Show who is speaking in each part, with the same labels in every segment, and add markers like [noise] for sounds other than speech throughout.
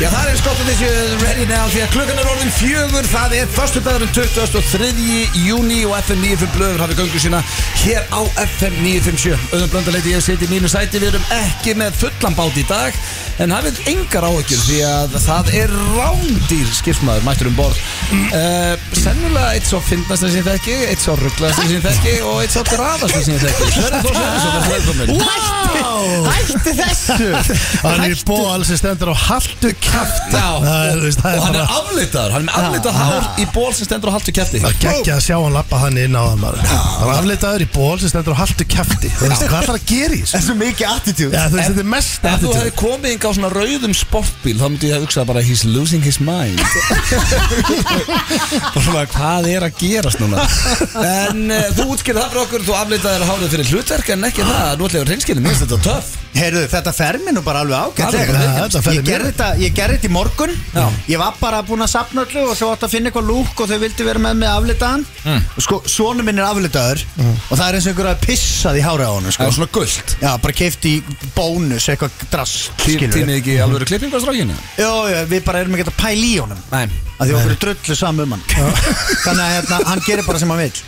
Speaker 1: Já, það er skott að þessi ready now því að klukkan er orðin fjögur það er förstu dagurinn 23. júni og FM 95 blöður hafið göngu sína hér á FM 957 auðvitað blöndaleiti ég seti í mínu sæti við erum ekki með fullan bát í dag en hafið engar áhyggjur því að það er rándýr skipsmaður mættur um borð uh, sennilega eitt svo fyndnast sem ég þekki eitt svo rugglast sem ég þekki og eitt svo grafast sem ég þekki Sverri Þór Sverrisson er velkominn.
Speaker 2: Wow! Hætti
Speaker 3: [laughs]
Speaker 2: þessu
Speaker 3: Hann er í ból sem stendur á haltu kæft
Speaker 1: Já,
Speaker 3: Það er, þú veist, það er
Speaker 1: og hann er
Speaker 3: bara-
Speaker 1: aflitaður Hann er með aflitað hár í ból sem stendur á haltu kæfti
Speaker 3: Það geggja að sjá hann lappa hann inn á hann maður Hann afleitaður í ból sem stendur á haltu kæfti Þú veist, hvað ætlar að gera í þessu?
Speaker 2: Þessu mikið attitude
Speaker 3: Já, þú veist, þetta er mest
Speaker 1: Ef þú
Speaker 3: attitude.
Speaker 1: hefði komið yngi á svona rauðum sportbíl þá myndi ég að hugsa bara he's losing his mind [laughs] og svona hvað er að gerast núna en uh, þú útskýrði það fyrir okkur þú aflitaðir hárið fyrir hlutverk en ekki það nú ætlaður reynskilin, mér finnst þetta töff
Speaker 2: Heyrðu, þetta fer mér nú bara alveg ágætlega
Speaker 3: Alveg, ja, þetta fer
Speaker 2: Ég
Speaker 3: mér.
Speaker 2: gerði þetta, ég gerði þetta í morgun
Speaker 1: Já.
Speaker 2: Ég var bara búinn að sapna öllu og svo átt að finna eitthvað lúk og þau vildi vera með mig aflitaðan
Speaker 3: Mm.
Speaker 2: og sko, sonu minn er aflitaður og það er eins og einhver að pissa því hára á honum sko.
Speaker 1: það er svona gullt
Speaker 2: Já, bara keifti í bónus eitthvað drass, skilur
Speaker 1: tímið ekki í alvöru klippingu á strákinu
Speaker 2: Já, já, við bara erum ekki að pæla í honum
Speaker 1: Nei.
Speaker 2: að því okkur er drullu saman um hann þannig að hérna, hann gerir bara sem hann vil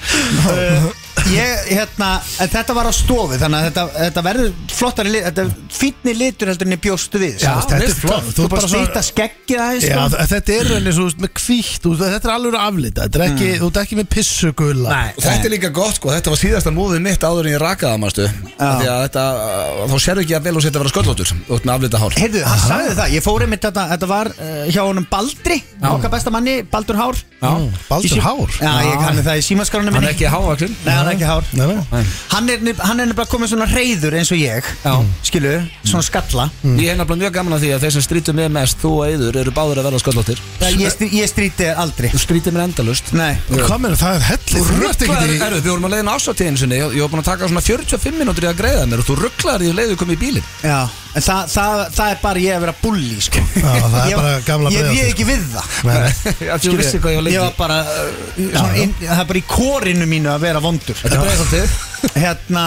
Speaker 2: uh, ég, hérna en þetta var á stofu, þannig að þetta, þetta verður flottari lit, þetta er fínni litur heldur en ég bjóstu við
Speaker 3: Já,
Speaker 2: sko.
Speaker 3: þetta er
Speaker 1: veist,
Speaker 3: flott
Speaker 2: þú bara stýta skeggið aðeins
Speaker 3: Já,
Speaker 2: sko.
Speaker 3: þ- þetta er rauninni svo þú veist, með kvítt Þetta er alveg aflita Þetta er ekki, þú ert ekki með pissugula
Speaker 2: Nei.
Speaker 1: Og Þetta er líka gott sko, þetta var síðasta móðið mitt áður en ég rakaða maðurstu Því að þetta, uh, þá sérðu ekki að vel og setja að vera sköllóttur út með aflita hár
Speaker 2: Heyrðu, hann sagði það, ég fór einmitt þetta, þetta var uh, hjá honum Baldri, okkar besta manni, Baldur Hár
Speaker 1: Já.
Speaker 3: Baldur Hár
Speaker 2: Já, ég kannu það í símaskránum
Speaker 1: Hann er
Speaker 2: minni
Speaker 1: ekki hávaksinn
Speaker 2: Nei, hann er ekki Hár
Speaker 3: Nei, nei.
Speaker 2: Hann er, nef- hann er nefnilega komið svona reyður eins og ég
Speaker 1: Já.
Speaker 2: Skilu, svona skalla
Speaker 1: Ég hef náttúrulega mjög gaman að því að þeir sem strítum með mest, þú og Eður, eru báður að verða sköllóttir.
Speaker 2: Ég, strí- ég stríti þér aldrei
Speaker 1: Þú strítir mér endalust.
Speaker 2: Nei
Speaker 3: Og Hvað meina, það er helli Þú ert
Speaker 1: Rugglaður,
Speaker 3: ekki í
Speaker 1: erðu, við vorum að leiðin ásatíðin sinni, ég, ég var búin að taka svona 45 minútur í að greiða mér og þú rugglaður í að leiðu komið í [laughs] bílinn.
Speaker 2: Já, en það, það, það er bara ég að vera bulli sko.
Speaker 3: Já, það er
Speaker 2: Ég-
Speaker 3: bara gamla
Speaker 2: Ég
Speaker 3: breiðholtið,
Speaker 2: réð ekki við það
Speaker 3: Nei.
Speaker 1: Ég þú vissi hvað ég var
Speaker 2: Ég
Speaker 1: leiðin.
Speaker 2: var bara, uh, svona, inn, það er bara í korinu mínu að vera vondur
Speaker 1: Þetta er bregðast þig.
Speaker 2: Hérna,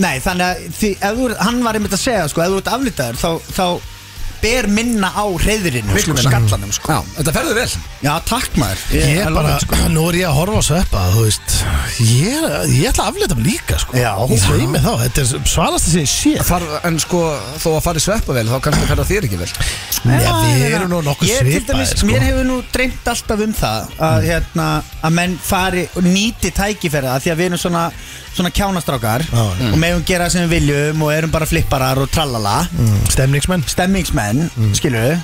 Speaker 2: nei, þannig að því, ef þú, hann var einmitt að segja, sko, ef þú ert aflitaður þá, þá ber minna á reyðrinu, sko, skallanum, sko
Speaker 1: Já, þetta ferðu vel.
Speaker 2: Já, takk maður
Speaker 3: Ég
Speaker 2: alveg, sko.
Speaker 3: bara, nú er ég að horfa á sveppa Þú veist, ég, ég ætla að aflita mig líka sko.
Speaker 2: Já.
Speaker 3: Ég segi mig þá, þetta er svalast að segja shit
Speaker 1: Far, en sko, þó að fara í sveppa vel, þá kannski ferða þér ekki vel.
Speaker 3: Já, við
Speaker 2: ég
Speaker 3: erum nú
Speaker 2: meina,
Speaker 3: nokkuð
Speaker 2: ég til
Speaker 3: svipaðir
Speaker 2: dæmis, Mér
Speaker 3: sko. Mm.
Speaker 2: hefur nú dreymt alltaf um það að, hérna, að menn fari og nýti tækifæra því að við erum svona, svona kjánastrákar
Speaker 3: Já, já.
Speaker 2: og megum gera sem við viljum og erum bara flipparar og trallala
Speaker 3: Mm, Stemningsmenn
Speaker 2: stemmingsmenn, mm. skilur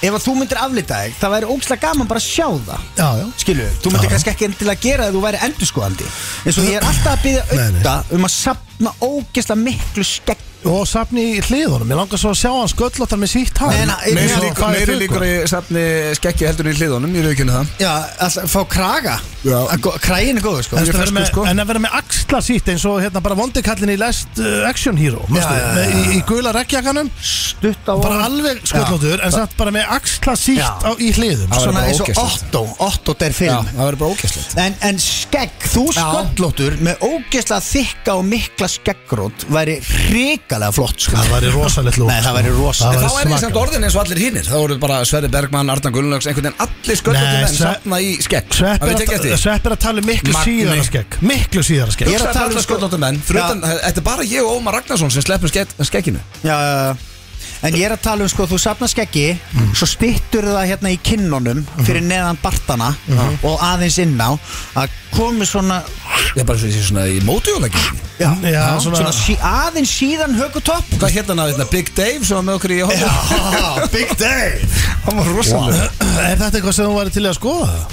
Speaker 2: ef að þú myndir aflita þig, það væri ógslag gaman bara að sjá það
Speaker 3: Já, já
Speaker 2: Skilu, þú myndir
Speaker 3: Já.
Speaker 2: kannski ekki til að gera það þú væri endurskoðandi eins og ég er alltaf að byggja
Speaker 3: Nei, nei.
Speaker 2: auðta um að sapna ógeðslega miklu skegg
Speaker 3: Og safni í hliðunum, ég langar svo að sjá hann sköllóttar með sítt hár
Speaker 2: Nei, nei,
Speaker 3: Eins
Speaker 2: meiri
Speaker 3: og
Speaker 2: líkur-
Speaker 3: hvað er
Speaker 1: Meiri
Speaker 3: þau,
Speaker 1: líkur
Speaker 3: sko?
Speaker 1: í safni skekki heldur en í hliðunum, ég raukinu það.
Speaker 2: Já, að fá kraga
Speaker 1: Já.
Speaker 2: Að gó- Kraginn er góður sko
Speaker 3: En
Speaker 1: Ég
Speaker 3: að vera
Speaker 1: ferskur,
Speaker 3: með-
Speaker 1: sko.
Speaker 3: en að vera með axla sítt eins og hérna bara vondikallin í Last uh, Action Hero manstu,
Speaker 2: já, já,
Speaker 3: með- Í, í gula rekkjakanum
Speaker 2: stutt á
Speaker 3: Bara
Speaker 2: honum.
Speaker 3: alveg sköllóttur en samt bara með axla sítt
Speaker 2: Já.
Speaker 3: á, í hliðum
Speaker 1: Já.
Speaker 3: sko.
Speaker 1: Það
Speaker 2: svona
Speaker 1: væri bara
Speaker 2: eins og
Speaker 1: ógeðslegt.
Speaker 2: Otto Otto der
Speaker 1: Já,
Speaker 2: film
Speaker 1: það verður bara ógæslegt.
Speaker 2: en, en skegg, þú
Speaker 3: Já.
Speaker 2: sköllóttur með ógeðslega þykka og mikla skeggrót væri hrikalega flott sko.
Speaker 3: Það væri rosalegt lúk
Speaker 2: Nei, það væri rosalegt.
Speaker 3: Það
Speaker 1: En
Speaker 3: væri
Speaker 1: þá er ég
Speaker 3: svakalegt.
Speaker 1: samt orðin eins og allir hinnir Þá eru bara Sverri Bergmann, Arnar Gullnöks Einhvern veginn allir
Speaker 3: Nei,
Speaker 1: sköldlóttir menn
Speaker 3: Sve-
Speaker 1: Sapna í skegg
Speaker 3: Svepp
Speaker 1: Hafið
Speaker 3: er
Speaker 1: þið tekið
Speaker 3: að-
Speaker 1: eftir því?
Speaker 3: Svepp er að tala um miklu
Speaker 1: Magni.
Speaker 3: síðara skegg Miklu síðara skegg
Speaker 2: Ég er að
Speaker 1: Hugsaðu
Speaker 2: tala
Speaker 1: bara
Speaker 2: um
Speaker 1: allir
Speaker 2: sko-
Speaker 1: sköldlóttir menn fyrir
Speaker 2: Já.
Speaker 1: utan- eh, Þetta er bara ég og Ómar Ragnarsson sem sleppum skegg- skegginu
Speaker 2: já, já, já. en ég er að tala um sko, þú safna skeggi svo stittur það hérna í kinnunum fyrir neðan bartana og aðeins inn á að komi svona,
Speaker 1: Ég er bara svo svona í mótujólæki
Speaker 2: já,
Speaker 3: Já,
Speaker 2: svona,
Speaker 3: svona
Speaker 2: sí, aðeins síðan högutopp
Speaker 1: Hvað hérna hann að þetta Big Dave sem var með okkur í hópa
Speaker 2: Big Day
Speaker 1: Hann var rosalega
Speaker 3: Er þetta eitthvað sem þú væri til í að skoða?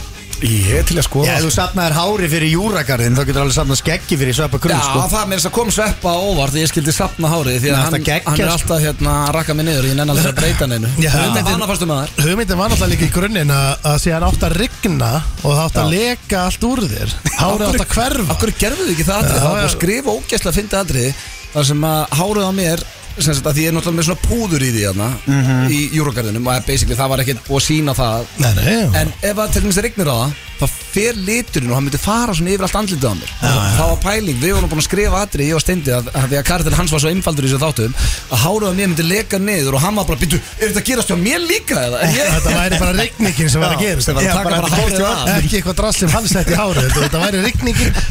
Speaker 1: Ég er til að
Speaker 2: Já,
Speaker 1: skoða
Speaker 2: ef þú safnaðir hári fyrir júragarðin þá getur alveg safnað skeggi fyrir sveppa
Speaker 1: Já,
Speaker 2: grunn sko.
Speaker 1: það með þess að kom sveppa á óvart Ég skildi sapna hárið Því að
Speaker 2: Nei,
Speaker 1: hann,
Speaker 2: þetta geggjað,
Speaker 1: hann er
Speaker 2: sko.
Speaker 1: alltaf hérna að rakka mig niður Ég nenni alltaf að breyta neinu
Speaker 3: Já.
Speaker 1: Þetta er hana fastum að þær
Speaker 3: Hugmyndin var náttúrulega líka í grunninn að að sé hann átt að rigna og það átt að leka allt úr þér Hárið átt að hverfa
Speaker 1: Akkur gerðu þið ekki það atrið?
Speaker 3: Já,
Speaker 1: Það var bara
Speaker 3: já.
Speaker 1: að skrifa ógæsla að fyndi atrið þar sem að hárið á mér sem sagt að því ég er náttúrulega með svona púður í því hérna í júrogarðinum og basically það var ekkert búið að sína það
Speaker 3: Nei, nei, já.
Speaker 1: en ef að til dæmis rignir á það þá fer liturinn og hann myndi fara svona yfir allt andlitið á mér þá var pæling, við vorum búin að skrifa atrið ég og Steindi að, að því að karakter hans var svo einfaldur í þessu þáttum að hárið á mér myndi leka niður og hann var bara, býttu, er þetta að gerast hjá mér líka eða? En [laughs] ég-
Speaker 3: Þetta væri bara regningin sem var að gerast
Speaker 1: Já, bara taka bara hárið af.
Speaker 3: Ekki eitthvað draslið falsett í hárið Þetta- Þetta væri regningin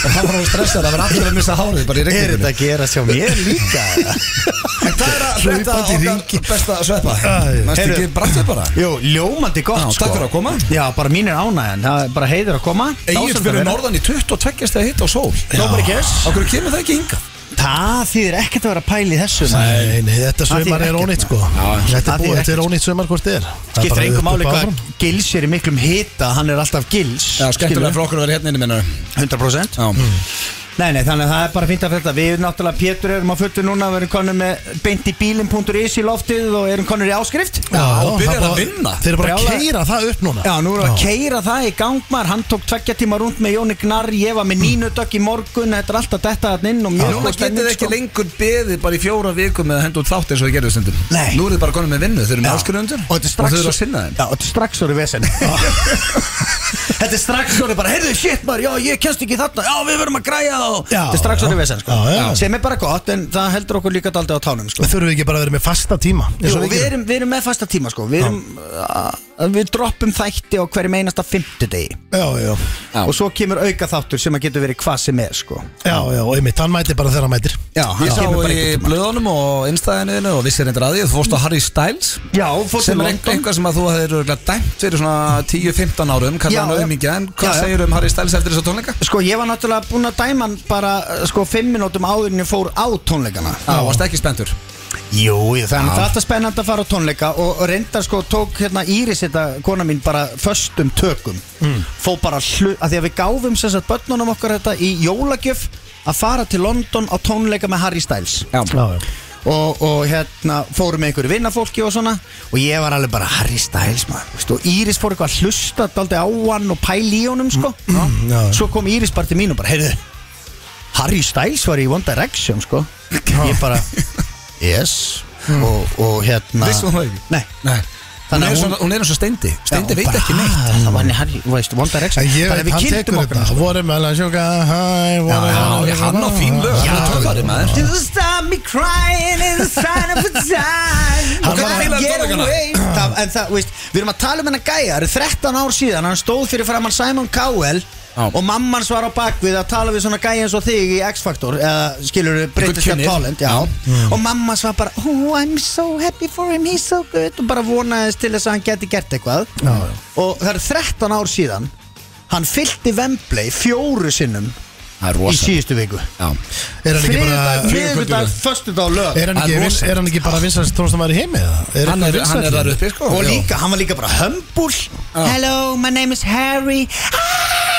Speaker 1: og hann var alveg stressað, það var allir að missa hárið bara í
Speaker 2: Er
Speaker 1: regningunni
Speaker 2: þetta að gera sjá mér líka?
Speaker 1: En hvað er að frétta
Speaker 3: Hlaupandi í
Speaker 1: okkar besta sveppa? Næstu
Speaker 2: Heyrðu.
Speaker 1: ekki brættið bara?
Speaker 2: [laughs] Jú, ljómandi gott
Speaker 1: Já,
Speaker 2: sko
Speaker 1: takk fyrir að koma.
Speaker 2: Já, bara mín er ánægjan, það er bara heiður að koma
Speaker 1: Egil
Speaker 2: Dásamlegt að
Speaker 1: fyrir
Speaker 2: vera.
Speaker 1: norðan í 22 steg hitt á sól
Speaker 2: Nobody cares.
Speaker 1: Okkur kemur það ekki hingað
Speaker 2: Það þýðir ekkert að vera að pæla í þessu maður.
Speaker 3: Nei, nei, þetta
Speaker 2: Það
Speaker 3: sumar
Speaker 2: þýðir
Speaker 3: er
Speaker 2: ekkert,
Speaker 3: ónýtt sko
Speaker 2: maður. Já,
Speaker 3: Þetta
Speaker 2: það
Speaker 3: er
Speaker 2: þýðir
Speaker 3: búið, þetta er ónýtt sumar hvort þið er Það er
Speaker 2: Skiptir
Speaker 3: bara
Speaker 2: engum
Speaker 3: upp
Speaker 2: máli
Speaker 3: og
Speaker 2: hvað
Speaker 3: áfram.
Speaker 2: gils er í miklum hita Hann er alltaf gils
Speaker 1: Já, skemmtilega fyrir okkur að vera hérna inni minna
Speaker 2: 100%
Speaker 1: Já,
Speaker 2: Nei, nei, þannig að það er bara fínt að þetta Við náttúrulega Pétur erum á fullu núna Við erum konum með beintibílin.is í loftið Og erum konur í áskrift
Speaker 3: Já,
Speaker 1: og byrjar að
Speaker 3: það bara-
Speaker 1: vinna.
Speaker 3: Þeir eru bara að
Speaker 2: Brjálæði.
Speaker 3: keira það upp núna
Speaker 2: Já, nú erum við að keira það í gangmar Hann tók tveggja tíma rúnd með Jóni Gnarr Ég var með Nínu Dögg í morgun Þetta er alltaf þetta hann inn og mjög
Speaker 1: Núna getið
Speaker 2: góð stemning,
Speaker 1: þið ekki
Speaker 2: sko.
Speaker 1: lengur beðið bara í fjóra vikum með að henda út þátt eins og þið gerðu stundum
Speaker 2: Nei.
Speaker 1: Nú eru þið bara konum með vinnu, þau eru með
Speaker 2: Já.
Speaker 1: áskrunundur
Speaker 2: Og þetta er strax
Speaker 1: þau eru að sinna þeim
Speaker 2: Já, og þetta er strax orðið [laughs] vesen Þetta er strax orðið bara Heyrðu, shit maður, já, ég kennst ekki þarna Já, við verum að græja það og-
Speaker 3: Já,
Speaker 2: Þetta er strax
Speaker 3: já.
Speaker 2: orðið vesen, sko
Speaker 3: Já, já.
Speaker 2: Sem er bara gott, en það heldur okkur líka daldið á tánum, sko
Speaker 3: Þurfum við ekki bara að vera með fasta tíma eins
Speaker 2: Jú,
Speaker 3: og
Speaker 2: og við
Speaker 3: gerum?
Speaker 2: erum, við erum með fasta tíma, sko Við erum, uh, við droppum þætti á hverjum einasta fimmtudegi
Speaker 3: Já, já,
Speaker 1: Já.
Speaker 2: Og svo kemur auka þáttur sem að getur verið hvað sem er, sko
Speaker 3: já, já, og einmitt, hann mætir bara þegar hann mætir
Speaker 2: Já, hann
Speaker 1: Ég sá
Speaker 2: kemur bara
Speaker 1: í
Speaker 2: einhvern tímann.
Speaker 1: blöðunum og innstæðinu og vissir reyndar að því að þú fórst á Harry Styles
Speaker 2: Já, fór til
Speaker 1: sem er
Speaker 2: London
Speaker 1: eitthvað sem að þú hefur örugglega dæmt fyrir svona 10-15 árum
Speaker 2: Já,
Speaker 1: kallar hann
Speaker 2: já.
Speaker 1: auðmingja en
Speaker 2: Já,
Speaker 1: hvað
Speaker 2: já.
Speaker 1: segir um Harry Styles eftir þessa tónleika?
Speaker 2: Sko, ég var náttúrulega búinn að dæma hann bara, uh, sko, fimm minútum áður en ég fór á tónleikana
Speaker 1: Það varst ekki spenntur
Speaker 2: Jú, ég, þannig það er alltaf spennandi að fara á tónleika og og reyndar sko tók hérna Íris þetta kona mín bara föstum tökum mm. fó bara hlu, að því að við gáfum sem sagt börnunum okkar þetta í jólagjöf að fara til London á tónleika með Harry Styles
Speaker 1: Já,
Speaker 3: Já, já,
Speaker 2: og, og hérna fórum með einhverju vinnafólki og svona og ég var alveg bara Harry Styles maður veist, og Íris fór eitthvað að hlusta daldi á hann og pæli í honum sko
Speaker 3: já.
Speaker 2: svo kom Íris bara til mín og bara heyrðu Harry Styles var í One Direction sko ég bara yes og, og hérna
Speaker 1: Vissum það ekki?
Speaker 2: Nei
Speaker 1: Nei Hún
Speaker 2: Þannig að
Speaker 1: er,
Speaker 2: hún-
Speaker 1: svona, hún er eins og steindi Steindi
Speaker 2: Já,
Speaker 1: veit
Speaker 2: bara,
Speaker 1: ekki neitt
Speaker 2: "Ah, Það var henni Harry, þú veist, One Direction
Speaker 3: En ég
Speaker 2: Þannig að
Speaker 3: veit,
Speaker 2: við
Speaker 3: hann
Speaker 2: kynntum
Speaker 3: tekur
Speaker 2: okkur
Speaker 3: þetta Vorum með að sjóka Hæ, vorum
Speaker 1: Já, já, hann á fín lög
Speaker 3: Já,
Speaker 1: Hann er töffari, maður
Speaker 2: You stop me crying in the sign of a time
Speaker 1: Hann var að fíla tónleikana.
Speaker 2: Það- En það, veist, við erum að tala um hennar gæja Það eru 13 ár síðan, hann stóð fyrir framann Simon Cowell
Speaker 1: Já.
Speaker 2: Og mamman svar á bakvið að tala við svona gæja eins og þig í X-Factor Eða skilur við breytist að
Speaker 1: kynni.
Speaker 2: talent já. Og mamma svar bara Oh, I'm so happy for him, he's so good Og bara vonaðist til þess að hann geti gert eitthvað já, já. Og það eru 13 ár síðan Hann fyllti Vembley fjóru sinnum
Speaker 1: Það er
Speaker 2: í síðustu viku
Speaker 1: Já
Speaker 3: Er hann ekki bara
Speaker 2: Þriðdag, miðvikudag,
Speaker 1: Fjögur
Speaker 2: föstudag, lög
Speaker 3: Er hann
Speaker 1: Hann
Speaker 3: ekki,
Speaker 1: er
Speaker 3: vins,
Speaker 1: rosa-
Speaker 3: er hann ekki bara vinsast tónlistamæður í heimi? eða? Er
Speaker 1: Hann er, hann
Speaker 3: eitthvað
Speaker 1: er
Speaker 3: vinsæll?
Speaker 1: þar uppi, sko
Speaker 2: Og
Speaker 1: Já.
Speaker 2: líka, hann var líka bara hömbul Hello, my name is Harry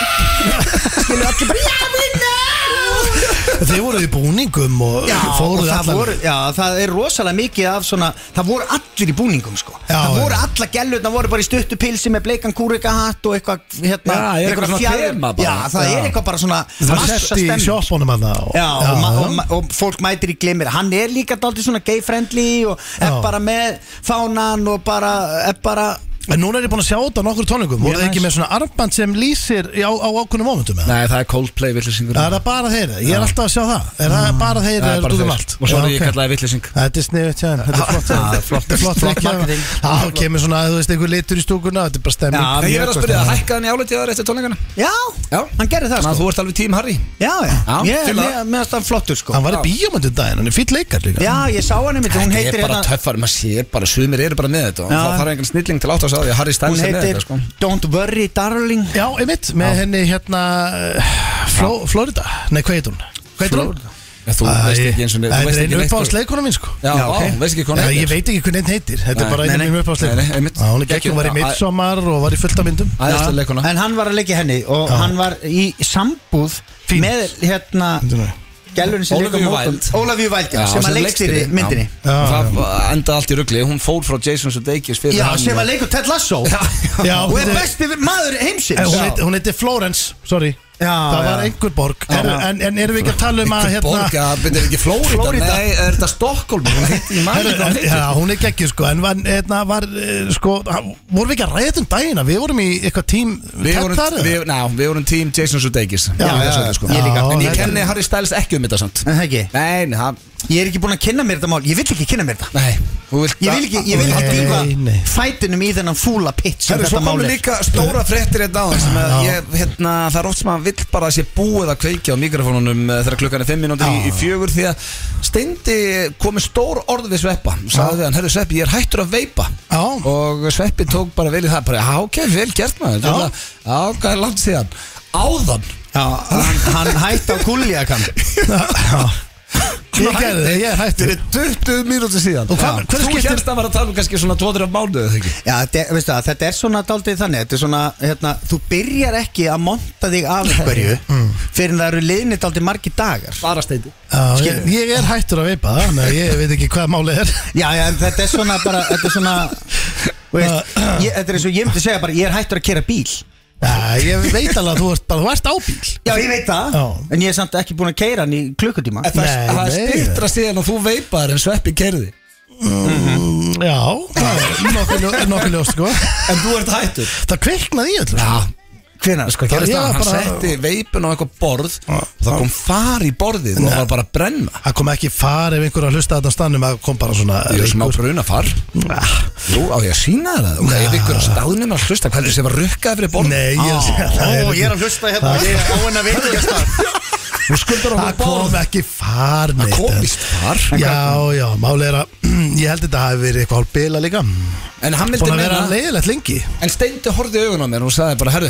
Speaker 2: Skilu allir bara Já, við ná
Speaker 3: Þið voruð í búningum og
Speaker 2: Já, og
Speaker 3: fóruð
Speaker 2: það,
Speaker 3: allan
Speaker 2: voru, já, það er rosalega mikið af svona Það voru allir í búningum sko
Speaker 3: Já,
Speaker 2: Það voru
Speaker 3: já.
Speaker 2: alla gellurna, voru bara í stuttu pilsi Með bleikan kúrikahatt og eitthvað hérna,
Speaker 1: Já, er eitthvað
Speaker 2: einhverja
Speaker 1: svona
Speaker 2: fjaðrir-
Speaker 1: þema bara.
Speaker 2: Já, það
Speaker 1: Já.
Speaker 2: er eitthvað bara svona
Speaker 3: Það var
Speaker 2: massa
Speaker 3: sett í
Speaker 2: stemning.
Speaker 3: sjoppunum að það
Speaker 2: Já, og, ma- og, ma- og fólk mætir í glimir Hann er líka daldið svona gay-friendly Og er
Speaker 3: Já.
Speaker 2: bara með fánan Og bara, er bara
Speaker 3: En núna er ég búin að sjá þetta á nokkur tónlingum Voruð þið ekki
Speaker 2: næs.
Speaker 3: með svona armband sem lýsir í- á, á ákveðnum mómentum? eða?
Speaker 1: Nei, það er Coldplay villisingur
Speaker 3: Er það bara þeir? Ég er alltaf að sjá það Er það bara þeir?
Speaker 1: Mm. Það
Speaker 3: eða
Speaker 1: er
Speaker 3: Er
Speaker 1: bara
Speaker 3: það um
Speaker 1: þeir.
Speaker 3: allt?
Speaker 1: Og svo er
Speaker 3: Já,
Speaker 1: ég
Speaker 3: ok.
Speaker 1: kallaði villisingur
Speaker 3: Þetta er sniðut hjá þeim, þetta er
Speaker 1: [laughs] það
Speaker 3: flott hjá þeim.
Speaker 1: er flott.
Speaker 3: Þetta er flott
Speaker 2: Flott
Speaker 3: trick hjá þeim.
Speaker 2: marketing.
Speaker 3: Já, kemur svona, þú veist, einhver litur í stúkuna Þetta er bara stemming
Speaker 2: Já,
Speaker 1: En ég
Speaker 3: Mjög
Speaker 1: verð að spyrja
Speaker 3: gott að
Speaker 1: það,
Speaker 3: það.
Speaker 1: hækkaði hann í álitið þar eftir tónleikana
Speaker 2: Já,
Speaker 1: Já.
Speaker 2: hann gerði það
Speaker 1: Þannig að
Speaker 2: sko
Speaker 1: þú ert alveg tím Harry
Speaker 2: Já, já,
Speaker 1: Já,
Speaker 2: ég
Speaker 1: til
Speaker 2: er
Speaker 1: að-
Speaker 2: með, meðast hann flottur sko
Speaker 3: Hann var í bíómyndu daginn, hann er fýll leikar líka
Speaker 2: Já, ég sá hann einmitt, hún
Speaker 1: Þetta
Speaker 2: heitir
Speaker 1: er bara
Speaker 2: hérna
Speaker 1: töffari, maður sér bara, sumir eru bara með þetta og
Speaker 2: Já.
Speaker 1: það þarf engan snilling til átt að segja því að Harry
Speaker 2: Hún
Speaker 1: Styles er með
Speaker 2: heitir
Speaker 1: þetta, sko
Speaker 2: Don't Worry Darling
Speaker 3: Já, einmitt, með henni hérna eh, Fló, Florida, nei hvað heit hún? Hvað heit hún?
Speaker 1: Já, Þú veist ekki eins og þú
Speaker 3: Það er
Speaker 1: veist
Speaker 3: einu
Speaker 1: ekki neitt, sko.
Speaker 3: uppáðsleikuna mín sko
Speaker 1: Já,
Speaker 2: Já,
Speaker 1: á,
Speaker 2: ok.
Speaker 1: veist ekki hvað
Speaker 3: Já,
Speaker 1: hann
Speaker 3: ég
Speaker 1: heitir
Speaker 3: veit ekki hvernig einn heitir Þetta
Speaker 1: Nei,
Speaker 3: er bara einu
Speaker 2: nei, nei.
Speaker 3: mínu
Speaker 1: Nei, nei,
Speaker 3: uppáðsleikuna
Speaker 1: einmitt.
Speaker 3: Já, Hún er geggjum, var í
Speaker 1: Geggjum, já,
Speaker 3: midsommar og var í fullt af myndum
Speaker 1: Æðislega leikuna
Speaker 2: En hann var að leggja henni og hann var í sambúð
Speaker 3: Fín.
Speaker 2: með hérna gælurinn sem
Speaker 1: Ólafíu
Speaker 2: leikur mótum
Speaker 1: Wild.
Speaker 2: Ólafíu Wild, já,
Speaker 1: Já,
Speaker 2: sem að leikstýri myndinni
Speaker 1: já. Það endaði allt í ruggli Hún fór frá Jason Sudeikis fyrir
Speaker 2: Já,
Speaker 1: hann
Speaker 2: sem að leikur Ted Lasso
Speaker 1: Já,
Speaker 3: Já,
Speaker 2: og er
Speaker 3: hún er-
Speaker 2: besti maður
Speaker 3: Eh,
Speaker 2: heimsins
Speaker 3: Hún heitir- hún heitir Florence, sorry
Speaker 2: Já,
Speaker 3: það var
Speaker 2: já.
Speaker 3: einhver borg
Speaker 2: Já.
Speaker 3: Heyrðu, en, en erum við ekki að tala um að
Speaker 1: Einhver borg,
Speaker 3: hérna,
Speaker 1: að byrja ekki Flórida,
Speaker 2: Flórída.
Speaker 1: Nei, er þetta Stokkólm Hún heitir í maður
Speaker 3: Heyrðu, já, hún er geggju sko en var, hérna, var, eh, sko, hann- vorum við ekki að ræða þetta um dagina við vorum í eitthvað tím
Speaker 1: Við vorum,
Speaker 3: Tettar,
Speaker 1: við, ná, við vorum tím Jason Sudeikis Já,
Speaker 3: já,
Speaker 1: sko.
Speaker 2: ég líka.
Speaker 1: En ég
Speaker 3: Já,
Speaker 1: kenni Harry Styles ekki um þetta samt
Speaker 2: En það ekki?
Speaker 1: Nei, nei, það
Speaker 2: Ég er ekki búin að kynna mér þetta mál Ég vill ekki kynna mér þetta
Speaker 1: Nei, þú vilt
Speaker 2: Ég vil ekki, ég vil ekki
Speaker 3: Nei,
Speaker 2: dýfa
Speaker 3: nei.
Speaker 2: fætinum í þennan fúla pitt sem
Speaker 1: Herru, svo
Speaker 2: þetta mál
Speaker 1: komum
Speaker 2: er
Speaker 1: líka stóra fréttir hérna á sem að ég, hérna, það er oft sem að vill bara að sé búið að kveikja á mikrofónunum eh, þegar klukkan er 5 minúti í, í fjögur því að Steindi komi stór orð við Sveppa sagði við hann, herru Sveppi, ég er hættur að veipa
Speaker 3: Já.
Speaker 1: og Sveppi tók bara vel í það bara, já, ok, vel gert maður
Speaker 3: Já.
Speaker 1: Þetta er það- já, hvað er langt síðan áðan
Speaker 2: Já, hann, hann hætti á gulliakan
Speaker 3: ég gerði það, ég er hættur
Speaker 1: Þetta er 20 mínúti síðan
Speaker 3: Og hvað-
Speaker 1: Já.
Speaker 3: hvernig
Speaker 1: Þú
Speaker 3: skiptir-
Speaker 1: hérst að var að tala um kannski svona 2-3 mánuð eða ekki?
Speaker 2: Já, þetta, er- veistu það, þetta er svona daldið þannig Þetta er svona, hérna, þú byrjar ekki að monta þig af einhverju Fyrir en það eru liðni daldið margi dagar
Speaker 1: bara Steindi
Speaker 3: Já, ég,
Speaker 2: Skil-
Speaker 3: ég er hættur að veipa þannig að ég veit ekki hvað málið er
Speaker 2: Já, já, en þetta er svona bara, þetta er svona þú veist, ég, Þetta er eins og ég myndi segja bara, ég er hættur að kera bíl
Speaker 3: Já, ég veit alveg að þú ert bara, þú ert á bíl
Speaker 2: Já, ég veit það
Speaker 3: Já.
Speaker 2: En ég er samt ekki búin að keira hann í klukkutíma
Speaker 1: En það,
Speaker 3: Nei,
Speaker 1: það er
Speaker 3: nei.
Speaker 1: styrtra síðan að þú veipaðir en Sveppi kerði
Speaker 3: Já, það er nokkuð ljó- nokkuð ljós sko
Speaker 1: En þú ert hættur
Speaker 3: Það kviknaði í öllu
Speaker 1: Já,
Speaker 2: Hvenær, sko,
Speaker 1: það
Speaker 2: gerist
Speaker 1: gerist
Speaker 3: ég
Speaker 1: það,
Speaker 3: var
Speaker 1: hann
Speaker 3: bara-
Speaker 1: setti veipun á eitthvað borð og það kom far í borðið og það var bara að brenna
Speaker 3: Það kom ekki far ef einhver að hlusta þetta á stannum það kom bara svona
Speaker 1: Ég er smá
Speaker 3: reykur. Ah.
Speaker 1: bruna far Jú, á ég að sína þér það Ok, ég vikur á staðnum að hlusta hvað er sem var rukkað fyrir borð Ah.
Speaker 3: Nei, ég, [laughs] það
Speaker 2: Ó,
Speaker 3: er
Speaker 2: ég er að hlusta hérna Ég er á henn að veitu ekki að
Speaker 1: Þú skuldar
Speaker 3: Það
Speaker 1: okkur
Speaker 3: kom
Speaker 1: borð
Speaker 3: ekki far
Speaker 1: Það
Speaker 3: neitt.
Speaker 1: komist far
Speaker 3: Já, já, málið er að [clears throat] ég held þetta hafi verið eitthvað hálf bila líka
Speaker 1: En hann vildi
Speaker 3: Búin að vera
Speaker 1: meina
Speaker 3: leiðilegt lengi
Speaker 1: En Steindi horfði í augun á mér og sagði bara Herru,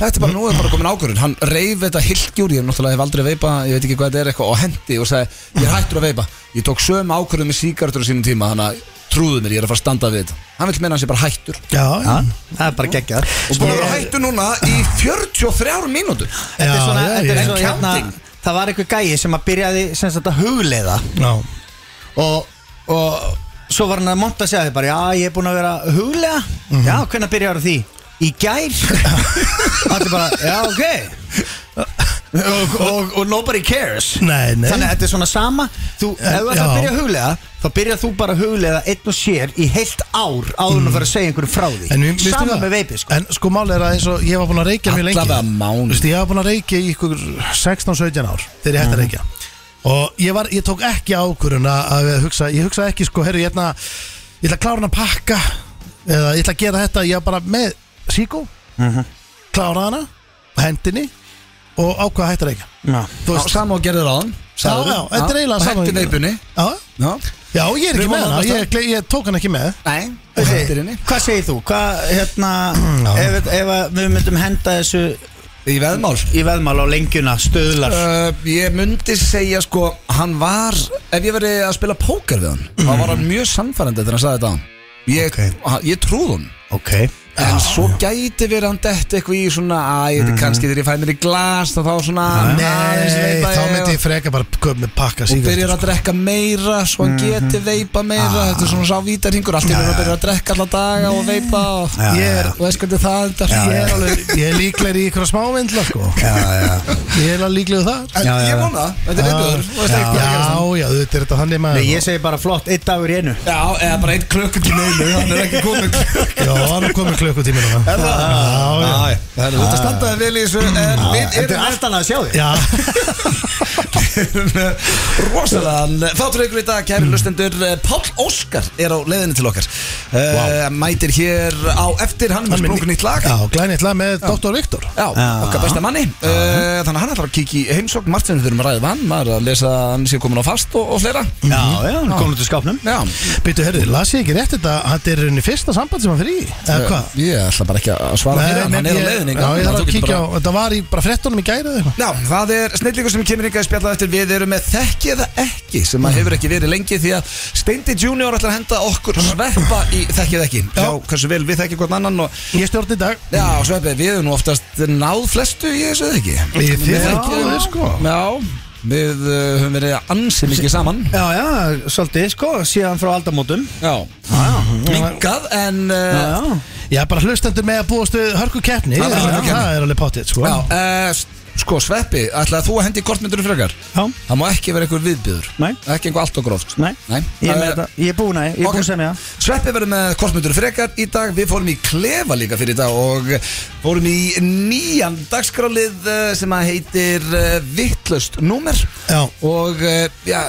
Speaker 1: þetta er bara nú er bara komin ákvörðun Hann reyf þetta hilkjúr, ég hef náttúrulega hef aldrei veipa Ég veit ekki hvað þetta er eitthvað og hendi og sagði Ég er hættur að veipa, ég tók sömu ákvörðun með síkartur á sínum tíma Þannig að trúðu mér, ég er að fara að standa við þetta Hann vil meina hans ég bara hættur
Speaker 3: Já, já,
Speaker 2: Það er bara geggjað Sko,
Speaker 1: Og búin að vera hættur núna í 43 mínútur
Speaker 2: Þetta er svona,
Speaker 3: já,
Speaker 2: þetta er
Speaker 3: já.
Speaker 2: svona hérna,
Speaker 1: Counting.
Speaker 2: Það var einhver gæi sem að byrjaði sem sagt að hugleiða
Speaker 3: já
Speaker 2: og, og svo var hann að monta að segja því bara Já, ég er búin að vera að hugleiða
Speaker 3: Mhm.
Speaker 2: Já, hvernig byrjar því? Í
Speaker 3: [laughs]
Speaker 2: gær Þetta er bara, já, ok og, og, og nobody cares
Speaker 3: Nei, nei
Speaker 2: Þannig að þetta er svona sama Þú, ef þú ætlar að
Speaker 3: já.
Speaker 2: byrja að huglega Þá byrjar þú bara að huglega einn og sér Í heilt ár áður en að fara að segja einhverju frá
Speaker 3: Mhm. En mér-
Speaker 2: því
Speaker 3: mér
Speaker 2: Sama
Speaker 3: finnst
Speaker 2: með
Speaker 3: það-
Speaker 2: veipi sko
Speaker 3: En sko málið er að eins og ég var búin að reykja mjög lengi
Speaker 1: Allavega mánuð.
Speaker 3: Þú veist, Ég var búin að reykja í ykkur 16-17 ár Þegar ég
Speaker 1: Mhm.
Speaker 3: hætti að reykja Og ég, var, ég tók ekki ákvörun að, að hugsa Ég hugsaði ekki sko, herru, ég ætla Ég ætla að klára hann að pakka Eða ég ætla að gera þetta, ég var bara með Síkó,
Speaker 1: Mhm.
Speaker 3: klára hana Hendinni Og ákveða að hætta að reykja
Speaker 1: Mhm.
Speaker 2: Já.
Speaker 3: Þú
Speaker 1: Já,
Speaker 3: veist,
Speaker 1: Sama og gerði ráðan sagði
Speaker 3: Já,
Speaker 1: þú.
Speaker 3: já, þetta er eiginlega
Speaker 1: Og
Speaker 3: sama og
Speaker 1: hætti
Speaker 3: ég gerði.
Speaker 1: veipunni
Speaker 3: já,
Speaker 1: Já.
Speaker 3: já, ég
Speaker 1: Við
Speaker 3: er ekki með
Speaker 1: vorum
Speaker 3: hana
Speaker 1: annars
Speaker 3: ég, ég, ég tók hana ekki með
Speaker 1: Nei, hættir henni
Speaker 2: Þessi, hvað segir þú? Hvað, hérna, ef, ef að við myndum henda þessu
Speaker 1: Í veðmál
Speaker 2: í veðmál á lengjuna, stöðlar
Speaker 1: Uh, ég myndi segja sko Hann var, ef ég verið að spila póker við hann þá var hann mjög sannfærandi þegar hann sagði þetta á hann. ég, okay. ég trúð hann
Speaker 2: Ok
Speaker 1: en svo gæti verið hann dett eitthvað í svona að ég veit kannski þegar ég fæ mér í glas þá þá svona aðeins
Speaker 3: Mhm. Nei,
Speaker 1: veipa
Speaker 3: þá
Speaker 1: ég
Speaker 3: myndi ég freka bara köp með pakka
Speaker 1: og
Speaker 3: sígarettu,
Speaker 1: byrjar að drekka meira svo hann geti veipa meira þetta er svona sá vítarhingur allt í hann byrjar að drekka alla daga og veipa og
Speaker 2: Já,
Speaker 1: ég er,
Speaker 2: já.
Speaker 1: og veist hvernig það endar
Speaker 3: ég
Speaker 1: Ég
Speaker 3: er,
Speaker 1: er alveg-
Speaker 3: alveg, ég er líklegri í ykkur smávindla sko.
Speaker 2: Já, já
Speaker 3: ég er alveg líklegri þar
Speaker 1: En
Speaker 2: Já, já,
Speaker 1: ég
Speaker 2: já.
Speaker 1: vona, það, þetta er viðbjörn og veist
Speaker 3: Ah. já,
Speaker 1: ekki hvað
Speaker 3: já,
Speaker 1: að gerast
Speaker 3: já, þetta er þetta þannig
Speaker 2: Nei,
Speaker 3: maður
Speaker 2: ég segi bara flott, einn dagur í einu
Speaker 1: Já, eða bara einn klukkutíma einu, hann er ekki komið klukkutíma
Speaker 3: já, hann er komið klukkutíminu já,
Speaker 1: Er það? Ah,
Speaker 3: já,
Speaker 1: Æ, Það er út að standa þér vel í þessu En við
Speaker 2: Þetta er
Speaker 1: erum
Speaker 2: allt annað að sjá þig
Speaker 3: já.
Speaker 1: erum með rosalega Þáttur ykkur í dag, kæri lustendur Páll Óskar er á leiðinni til okkar wow. Mætir hér á eftir Hann er með sprungin nýtt lag
Speaker 3: já glænið lag með Dr. Viktor
Speaker 1: Já, okkar besta manni uh, Þannig að hann ætlar að kíkja í heimsókn Martin við þurfum að ræða við hann, maður er að lesa að Hann sé komin á fast og, og fleira
Speaker 2: Já, já, hann kom út úr skápnum
Speaker 1: Já,
Speaker 3: Býtu, herri, las ég ekki rétt þetta Þetta er henni fyrsta samband sem hann fyrir í Eða hvað?
Speaker 1: ég ætla bara ekki að svara
Speaker 3: Nei,
Speaker 1: fyrir hann,
Speaker 3: nei,
Speaker 1: hann er á
Speaker 3: ég-
Speaker 1: leiðinni
Speaker 3: Já, ég þarf
Speaker 1: Þú
Speaker 3: að
Speaker 1: getur
Speaker 3: kíkja
Speaker 1: bara-
Speaker 3: á Þetta var í bara frettunum í gæri eða eitthvað
Speaker 1: Já, það er snillingur sem kemur ykkar að spjalla eftir Við erum með þekki eða ekki sem
Speaker 3: Mm.
Speaker 1: að hefur ekki verið lengi því að Steindi Junior ætlar að henda okkur sveppa í þekki eða ekki Já, hversu vel við þekki hvort annan og
Speaker 3: Ég stjórn í dag
Speaker 1: Já, sveppi, við erum nú oftast náð flestu í þessu eða ekki
Speaker 3: Í þér,
Speaker 1: Við
Speaker 3: já,
Speaker 1: þekkjum-
Speaker 3: þér, sko.
Speaker 1: Já, við uh, höfum verið ansið mikið saman
Speaker 2: Já, já, svolítið, sko, síðan frá aldamótum
Speaker 1: Já,
Speaker 2: Já, já
Speaker 1: minkað en uh,
Speaker 2: Já,
Speaker 3: Já, bara hlustendur með að búast við hörku keppni
Speaker 1: Það er hörkukeppni.
Speaker 3: Það er alveg pottið, sko
Speaker 1: já, uh, s- sko Sveppi, ætlaði þú að hendi kortmyndunum frekar?
Speaker 2: já,
Speaker 1: Það má ekki vera einhver viðbyður
Speaker 2: Nei.
Speaker 1: Ekki einhver allt og gróft sko. Uh,
Speaker 2: nei, ég er með þetta Ég er búin að, ég er
Speaker 1: Ok.
Speaker 2: búin að semja
Speaker 1: Sveppi verður með kortmyndur frekar í dag Við fórum í klefa líka fyrir í dag Og fórum í nýjan dagskrálið eh, Sem að heitir eh, Vittlust númer
Speaker 3: Já.
Speaker 1: Og eh, já,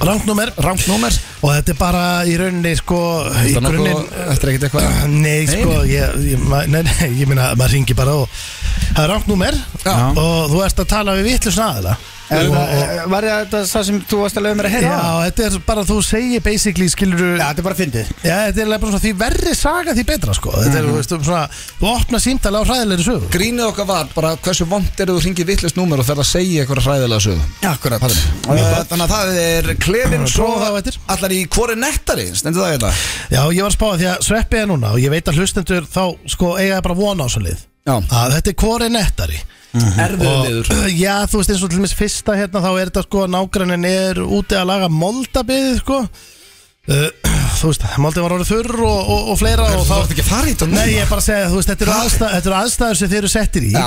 Speaker 3: Rangnúmer
Speaker 1: rangt númer
Speaker 3: Og þetta er bara í rauninni, sko
Speaker 1: Þetta
Speaker 3: Í
Speaker 1: er
Speaker 3: grunninn
Speaker 1: nokkuð- þetta er ekkert eitthvað
Speaker 3: Nei, sko, ég, ég, ma- nei, nei, ég meina, maður ringi bara og það er rangt númer
Speaker 1: Já.
Speaker 3: og þú ert að tala við vitlu snaðila
Speaker 2: Er
Speaker 3: og,
Speaker 2: það-
Speaker 3: og,
Speaker 2: er- eh, Var ég þetta það sem þú varst að lögum mér að
Speaker 3: eh, já,
Speaker 2: heyra?
Speaker 3: þetta er bara þú segir basically skilur
Speaker 2: Já, þetta er bara fyndið
Speaker 3: Já, þetta er bara svona því verri saga því betra sko Þetta er, þú veist, svona, þú opna símtala á hræðilegri sögu
Speaker 1: Grínið okkar var bara hversu vond er þú hringið vittlust númer og ferð að segja eitthvað hræðilega sögum
Speaker 2: Akkurat
Speaker 1: Þannig að það er klefin svo
Speaker 3: Prófa það á eftir.
Speaker 1: allar í hvori nettari stendur það hérna? þetta
Speaker 3: Já, ég var að spáða því að sveppi er núna og ég veit að hlustendur þá sko eiga bara vona á svona lið
Speaker 1: Já,
Speaker 3: að þetta er hvori nettari
Speaker 1: erfiðu
Speaker 3: Mhm. og,
Speaker 1: liður
Speaker 3: [clears throat] Já, þú veist eins og til dæmis fyrsta hérna þá er þetta sko að nágrannin er úti að laga moldabiðið sko uh, [clears throat] Þú veist, moldið var orðið þurr og, og, og fleira og
Speaker 1: Þú
Speaker 3: þá
Speaker 1: ert ekki að fara í þetta núna.
Speaker 3: Nei, ég er bara að segja, þú veist, þetta eru aðstæður, þetta eru aðstæður sem þeir eru settir í
Speaker 1: Já.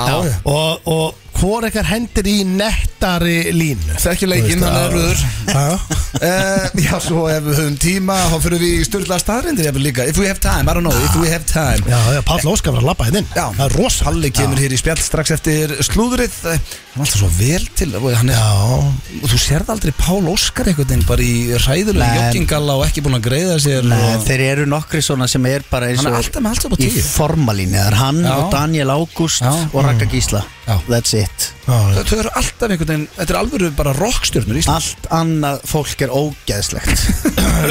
Speaker 3: og, og hvori ykkar hendir í nettari línu
Speaker 1: Þekki leikinn,
Speaker 3: Þú veist,
Speaker 1: hann er
Speaker 3: að-
Speaker 1: erfiður uh, Já, svo ef við höfum tíma þá fyrir við í styrla staðrindir ef við líka If we have time, I don't know, if we have time
Speaker 3: Já, já, Pall Óskar var að labba hérna inn
Speaker 1: Já.
Speaker 3: Það er rosa
Speaker 1: Palli kemur hér í spjall strax eftir slúðrið Hann er alltaf svo vel til og hann er, og Þú sérð aldrei Pál Óskar einhvern veginn bara í
Speaker 2: Nei.
Speaker 1: hræðulega joggingalla og ekki búin að greiða sér
Speaker 2: Nei,
Speaker 1: og,
Speaker 2: þeir eru nokkri svona sem er bara eins
Speaker 1: Hann er
Speaker 2: og
Speaker 1: alltaf með allt upp á
Speaker 2: í
Speaker 1: tíu.
Speaker 2: formalínu, það er hann
Speaker 1: Já.
Speaker 2: og Daniel Ágúst
Speaker 1: Já.
Speaker 2: og Raka Gísla
Speaker 1: Já.
Speaker 2: that's it
Speaker 3: Já,
Speaker 1: Þau eru alltaf einhvern veginn, þetta er alvöru bara rockstjörnur í Ísland
Speaker 2: allt annað fólk er [laughs] ógeðslegt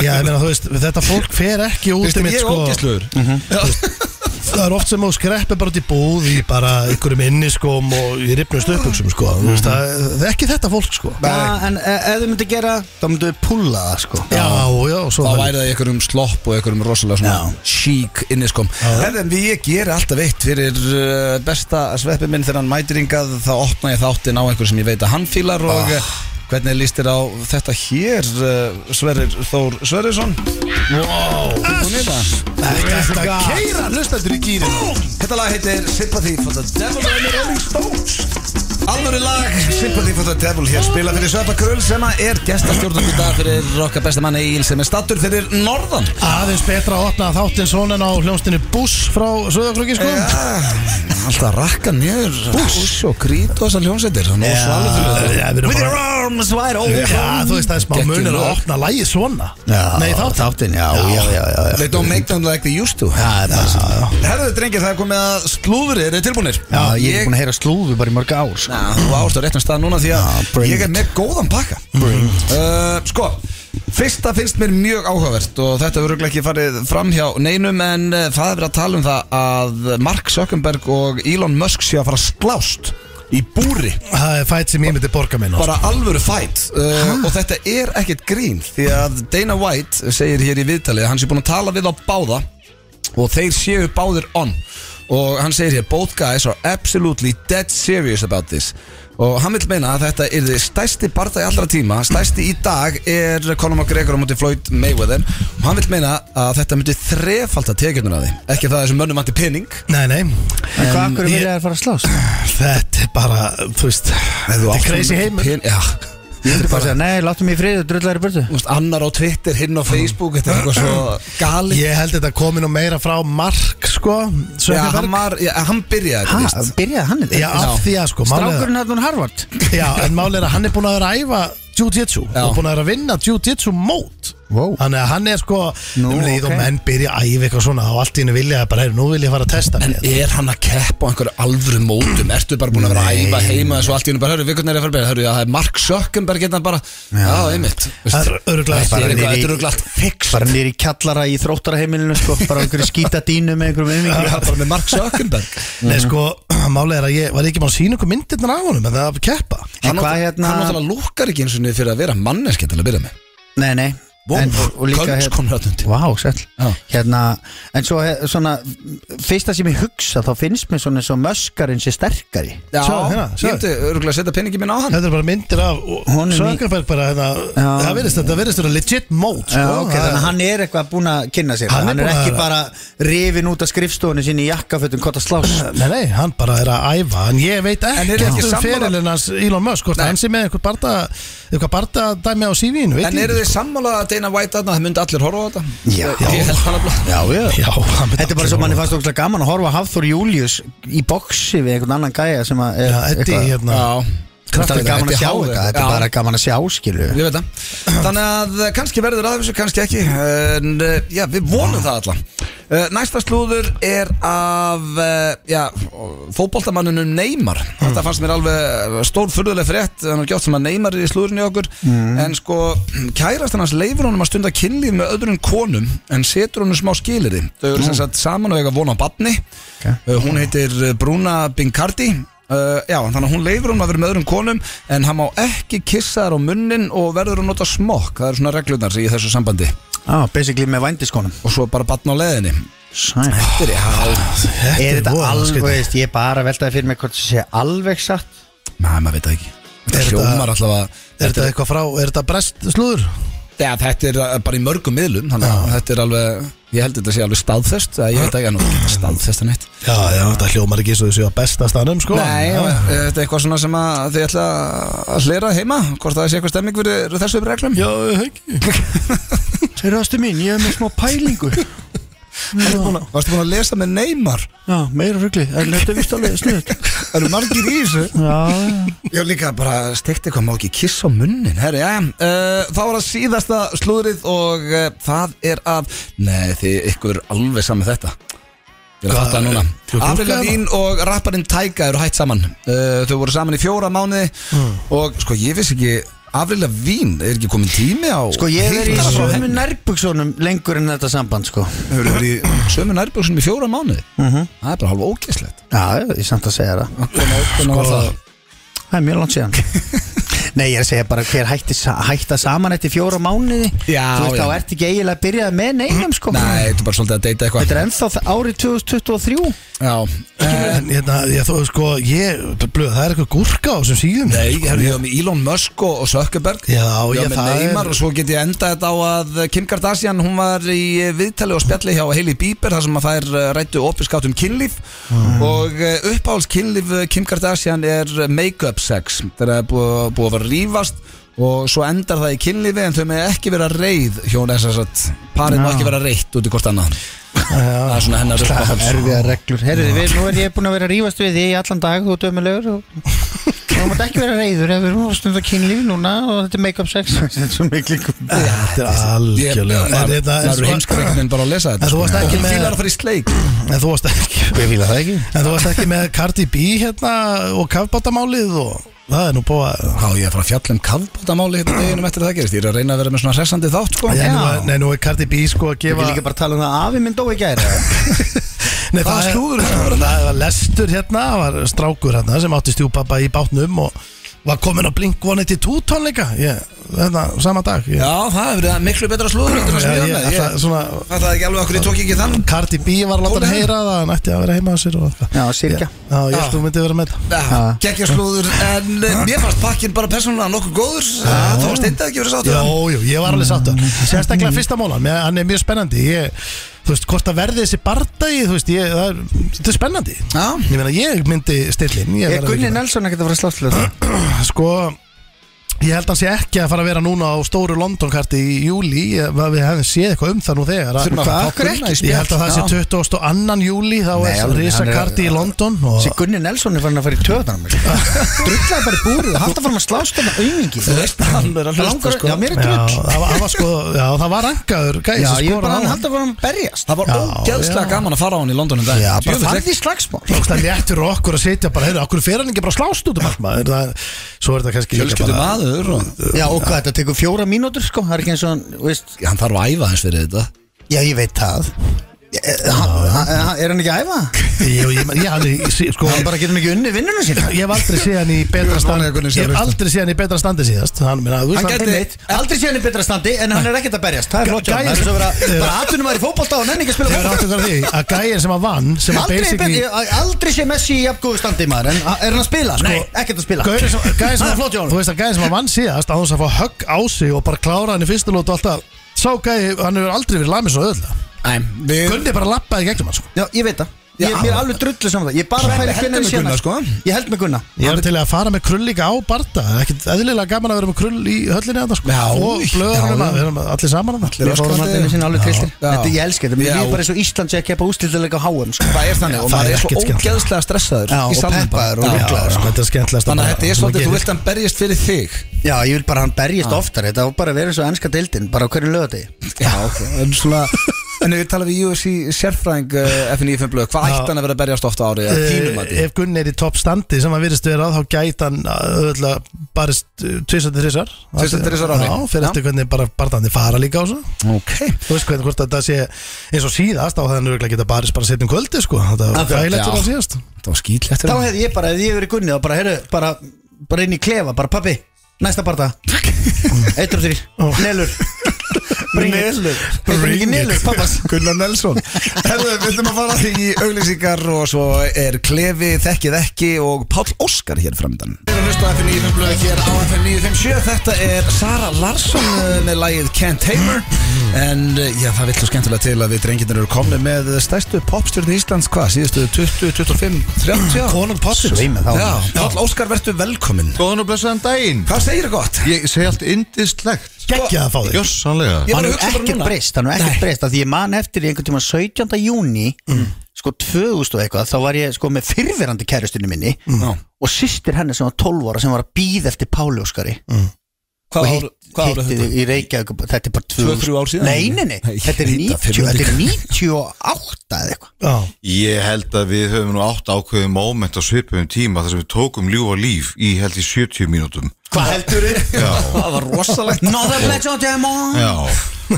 Speaker 3: já, ég meina, þú veist, þetta fólk fer ekki út
Speaker 1: Veistu,
Speaker 3: um eitt,
Speaker 1: ég er
Speaker 3: sko
Speaker 1: ógæstluður
Speaker 2: Mhm.
Speaker 1: Já,
Speaker 3: Það er oft sem þú skreppir bara út í búð í bara ykkurum inniskum og í ripnum stöpuksum, sko Þú veist, það það er ekki þetta fólk, sko Já,
Speaker 2: ja, en e- ef þau myndu gera þá myndu við púlla það sko
Speaker 3: já, svo
Speaker 1: Þá
Speaker 3: það
Speaker 1: væri það í einhverjum slopp og einhverjum rosalega svona chic inniskom Herðan við ég ger alltaf eitt fyrir uh, besta sveppi minn þegar hann mætir hingað þá opna ég þáttinn á einhver sem ég veit að hann fílar og ah. hvernig líst þér á þetta hér uh, Sverrir Þór Sverrisson Wow
Speaker 3: Þetta keira hlustandur í gýrinu
Speaker 1: Þetta lag heitir Sympathy for the Devil og er með Rolling Stones Alvöru lag Sympathy for the Devil hér spila fyrir Sveppa Krull sem að er gestastjórnum í dag fyrir okkar besta manni Egil sem er stattur fyrir Norðan
Speaker 3: Aðeins betra að opna þáttinn svona en á hljónstinu buss frá Söðakröki, sko
Speaker 1: Já, alltaf rakka niður Búss og krít og þessar hljómsættir Nú svalið fyrir
Speaker 3: Já, við erum
Speaker 2: with
Speaker 3: bara-
Speaker 2: your arms wide open
Speaker 3: Já, þú veist, það er smá
Speaker 1: Geggjum
Speaker 3: munur að
Speaker 1: lag.
Speaker 3: opna lægið svona
Speaker 2: Já,
Speaker 3: Nei, þáttinn
Speaker 2: þáttinn, já, já, já, já, já.
Speaker 1: það They don't make them like they used to
Speaker 2: Já, það er bara svona.
Speaker 1: Herðu drengir, það er komið að slúðri, er þið tilbúinir?
Speaker 2: Já, ég er búin að heyra slúðu bara í mörg ár sko.
Speaker 1: Ná, þú ást á réttum stað núna því að
Speaker 2: Já, bring
Speaker 1: ég er
Speaker 2: it.
Speaker 1: með góðan pakka uh, Sko, fyrsta finnst mér mjög áhugavert og þetta verður örugglega ekki farið fram hjá neinum en uh, það er verið að tala um það að Mark Zuckerberg og Elon Musk séu að fara að slást í búri
Speaker 3: Það er fætt sem ég myndi borga minn á
Speaker 1: bara alvöru fætt uh, og þetta er ekkert grín því að Dana White segir hér í viðtali að hann sé búin að tala við á báða og þeir séu báðir on og hann segir hér both guys are absolutely dead serious about this og hann vil meina að þetta er þið stæsti barða í allra tíma stæsti í dag er Conor McGregor á móti Floyd Mayweather og hann vil meina að þetta myndi þrefalda tekjurnar að því ekki það að þessum mönnum vanti pening
Speaker 3: Nei, nei,
Speaker 2: En hvað akkur
Speaker 3: ég-
Speaker 2: vilja þær fara að [laughs] slást?
Speaker 3: þetta er bara, þú veist Þetta er crazy heimur
Speaker 1: pen, já,
Speaker 2: Ég myndi bara að segja, nei, láttu mig í friði, drullar í burtu
Speaker 1: Þú veist, annar á Twitter, hinn á Facebook Þetta er eitthvað
Speaker 2: Mm.
Speaker 1: svo gali
Speaker 3: Ég held þetta komi nú meira frá Mark, sko
Speaker 1: Já,
Speaker 3: Zuckerberg.
Speaker 1: hann, var, já, hann byrjaði
Speaker 2: Ha,
Speaker 1: þetta víst.
Speaker 2: byrjaði hann
Speaker 3: Já, af því að sko málið er-
Speaker 2: Strákurinn hann Harvard
Speaker 3: Já, en málið er að hann er búin að vera að æfa Jiu-Jitsu
Speaker 1: Já.
Speaker 3: og búin að vera að vinna Jiu-Jitsu mót
Speaker 2: Vó.
Speaker 3: Þannig að hann er sko
Speaker 2: Nú,
Speaker 3: um leið og
Speaker 2: ok.
Speaker 3: menn byrja að æfa eitthvað svona og allt í hennu vilja að bara, heyrðu, nú vil ég fara að testa
Speaker 1: En
Speaker 3: mig
Speaker 1: er hann að keppa á einhverju alvöru mótum? Ertu bara búin að vera að æfa heima þessu allt í hennu bara, hörru, við hvernig er að fara beira, hörru, já, það er Mark Zuckerberg hérna bara, já, einmitt veist,
Speaker 3: Það er örugglega
Speaker 1: Þetta
Speaker 3: bara
Speaker 1: er eitthvað-
Speaker 2: niður í-
Speaker 1: þetta er örugglega allt fix
Speaker 2: Bara nýri kjallara í þróttaraheimilinu sko, bara einhverju skítadínu með [laughs] einhverjum umvingi
Speaker 1: bara með Mark Zuckerberg
Speaker 3: Nei, sko,
Speaker 2: Mhm.
Speaker 3: [clears throat] málið er að ég var ekki bara að sína ykkur myndirnar af honum en það er að keppa
Speaker 2: En
Speaker 1: Hann
Speaker 2: hvað
Speaker 1: náttúrulega-
Speaker 2: hérna-
Speaker 1: hann náttúrulega lúkkar ekki eins og niður fyrir að vera manneski til að byrja með
Speaker 2: Nei, nei, En- og- og líka
Speaker 1: Kölns
Speaker 2: hérna- hér-
Speaker 1: komur að dundi
Speaker 2: Vá, sæll
Speaker 1: Já.
Speaker 2: Hérna, en svo he- svona Fyrsta sem ég hugsa, þá finnst mér svona eins og möskarinn sé sterkari
Speaker 1: Já,
Speaker 3: Sjáðu hérna,
Speaker 1: ég
Speaker 3: sjáðu.
Speaker 1: hefði örgulega að setja peningi minn á hann
Speaker 3: Þetta er bara myndir af og-
Speaker 2: Honum í-
Speaker 3: Sökkerberg bara hérna,
Speaker 2: Já.
Speaker 3: Það verðist þetta verðist þetta legit mót sko.
Speaker 2: Já, ok,
Speaker 3: Það-
Speaker 2: þannig að hann er eitthvað búin að kynna sér
Speaker 3: Hann
Speaker 2: Hann,
Speaker 3: er
Speaker 2: er
Speaker 3: búinn að-
Speaker 2: ekki bara rifin út af skrifstofunni sinni í jakkafötum Kota slás
Speaker 3: Nei, nei, hann bara er að æfa En ég veit
Speaker 1: En
Speaker 3: ekki
Speaker 1: eru ekki
Speaker 3: um
Speaker 1: sammála-
Speaker 3: ferilinn hans Elon Musk Hvort
Speaker 1: Nei.
Speaker 3: hann sé með eitthvað barda Eitthvað barda dæmi á CV-inu
Speaker 1: En eru þið sammálaða að Dana White aðna, það myndi allir horfa á þetta
Speaker 2: Já.
Speaker 1: Ég held það nefnilega.
Speaker 2: Já, já
Speaker 3: Já, hann myndi
Speaker 2: Þetta er bara
Speaker 3: allir
Speaker 2: svo manni
Speaker 3: horfa.
Speaker 2: fannst okkur gaman að horfa á Hafþór Július í boksi við einhvern annan gæja sem að er
Speaker 3: Já, Eddi
Speaker 2: eitthvað-
Speaker 3: hérna
Speaker 2: Þetta er alveg gaman
Speaker 1: Eddi
Speaker 2: að sjá
Speaker 1: Hávik.
Speaker 2: þetta Þetta
Speaker 1: Já.
Speaker 2: er bara gaman að sjá, skilu
Speaker 1: Ég veit það Þannig að eh, kannski verður að þessu, kannski ekki En eh, já, við vonum það allan Næsta slúður er af eh, já, fótboltamannunum Neymar Þetta fannst mér alveg eh, stór furðuleg frétt Hann er gjátt sem að Neymar er í slúðurinn í okkur En sko, kærastan hans leifur honum að stunda kynlíf með öðrum konum En setur honum smá skilirði Þau eru sem sagt saman og eiga von á batni okay. Hún heitir eh, Bruna Bingardi Uh, já, þannig að hún leifur hún að vera með öðrum konum en hann má ekki kissa þær á munnin og verður að nota smokk, það eru svona reglurnar í þessu sambandi
Speaker 2: Já, basically með vændiskonum
Speaker 1: og svo bara batna á leðinni
Speaker 2: Sæl
Speaker 1: Þetta er
Speaker 3: Ah,
Speaker 1: já,
Speaker 2: Er þetta
Speaker 3: voða
Speaker 2: alveg,
Speaker 3: skrítið.
Speaker 2: veist, ég bara veltaði fyrir mig hvort það sé alveg satt
Speaker 1: næ, maður veit það ekki Þetta
Speaker 3: Er
Speaker 1: hljómar
Speaker 3: þetta-
Speaker 1: allavega
Speaker 3: Er þetta eitthvað frá, er þetta brest slúður?
Speaker 1: Já, þetta er uh, bara í mörgum miðlum þannig að
Speaker 3: Ah.
Speaker 1: þetta er alveg, ég held þetta sé alveg staðfest eða ég veit ekki að nú geta staðfest að neitt
Speaker 3: Já, já, þetta hljómar ekki svo þessu á besta staðnum sko
Speaker 1: Nei,
Speaker 3: já,
Speaker 1: já. þetta er eitthvað svona sem að þið ætla að hlera heima hvort það sé eitthvað stemming fyrir þessu reglum
Speaker 3: já ekki
Speaker 2: Þeir ástu mín, ég hef með smá [laughs] pælingu
Speaker 1: Varstu búin að lesa með Neymar?
Speaker 2: Já, meira ruggli, en þetta er vist alveg snuðt
Speaker 1: Það eru margir í þessu
Speaker 2: Já,
Speaker 1: Já, líka bara stekti eitthvað, má ekki kissa á munnin Herri, já, uh, þá var það síðasta slúðrið og uh, það er af Nei, þið ykkur er alveg saman þetta Ég er að
Speaker 3: Hvað-
Speaker 1: fatta það núna
Speaker 3: Þú ert
Speaker 1: Avril
Speaker 3: ruglaður,
Speaker 1: Lavín og rapparinn Tyga eru hætt saman uh, Þau voru saman í fjóra mánuði
Speaker 2: Hmm.
Speaker 1: Og sko, ég vissi ekki Avril Lavín, er ekki komin tími á
Speaker 2: sko ég er í
Speaker 1: Hitt-
Speaker 2: sömu nærbuksunum lengur en þetta samband, sko
Speaker 1: Hefur verið í sömu nærbjörnum í fjóra mánuði
Speaker 2: Mhm.
Speaker 1: Það er bara hálfa ógæslegt
Speaker 2: Já, ég er samt að segja það
Speaker 1: Sko,
Speaker 2: Það er mjög langt síðan [laughs] Nei, ég er að segja bara hver hætti, sa- hætta saman eftir fjóra mánuði
Speaker 1: Já,
Speaker 2: Þú veist,
Speaker 1: já.
Speaker 2: þá ert ekki eiginlega að byrjað með neinum, sko
Speaker 1: Nei, þetta er bara svolítið að deyta eitthvað
Speaker 2: Þetta er ennþá þ- árið 2023
Speaker 1: Já,
Speaker 3: En hérna, ég þó, sko, ég, blöð, það er eitthvað gúrka á þessum síðum
Speaker 1: Nei,
Speaker 3: sko.
Speaker 1: ég hefði með Elon Musk og, og Zuckerberg
Speaker 3: Já,
Speaker 1: Já,
Speaker 3: ég
Speaker 1: með
Speaker 3: það
Speaker 1: Neymar
Speaker 3: er
Speaker 1: og svo get ég enda þetta á að Kim Kardashian, hún var í viðtali og spjalli hjá Hailey Bieber þar sem að þær eh, ræddu opinskátt um kynlíf
Speaker 3: Mm.
Speaker 1: og eh, uppáhalds kynlíf Kim Kardashian er make-up sex þegar það er búið, búið að vera að rífast og svo endar það í kynlífi en þau með ekki vera reið hjón þess að parið má
Speaker 2: Já.
Speaker 1: ekki vera reitt út í hvort annað það
Speaker 3: Já,
Speaker 1: er svona hennar uppáhalds
Speaker 2: Erfiða reglur Herriði, við, nú er ég búin að vera að rífast við þig í allan dag Þú dömulegur [laughs] og Þú mátt ekki vera reyður ef við erum að stunda kynlíf núna og þetta er make-up sex [laughs] Þetta er svo miklu
Speaker 3: Þetta er
Speaker 1: Ég-
Speaker 3: algjörlega En
Speaker 1: maður-
Speaker 3: þetta er
Speaker 1: maður
Speaker 3: svo-
Speaker 1: er heimskreiknin bara að lesa þetta
Speaker 3: En þú varst
Speaker 1: sko.
Speaker 3: ekki
Speaker 1: Hún
Speaker 3: með-
Speaker 1: fílar að fara í sleik
Speaker 3: En þú varst ekki
Speaker 2: Ég fíla það ekki
Speaker 3: En þú varst ekki með Cardi B hérna og kafbátamálið og það er nú búið að
Speaker 1: Já, ég er að fara að fjalla um kafbótamáli hérna deginum eftir að það gerist. Ég er að reyna að vera með svona hressandi þátt, sko.
Speaker 3: Já,
Speaker 2: Já.
Speaker 3: nú er- Nei, nú er Cardi B sko að
Speaker 2: Ég
Speaker 3: gefa
Speaker 2: vil líka bara tala um það að afi minn dói í gæri
Speaker 3: Nei,
Speaker 1: Hvaða
Speaker 3: það er-
Speaker 1: slúður er
Speaker 3: Það var lestur hérna, það var strákur hérna sem átti stjúpappa í bátnum og var komin á Blink-182 tónleika Ég- Þetta, sama dag ég-
Speaker 1: Já, það hefur verið miklu betra slúður en það sem
Speaker 3: Já,
Speaker 1: ég er
Speaker 3: ég-
Speaker 1: með.
Speaker 3: það-
Speaker 1: Ég
Speaker 3: svona-
Speaker 1: fattaði ekki alveg okkur, ég tók ekki þann.
Speaker 3: Cardi B var að láta hann heyra það hann ætti að vera heima á sér og eitthvað
Speaker 2: Já, sirka
Speaker 3: Já, ég held að þú myndi vera með það
Speaker 1: Gekja slúður, en eh, mér fannst pakkin bara persónulega nokkuð góður. Eh, Þá var steindað ekki verið sátt.
Speaker 3: Jó, jú, ég var alveg sáttur Sérstaklega
Speaker 2: Mm.
Speaker 3: fyrsta mólan, mér- hann er mjög spennandi ég, Þú veist, hvort að verði þessi bardagi Þú veist, ég, það er, þetta er spennandi
Speaker 1: Já.
Speaker 3: Ég meina, ég myndi stillin
Speaker 2: [laughs] Ég er Gunni Nelson ekkert að fara að slátt til þetta
Speaker 3: Sko, ég held að hann sé ekki að fara að vera núna á stóru Londonkarti í júli Ég- Við hefum séð eitthvað um það nú þegar
Speaker 1: Þurfum að
Speaker 3: Hvað-
Speaker 1: fá Gunna í
Speaker 3: Ég
Speaker 1: spjall,
Speaker 3: held að það sé
Speaker 1: já.
Speaker 3: 22. júli Þá er
Speaker 2: Nei, alveg, hann
Speaker 3: risa
Speaker 2: er-
Speaker 3: karti í London og-
Speaker 2: Sér Gunni Nelson er farin að fara í töðan á [laughs] mér Drullaði bara í búrið og halda fram að slást þarna auðingi
Speaker 1: Þú veist, hann er að hlusta,
Speaker 2: Langar-
Speaker 1: sko.
Speaker 2: Já, mér er
Speaker 3: Já,
Speaker 2: drull
Speaker 3: það var, það var sko, já, það var rangaður gæs
Speaker 2: Já,
Speaker 3: að
Speaker 2: ég er
Speaker 3: skora
Speaker 2: bara
Speaker 3: á
Speaker 2: hann
Speaker 3: hann.
Speaker 2: halda fram að berjast
Speaker 1: Það var
Speaker 3: Já,
Speaker 1: ógeðslega
Speaker 3: já.
Speaker 1: gaman að fara á hann í London en dag.
Speaker 3: Já, bara
Speaker 1: Djöfull,
Speaker 2: Farði í slagsmál
Speaker 3: Ógstlega létt fyrir okkur að sitja bara, heyrðu, okkur fer hann ekki bara að slást út um allt maður það, Svo er þetta kannski
Speaker 1: Fjölskyldu maður og
Speaker 2: Já og hvað, þetta tekur fjóra mínútur sko Það er ekki eins og hann, veist
Speaker 1: hann þarf að æfa hans fyrir þetta.
Speaker 2: Já ég veit það Eh, Hann- hann- Er hann ekki [laughs] að æfa?
Speaker 3: Ég, ég, ég, hann er, í- sko,
Speaker 2: Hann bara getur hann ekki unni vinnunum sína
Speaker 3: Ég hef aldrei séð hann í
Speaker 1: Ég
Speaker 3: betra
Speaker 1: er
Speaker 3: standi
Speaker 1: vongóður að Gunni sé
Speaker 3: Ég hef
Speaker 1: að hlusta.
Speaker 3: aldrei séð hann í betra standi síðast Hann, minna, þú
Speaker 1: Hann
Speaker 3: veist
Speaker 1: gæti-
Speaker 3: einmitt.
Speaker 2: Aldrei sé hann í betra standi en hann er ekkert að berjast Það er flott hjá honum. Það er svo að vera bara aðtunum í fótbolta og nenni ekki að spila
Speaker 3: Ég hef
Speaker 2: fótbolta
Speaker 3: átt okkur því að gæjar sem að vann sem að
Speaker 2: Aldrei,
Speaker 3: basically
Speaker 2: ég, aldrei sé Messi í jafngóðu standi maður En er hann að spila? Sko, Nei, ekkert að
Speaker 1: [laughs]
Speaker 2: spila
Speaker 3: Gæjar sem, gæjar sem
Speaker 2: Það er
Speaker 3: að
Speaker 2: flott hjá honum.
Speaker 3: Þú veist að gæjar sem að vann síðast á þess að fá högg á sig og bara klára hann í fyrstu lótu og alltaf Sá gæjar, hann hefur aldrei verið lamið svo öðla
Speaker 1: Nei, við
Speaker 3: Gunni bara lappaði gegnum hann sko
Speaker 2: Já, ég veit það Ég,
Speaker 1: Já.
Speaker 2: mér er alveg drullu saman það Ég er bara að
Speaker 1: Svenni
Speaker 2: pæla
Speaker 1: heldur
Speaker 2: hvenær
Speaker 1: með
Speaker 2: ég sé
Speaker 1: Gunna,
Speaker 2: næst.
Speaker 1: sko.
Speaker 2: Ég held með Gunna
Speaker 3: Ég er til að fara með krull líka á barda Það er ekkit eðlilega gaman að vera með krull í höllinni að sko
Speaker 1: Já,
Speaker 3: Og blöðunum
Speaker 1: já, já.
Speaker 3: að við erum allir saman að
Speaker 1: Allir á
Speaker 2: Fórum
Speaker 1: Skotlandi.
Speaker 2: hann sinna alveg
Speaker 1: Já.
Speaker 2: tristir
Speaker 1: Já.
Speaker 2: Þetta ég elska þetta Mér
Speaker 1: Já.
Speaker 2: líður bara eins og Ísland sé að kepa ústildilega HM sko.
Speaker 1: Það er þannig og
Speaker 3: það
Speaker 1: maður
Speaker 3: er
Speaker 1: er svo
Speaker 3: ekkert skemmtilegt.
Speaker 1: ógeðslega stressaður
Speaker 2: Já,
Speaker 1: í
Speaker 2: og
Speaker 1: salnum bara.
Speaker 2: peppaður og
Speaker 1: Já,
Speaker 2: ruglaður,
Speaker 1: já.
Speaker 3: sko, þetta er skemmtilegasta
Speaker 1: Þannig að
Speaker 3: bara
Speaker 1: þetta er
Speaker 3: sem
Speaker 1: svolítið,
Speaker 3: maður
Speaker 1: þú
Speaker 3: gerir.
Speaker 1: vilt hann berjast fyrir þig
Speaker 2: Já, ég vil bara að hann berjist oftar Þetta var bara að vera eins og ennska deildin Bara á hverju lögati
Speaker 1: Já, ok En svona En ef við tala við UFC sérfræðing uh, FNIFM blöð Hvað ætti hann að vera að berjast ofta árið að þínum að
Speaker 3: Eh, Ef Gunni er í topp standi sem að virðist vera þá gæti hann öðvöldlega barist eh, tvisandi þrísar
Speaker 1: Tvisvar til þrisvar á ári.
Speaker 3: Já, fyrir
Speaker 1: Já.
Speaker 3: eftir hvernig bara barðandi fara líka á þessu
Speaker 1: Ok
Speaker 3: Þú veist hvernig hvort þetta sé eins og síðast á það hann örgulega geta barist bara setjum kvöldi sko Þetta var
Speaker 1: Akkurat,
Speaker 3: gælætt
Speaker 1: já.
Speaker 3: fyrir hann síðast
Speaker 1: Það var hérna. skýtlegt
Speaker 2: Þá hefði ég bara, ef ég verið gunnið Bara, heyrðu, bara, bara inn í klefa Bara, pappi, næsta [laughs] parta Eittur og þrýr, nelur Nelur Bring it Nelur, pappas
Speaker 1: Gunnar Nelson Herðu, við ætlum að fara í auglýsingar og svo er Klefi, Þekkið ekki og Páll Óskar hér framöndan Við erum að hlusta á FM 95 blöð hér á FM 957 Þetta er Sara Larsson eh, með lagið Can't Tamer En eh, já, það vill svo skemmtilega til að við drenginir eru komni með stærstu popstjörn í Íslands hvað, síðustu 20, 25, 30 ár?
Speaker 3: Konung Potsins
Speaker 2: Sveimur þá.
Speaker 1: Já, Páll Óskar, verður velkomin
Speaker 4: Góðan og blessaðan daginn
Speaker 1: Hvað segir það gott?
Speaker 4: Ég segi allt indislegt
Speaker 3: Gekkja að fá þig
Speaker 4: Gjossanlega
Speaker 1: Ég var
Speaker 2: hann
Speaker 1: að
Speaker 2: er
Speaker 1: hugsa bara
Speaker 2: ekkert
Speaker 1: núna.
Speaker 2: breyst hann er ekkert breyst að því ég man eftir í einhvern tíma 17. júni
Speaker 1: Mm.
Speaker 2: sko 2000 og eitthvað þá var ég sko með fyrverandi kærustinu minni
Speaker 1: Já.
Speaker 2: og sýstir henni sem var 12 ára sem var að býða eftir Páli Óskari og
Speaker 1: Mm. Hvað
Speaker 2: hitt, hitti þig í Reykjavík þetta er bara 2000
Speaker 1: Tvö, þrjú ár síðan?
Speaker 2: nei, nei, nei,
Speaker 1: Nei, ég
Speaker 2: þetta er
Speaker 1: veit það,
Speaker 2: 90
Speaker 1: fyrrverandi.
Speaker 2: þetta er 98 eða eitthvað
Speaker 3: Já,
Speaker 4: Ég held að við höfum nú átt ákveðum moment á svipum tíma þar sem við tókum ljúf og líf í held í 70 mínútum
Speaker 2: hvað heldur þið?
Speaker 4: Já,
Speaker 1: Það var rosalegt
Speaker 2: Another Black Zone Demon
Speaker 4: já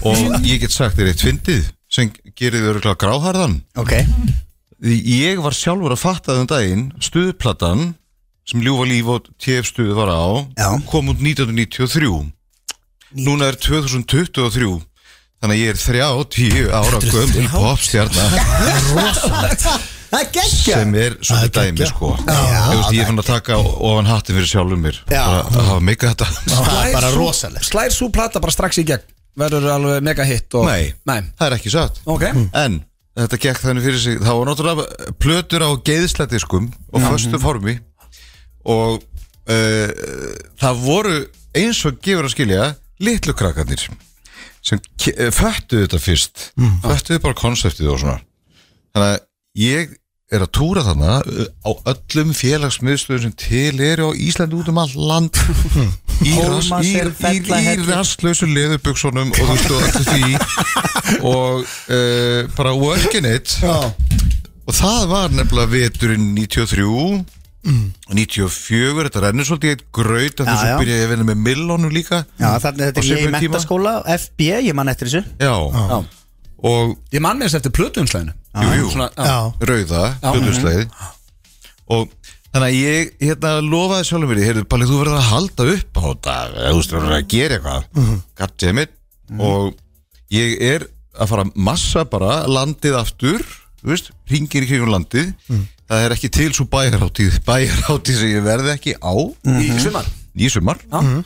Speaker 4: Og ég get sagt þér eitt fyndið sem gerir þið örgulega gráharðan
Speaker 2: ok,
Speaker 4: Því Ég var sjálfur að fatta þenn daginn stuðplatan sem ljúfa líf og TF stuðu var á
Speaker 2: Já.
Speaker 4: kom út 1993 Núna er 2023 Þannig að ég er 30 ára gömul popstjarnar
Speaker 2: það er geggja
Speaker 4: sem er svona
Speaker 3: Það er
Speaker 4: dæmi
Speaker 3: geggjað.
Speaker 4: sko Þú veist, ég fann að taka ofan hatti fyrir sjálfum mér
Speaker 2: Já.
Speaker 4: bara að hafa meika þetta
Speaker 2: það er bara
Speaker 1: Slær sú-
Speaker 2: rosalegt
Speaker 1: Slær svo plata bara strax í gegn Verður alveg mega hitt og...
Speaker 4: Nei,
Speaker 1: Nei
Speaker 4: það er ekki satt
Speaker 1: Ok
Speaker 2: Hm.
Speaker 4: en þetta gekk þannig fyrir sig það var náttúrulega plötur á geiðslætiskum og föstu formi og uh, það voru eins og gefur að skilja litlu krakkarnir sem ke- eh, föttuðu þetta fyrst föttuðu bara konseptið og svona þannig að ég er að túra þarna eh, á öllum félagsmiðstöðum sem til eru á Íslandi út um all
Speaker 2: [laughs]
Speaker 4: land í, ras, í,
Speaker 2: Hólmasel,
Speaker 4: í, í
Speaker 2: Fellahellir.
Speaker 4: rastlausu leðubuksunum og þú stóð
Speaker 2: [laughs]
Speaker 4: allir því og uh, bara working it og það var nefnilega veturinn 93 94, þetta rennur svolítið í eitt graut að
Speaker 2: Mm. Já,
Speaker 4: þessu
Speaker 2: já.
Speaker 4: byrjaði að vinna með millónu líka
Speaker 2: já, þannig að
Speaker 4: Á
Speaker 2: þetta er ég í
Speaker 4: svipuðum tíma.
Speaker 2: mentaskóla FB, ég man eftir þessu
Speaker 4: Já,
Speaker 1: Já.
Speaker 4: og
Speaker 1: Ég man með þess eftir plötuumslæðinu
Speaker 4: Jú, jú.
Speaker 1: Svona,
Speaker 3: já,
Speaker 4: rauða, hlutusleið og þannig að ég hérna lofaði sjálfum mér, heyrðu Palli þú verður að halda upp á þetta, eða þú veist þú verður að gera eitthvað, mm -hmm. goddammit og ég er að fara massa bara landið aftur þú veist, ringir í kringum landið það er ekki til svo bæjarháttíð bæjarháttíð sem ég verði ekki á
Speaker 1: Í sumar
Speaker 4: í sumar
Speaker 1: Já.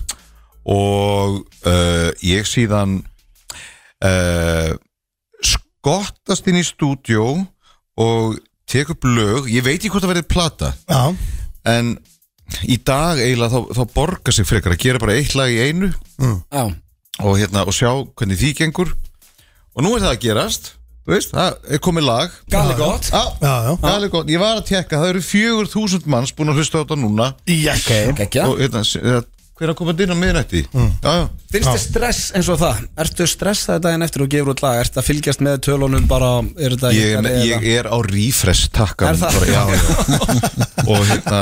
Speaker 4: og uh, ég síðan uh, skottast inn í stúdjó og tek upp lög ég veit ekki hvort það verið plata
Speaker 3: já
Speaker 4: en í dag eiginlega þá, þá borgar sig frekar að gera bara eitt lag í einu
Speaker 1: Já
Speaker 4: og, hérna, og sjá hvernig því gengur og nú er það að gerast þú veist, það er komið lag
Speaker 1: Gali gott
Speaker 4: Já,
Speaker 3: Já, já.
Speaker 4: það er gott, ég var að tekka það eru 4000 manns búin að hlusta á þetta núna
Speaker 3: Yes.
Speaker 1: Gekja
Speaker 4: og hérna, s- eh, hver er að koma inn á miðnætti mm. já, já,
Speaker 1: Finnst þið stress eins og það? Ertu stressaði daginn eftir og gefur út lag? Ertu að fylgjast með tölunum bara? Er þetta
Speaker 4: ég, er- ég er á refresh takka
Speaker 1: Er það?
Speaker 4: já, já. og hérna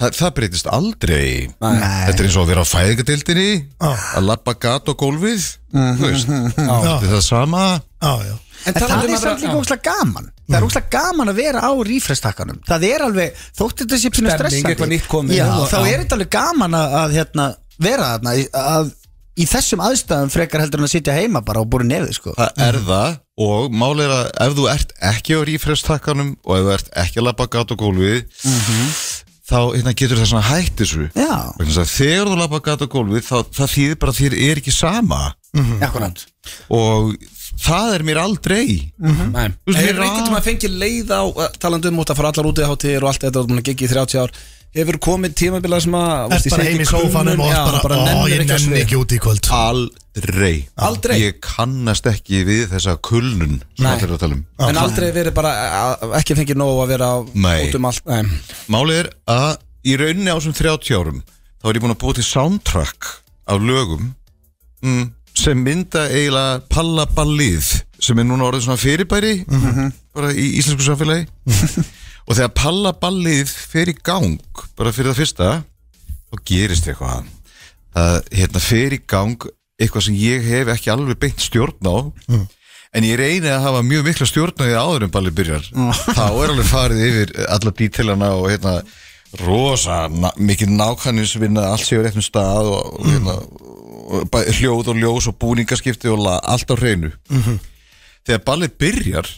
Speaker 4: það, það breytist aldrei
Speaker 2: Nei.
Speaker 4: Þetta er eins og að vera á fæðingadildinni
Speaker 3: Já.
Speaker 4: Að labba gat og gólfið Þú veist, þetta er það sama
Speaker 3: Já, já
Speaker 1: En
Speaker 2: En það,
Speaker 1: talandi um
Speaker 2: er
Speaker 1: að
Speaker 2: samt
Speaker 1: vera-
Speaker 2: líka
Speaker 1: já. Mm.
Speaker 2: óslega gaman Það er óslega gaman að vera á rífrestakkanum Það er alveg, þótt þetta sé pínu
Speaker 1: Stemning,
Speaker 2: stressandi
Speaker 1: eitthvað nýtt komið.
Speaker 2: Já,
Speaker 1: Já.
Speaker 2: þá er þetta alveg gaman að, að hérna, vera þarna í- að, Í þessum aðstæðum frekar heldur en að sitja heima bara og búið nefið sko.
Speaker 4: Það er það og málið er að ef þú ert ekki á rífrestakkanum og ef þú ert ekki að labba gat og gólfið þá hérna, getur það svona hætt þessu
Speaker 2: Já,
Speaker 4: Vegna þess að Þegar þú labba gat og gólfið þá það þýðir bara að þér er ekki sama
Speaker 2: akkurat
Speaker 4: og það er mér aldrei
Speaker 1: Nei,
Speaker 4: Þú veist,
Speaker 1: hefur einhvern
Speaker 4: mér ra-
Speaker 1: tíma að fengi leið á eh, talandi um út að fara allar út í hátíðir og allt þetta og búin að gigga í 30 ár hefur komið tímabilar sem að þú veist,
Speaker 3: Ert
Speaker 1: ég
Speaker 3: bara
Speaker 1: sit
Speaker 3: heim í
Speaker 1: kulnun,
Speaker 3: sófanum og
Speaker 1: já,
Speaker 3: ert bara, ó,
Speaker 1: nennir
Speaker 3: ég
Speaker 1: ekki að
Speaker 3: nenni
Speaker 1: svið."
Speaker 3: ekki út í kvöld
Speaker 4: Aldrei
Speaker 1: Aldrei?
Speaker 4: Ég kannast ekki við þessa kulnun sem
Speaker 1: Nei. Ah.
Speaker 4: allir eru að tala um
Speaker 1: en aldrei verið bara eh, ekki fengið nóg að vera á-
Speaker 4: Nei.
Speaker 1: út um allt Nei.
Speaker 4: Málið er að í rauninni á þessum 30 árum þá er ég búin að búa til soundtrack af lögum mm, sem mynda eiginlega pallaballið sem er núna orðið svona fyrirbæri
Speaker 1: Mhm.
Speaker 4: bara í íslensku samfélagi og þegar pallaballið fer í gang bara fyrir það fyrsta þá gerist eitthvað það hérna, fer í gang eitthvað sem ég hef ekki alveg beint stjórn á
Speaker 1: Mm.
Speaker 4: en ég reyni að hafa mjög mikla stjórn á því áður en ballið byrjar þá er alveg farið yfir alla dítilana og hérna rosa na, mikið nákvæmnisvinna allt séu réttum stað og, og hérna og, bæ, hljóð og ljós og búningaskipti og la, allt á hreinu þegar ballið byrjar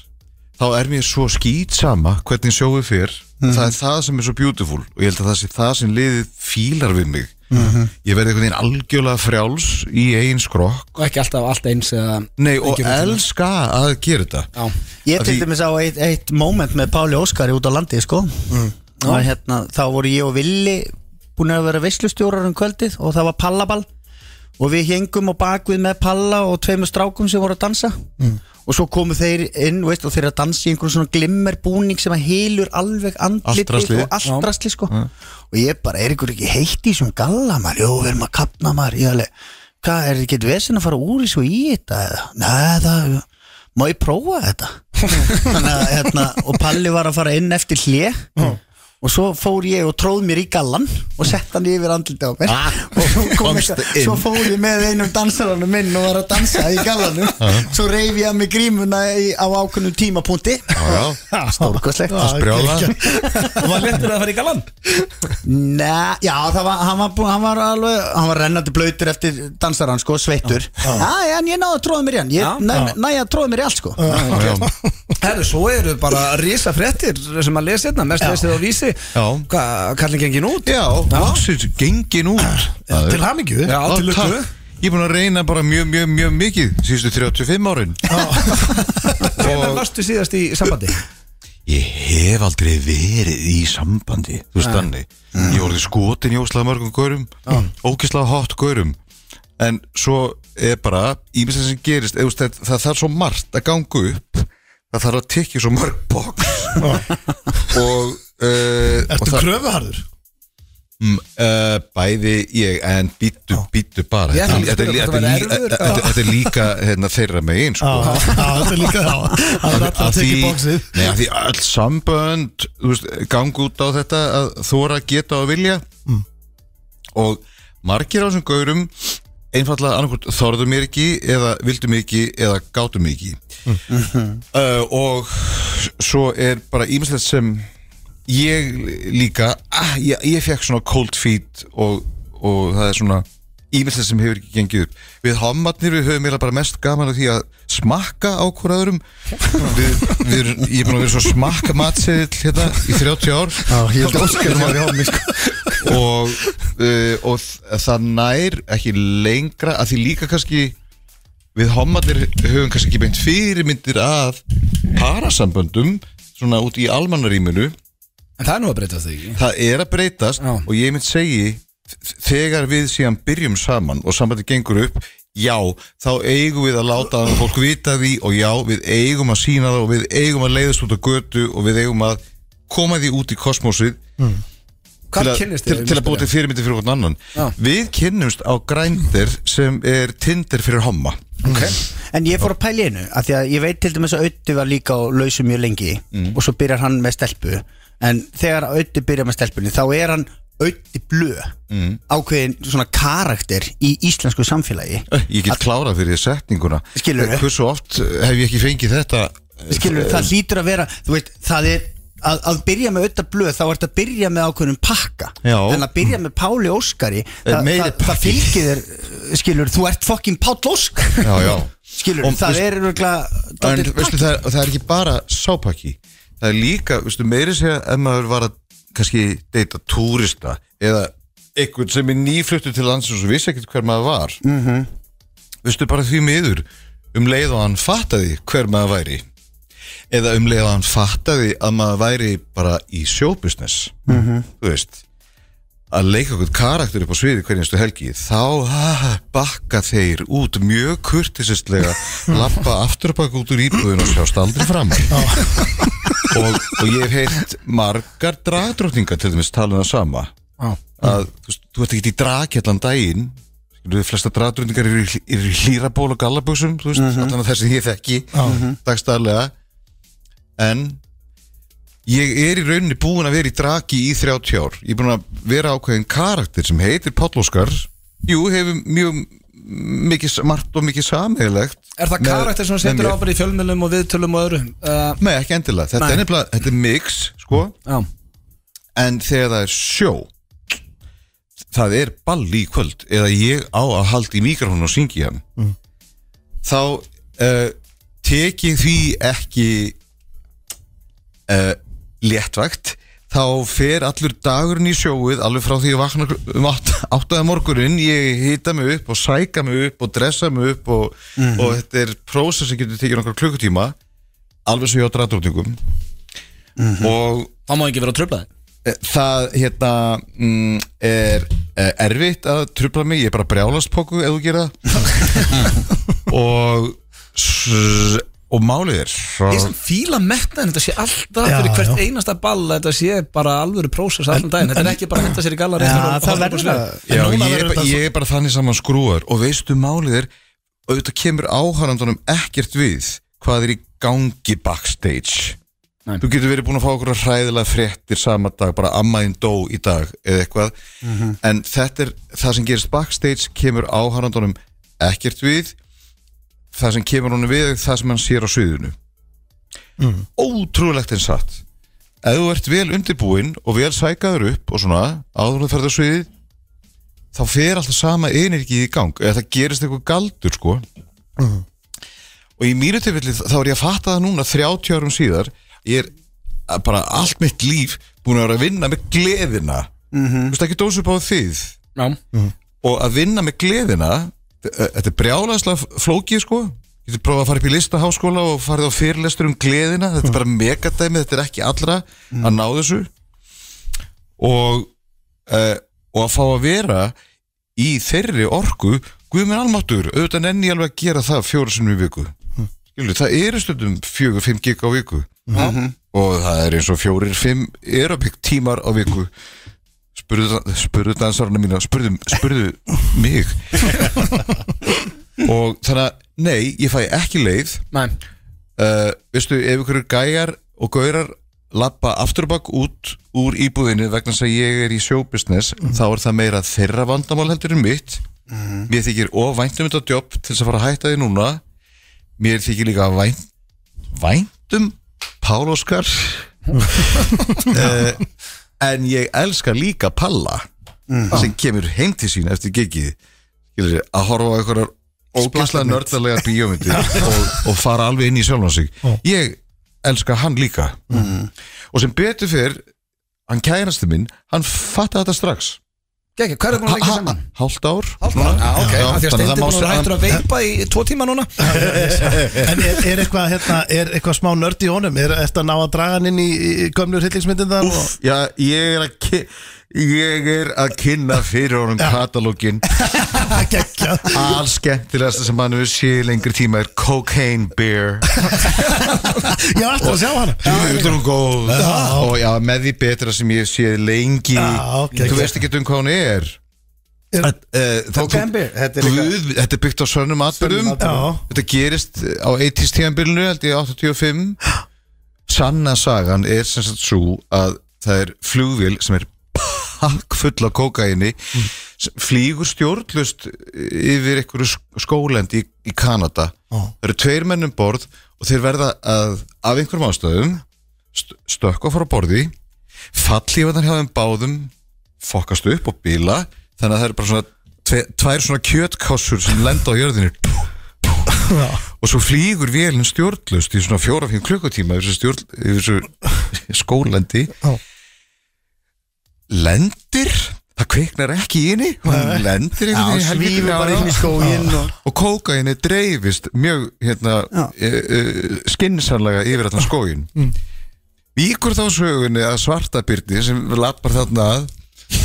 Speaker 4: þá er mér svo skýtsama hvernig sjóið fyrr það er það sem er svo beautiful og ég held að það sé það sem liðið fílar við mig ég verði einhvern veginn algjörlega frjáls í eigin skrokk
Speaker 1: og ekki alltaf allt eins eða
Speaker 4: Nei, og
Speaker 1: Ekki rútínu.
Speaker 4: elska að gera þetta
Speaker 1: já.
Speaker 2: Ég
Speaker 4: Af
Speaker 2: til
Speaker 4: því-
Speaker 2: dæmis á eitt, eitt moment með Páli Óskari út á landi sko.
Speaker 4: Mm.
Speaker 2: og hérna, þá voru ég og Villi búin að vera veislustjórar um kvöldið og það var pallaball og við hengum á bakvið með palla og tveimur strákum sem voru að dansa
Speaker 4: Mm.
Speaker 2: og svo komu þeir inn veist, og þeir að dansa í einhvern svona glimmerbúning sem að hylur alveg
Speaker 4: Allt
Speaker 2: andlitið
Speaker 4: draslið.
Speaker 2: og allt rastli sko. og ég bara, er ykkur ekki heitt í þessum galla maður, jú, við erum að kapna maður ég alveg, hvað, er ekki vesen að fara úr þessu í þetta eða, neða það má ég prófa
Speaker 4: [laughs]
Speaker 2: þetta Þannig að, hérna, og Palli var að fara inn eftir hlje og svo fór ég og tróð mér í gallan og sett hann yfir andlita á mér Ah, [laughs] og svo, kom
Speaker 4: komst
Speaker 2: eitthvað,
Speaker 4: Ah. inn.
Speaker 2: svo fór ég með einum dansaranum minn og var að dansa í gallanum svo reyf ég að mig grímuna í, á ákveðnum tímapunkti
Speaker 4: Já, já,
Speaker 2: [laughs] stórkostlegt
Speaker 3: Já,
Speaker 4: brjála
Speaker 1: og var léttur að fara í galan
Speaker 2: Nei, já, það var, hann, var, bú- hann var alveg hann var rennandi blöytur eftir dansarann sko, sveittur já, já, en ég náði að tróða mér í hann
Speaker 1: Já.
Speaker 2: ég næ- næ að tróða mér í allt sko
Speaker 4: já.
Speaker 1: [laughs] Herru, svo eru bara risa fréttir sem að lesa hérna, mest lesið á vísi
Speaker 4: Já.
Speaker 1: Hvað, kallin gengin út?
Speaker 4: já loksins gengin út Það er-
Speaker 3: Til hamingju
Speaker 1: Já,
Speaker 4: Já,
Speaker 1: til lukku.
Speaker 4: takk. Ég er búin að reyna bara mjög, mjög, mjög mikið síðustu 35 árin
Speaker 1: Hvernig varstu síðast í sambandi?
Speaker 4: Ég hef aldrei verið í sambandi Þú veist þannig Ég voru skotin í óslega mörgum gaurum Ókislega hot gaurum En svo er bara Ímislega sem gerist, eða, það, það þarf svo margt að ganga upp Það þarf að tekja svo mörg box Og uh, og
Speaker 3: Ertu
Speaker 4: það-
Speaker 3: kröfuharður?
Speaker 4: Mm, uh, bæði ég en býttu, býttu bara
Speaker 1: Ég ætla
Speaker 4: Þetta-
Speaker 1: líka að
Speaker 4: þetta er
Speaker 1: spyrja hvort það
Speaker 4: lí- þetta er lí-
Speaker 1: væri erfiður.
Speaker 4: þetta- þetta er líka hérna, þeirra megin sko.
Speaker 3: Já, já, þetta er líka þá Það er alltaf að tekja bóksið
Speaker 4: nei, að því öll sambönd þú veist, gang út á þetta að þóra geta og vilja
Speaker 1: Mm.
Speaker 4: og margir á þessum gaurum einfallega annarkvort þorðu mér ekki eða vildu mig ekki eða gátu mig ekki uh, og svo er bara ímislegt sem ég líka ah, ég, ég fekk svona cold feet og, og það er svona ímislegt sem hefur ekki gengið upp við hommatnir við höfum eiginlega bara mest gaman af því að smakka á hverjaðurum við, við, erum- ég er búin að vera svo smakka matseðil hérna í 30 ár
Speaker 2: ég held að Óskar var hjá mig sko
Speaker 4: og, uh, og þ- það nær ekki lengra að því líka kannski við homallir höfum kannski ekki beint fyrirmyndir að parasamböndum svona út í almannaríminu
Speaker 1: En það er nú að breyta þig
Speaker 4: það er að breytast
Speaker 1: Já.
Speaker 4: og ég mynd segi þ- þegar við síðan byrjum saman og sambandi gengur upp já, þá eigum við að láta að fólk vita því og já, við eigum að sína það og við eigum að leiðast út á götu og við eigum að koma því út í kosmosið til,
Speaker 1: Hvað
Speaker 4: að-
Speaker 1: kynnist
Speaker 4: til,
Speaker 1: þið?
Speaker 4: til að búið til fyrirmyndi fyrir hvern annan
Speaker 1: Já.
Speaker 4: Við kynnumst á grændir sem er tindir fyrir homma
Speaker 2: En ég fór að pæla í einu af Því að ég veit til dæmis að Ötti var líka á lausu mjög lengi Og svo byrjar hann með stelpu En þegar Ötti byrjar með stelpunni Þá er hann auði blö ákveðin svona karakter í íslensku samfélagi
Speaker 4: Ég get klárað fyrir setninguna Eh,
Speaker 2: Skilurðu?
Speaker 4: Hversu oft hef ég ekki fengið þetta
Speaker 2: skilur, það hlýtur að vera þú veit, það er að, að byrja með auðvitað blöð þá ert að byrja með ákveðnum pakka
Speaker 4: Já.
Speaker 2: en að byrja með Páli Óskari það,
Speaker 4: meiri
Speaker 2: það, það
Speaker 4: pakki.
Speaker 2: fylgir þér skilur, þú ert fokkin Páll Ósk
Speaker 4: Já, já.
Speaker 2: skilur,
Speaker 4: Og
Speaker 2: það
Speaker 4: veist-
Speaker 2: er
Speaker 4: En
Speaker 2: örgulega
Speaker 4: veistu, það, er, það er ekki bara sápakki Það er líka, veistu, meiri segja ef maður var að kannski deyta túrista eða einhvern sem er nýfluttur til landsins og vissi ekkert hver maður var -hmm. Veistu, bara því miður um leið og hann fattaði hver maður væri eða um leið og hann fattaði að maður væri bara í sjóbusiness -hmm. Þú veist að leika okkur karakter upp á sviði hverjastu helgi þá ah, bakka þeir út mjög [laughs] kurtisistlega lappa afturbak út úr íbúðin og sjást aldrei fram og, og ég hef heilt margar dragdrótningar til dæmis tala um það sama
Speaker 1: Já.
Speaker 4: að þú, veist, þú ert ekki í drag allan daginn Skilur, flesta dragdrótningar eru, í- eru í hlýraból og gallabuxum þú veist,
Speaker 1: Mhm.
Speaker 4: allan að þessi ég þekki dagstæðlega en ég er í rauninni búin að vera í draki í 30 ár ég er búin að vera ákveðin karakter sem heitir Páll Óskar jú, hefur mjög mikið, margt og mikið sameiglegt
Speaker 1: Er það karakter sem þú setur á bara í fjölmjölum og viðtölum og öðru? Uh,
Speaker 4: Nei, ekki endilega, þetta
Speaker 1: Nei.
Speaker 4: er nefnilega, þetta er mix sko,
Speaker 1: já,
Speaker 4: en þegar það er sjó það er ball í kvöld eða ég á að halda í mikrofónu og syngi hann
Speaker 1: Mm.
Speaker 4: þá uh, tek ég því ekki uh, léttvægt þá fer allur dagurinn í sjóið alveg frá því ég vakna kl- um átt- áttaða morgunin, ég hita mig upp og sæka mig upp og dressa mig upp og,
Speaker 1: Mhm.
Speaker 4: og þetta er prósess sem getur tekið nokkar klukkutíma alveg svo ég á dræðdrótingum og
Speaker 1: það má ekki vera að tröfla þig
Speaker 4: Eh, það hérna mm, er eh, erfitt að trubla mig ég er bara brjálast póku ef þú gera það og s- og málið er
Speaker 1: Ég sem fíla metna en þetta sé alltaf
Speaker 3: Já,
Speaker 1: fyrir hvert
Speaker 3: já.
Speaker 1: einasta ball þetta sé bara alvöru prósess allan daginn þetta er ekki bara að henda sér í gallar
Speaker 2: Já,
Speaker 1: eftir og- og
Speaker 2: það
Speaker 1: horfa
Speaker 2: verður
Speaker 1: bara á svið.
Speaker 2: að-
Speaker 4: Já,
Speaker 3: En núna
Speaker 4: ég, er
Speaker 3: verður
Speaker 4: bara,
Speaker 3: þetta
Speaker 4: ég er bara þannig saman skrúar og veistu málið er auðvitað kemur áhærandunum ekkert við hvað er í gangi backstage
Speaker 1: Nei.
Speaker 4: þú getur verið búin að fá okkur hræðilega fréttir sama dag, bara ammaðin dó í dag eða eitthvað
Speaker 3: Mhm.
Speaker 4: en þetta er það sem gerist backstage kemur áhærandunum ekkert við það sem kemur honum við er það sem hann sér á sviðinu
Speaker 3: Mhm.
Speaker 4: ótrúlegt en satt ef þú ert vel undirbúinn og vel sækaður upp og svona áður en þú ferð á sviðið þá fer alltaf sama energi í gang eða það gerist eitthvað galdur sko og í mínu tilfelli þá er ég að fatta það núna 30 árum síðar ég er að bara allt mitt líf búin að vera að vinna með gleðina þú veist ekki dósa upp á þið
Speaker 1: Já,
Speaker 4: og að vinna með gleðina eh, þetta er brjálæðslega flókið sko ég getur prófað að fara upp í listaháskóla og farið á fyrirlestur um gleðina þetta er bara megadæmi, þetta er ekki allra að ná þessu og uh, og að fá að vera í þeirri orku Guðminn Almáttur, auðvitað nenni ég alveg að gera það fjóra sinnum í viku Skilur, það eru stundum fjögur, fimm gig á viku og það er eins og fjórir, fimm aerobik tímar á viku spurðu, spurðu dansarana mína spurðu, spurðu mig og þannig að nei, ég fæ ekki leið
Speaker 1: næ,
Speaker 4: uh, veistu, ef ykkur gæjar og gaurar lappa afturbakk út úr íbúðinu vegna þess að ég er í showbusiness þá er það meira þeirra vandamál heldur en mitt mér þykir of vænt um þetta jobb til þess að fara að hætta því núna mér þykir líka vænt væntum Pál Óskar uh, en ég elska líka Palla sem kemur heim til sín eftir gigið skilur þið, að horfa á einhverjar ógæslega nördalega bíómyndir og, og fara alveg inn í sjálfan sig ég elska hann líka
Speaker 1: Mm.
Speaker 4: og sem betur fyrr hann kærasti minn, hann fatta þetta strax
Speaker 1: gekk, hvað er það búin að leggja saman?
Speaker 4: hálft ár
Speaker 1: Hálft ár? Já, Ah, ok,
Speaker 4: Já,
Speaker 1: af því að
Speaker 4: þannig að
Speaker 1: Steindi
Speaker 4: það má
Speaker 1: búin að
Speaker 4: sjá-
Speaker 1: vera hættur að veipa í tvo tíma núna
Speaker 3: En er, er, eitthvað, hérna, er eitthvað smá nörd í honum? Er þetta að ná að draga hann inn í, í gömlur hillingsmyndindar? Og...
Speaker 4: já, ég er að ki- ég er að kynna fyrir honum
Speaker 1: [laughs]
Speaker 4: katalógin alls skemmtilegasta sem hann hefur séð í lengri tíma er Cocaine Bear
Speaker 3: Ég var alltaf að sjá hann
Speaker 4: Þú er hún góð Og já, með því betra sem ég sé lengi
Speaker 3: Já, ok,
Speaker 4: Þú
Speaker 3: ok.
Speaker 4: veist ekki um hvað hún er Eh,
Speaker 2: Cocaine Bear, þetta er líka-
Speaker 4: Guð, þetta er byggt á svörnum atbyrðum
Speaker 3: atburðum.
Speaker 4: Þetta gerist eh, á 80s tíðanbyrðinu held ég 85 Sanna sagan er sem sagt svo að það er flugvél sem er pakkfull af kókaini mm. flýgur stjórnlust yfir einhverju sk- skólendi í, í Kanada
Speaker 3: Ó.
Speaker 4: það eru tveir menn um borð og þeir verða að af einhverjum ástöðum st stökkva frá borði fallífaðan hjá þeim báðum fokkast upp og bíla þannig að það eru bara svona tve, tvær svona kjötkássur sem lenda á jörðinu og svo flýgur vélinn stjórnlust í svona fjóra-fjóra klukkutíma yfir þessu, stjórn, yfir þessu skólendi
Speaker 3: Já.
Speaker 4: lendir það kviknar ekki í henni hún lendir
Speaker 2: Já,
Speaker 4: einhvern veginn í helvítinu
Speaker 2: svífum bara
Speaker 4: á-
Speaker 2: inn í skóginn og
Speaker 4: og kókaini dreifist mjög hérna, e, e, skinsanlega yfir þarna skógin
Speaker 1: Mm.
Speaker 4: Víkur þá sögunni að svartabyrni sem lappar þarna að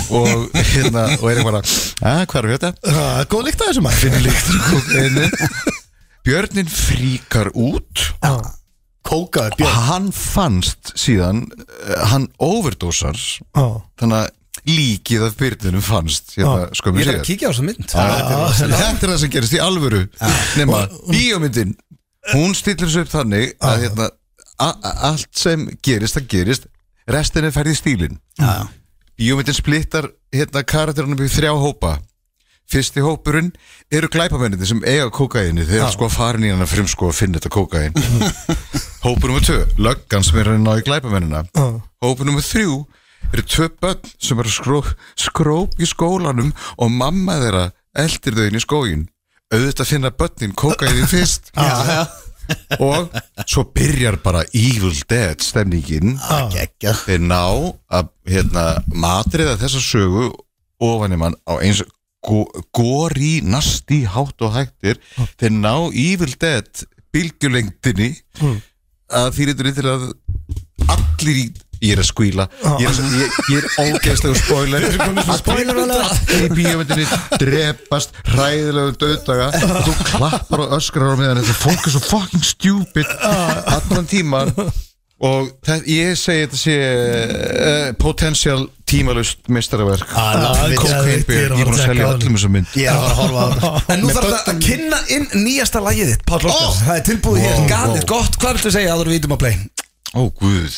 Speaker 4: og, [laughs] hérna, og er eitthvað að "Ah, hvað er þetta?
Speaker 3: Það er góð líkt að þessu maður
Speaker 4: finnur líktur kókaini Björnin fríkar út
Speaker 3: Kókaði
Speaker 4: og hann fannst síðan eh, hann overdosar
Speaker 3: björn
Speaker 4: þannig að líkið af byrninum fannst hérna, skömmu
Speaker 1: Ég er
Speaker 4: síðar
Speaker 1: að kíkja á þessu mynd
Speaker 4: Já, þetta er- þetta er það sem gerist í alvöru nema bíómyndin hún stillir þessu upp þannig að hérna, a- a- allt sem gerist það gerist, restin er færð í stílin bíómyndin splittar hérna karakterunum í þrjá hópa fyrsti hópurinn eru glæpamenninni sem eiga kókaini þeir eru sko farin í hana frum sko að finna þetta kókain hópur nummer tvö, löggan sem er að ná í glæpamennina hópur nummer þrjú eru tvö börn sem eru skró, skróp í skólanum og mamma þeirra eldir þau inn í skógin auðvitað finna börnin kókaini fyrst og svo byrjar bara Evil Dead stemningin
Speaker 2: Gekkja
Speaker 4: þeir ná að hérna, matriða þessa sögu ofan í mann á eins go- gori, nasti, hátt og hættir þeir ná Evil Dead bylgjulengdinni að því reyndurinn til að allir í ég er að skvíla ég er, ég, ég er ógeðslegu spoiler spoiler alveg í bíómyndinni drepast hræðilegu döðdaga og þú klappar og öskrar á meðan þetta fólk er svo fucking stupid allan tíman og það, ég segi þetta sé uh, potensial tímalust mestaraverk kokainbjörn, Ah, ég er búin að selja öllum þessum mynd
Speaker 2: Ég var að horfa á það
Speaker 1: En nú þarf þetta að kynna inn nýjasta lagið þitt Páll Óskar, það er tilbúið hér, galið, gott Hvað viltu segja áður en við vítum að play?
Speaker 4: Ó, guð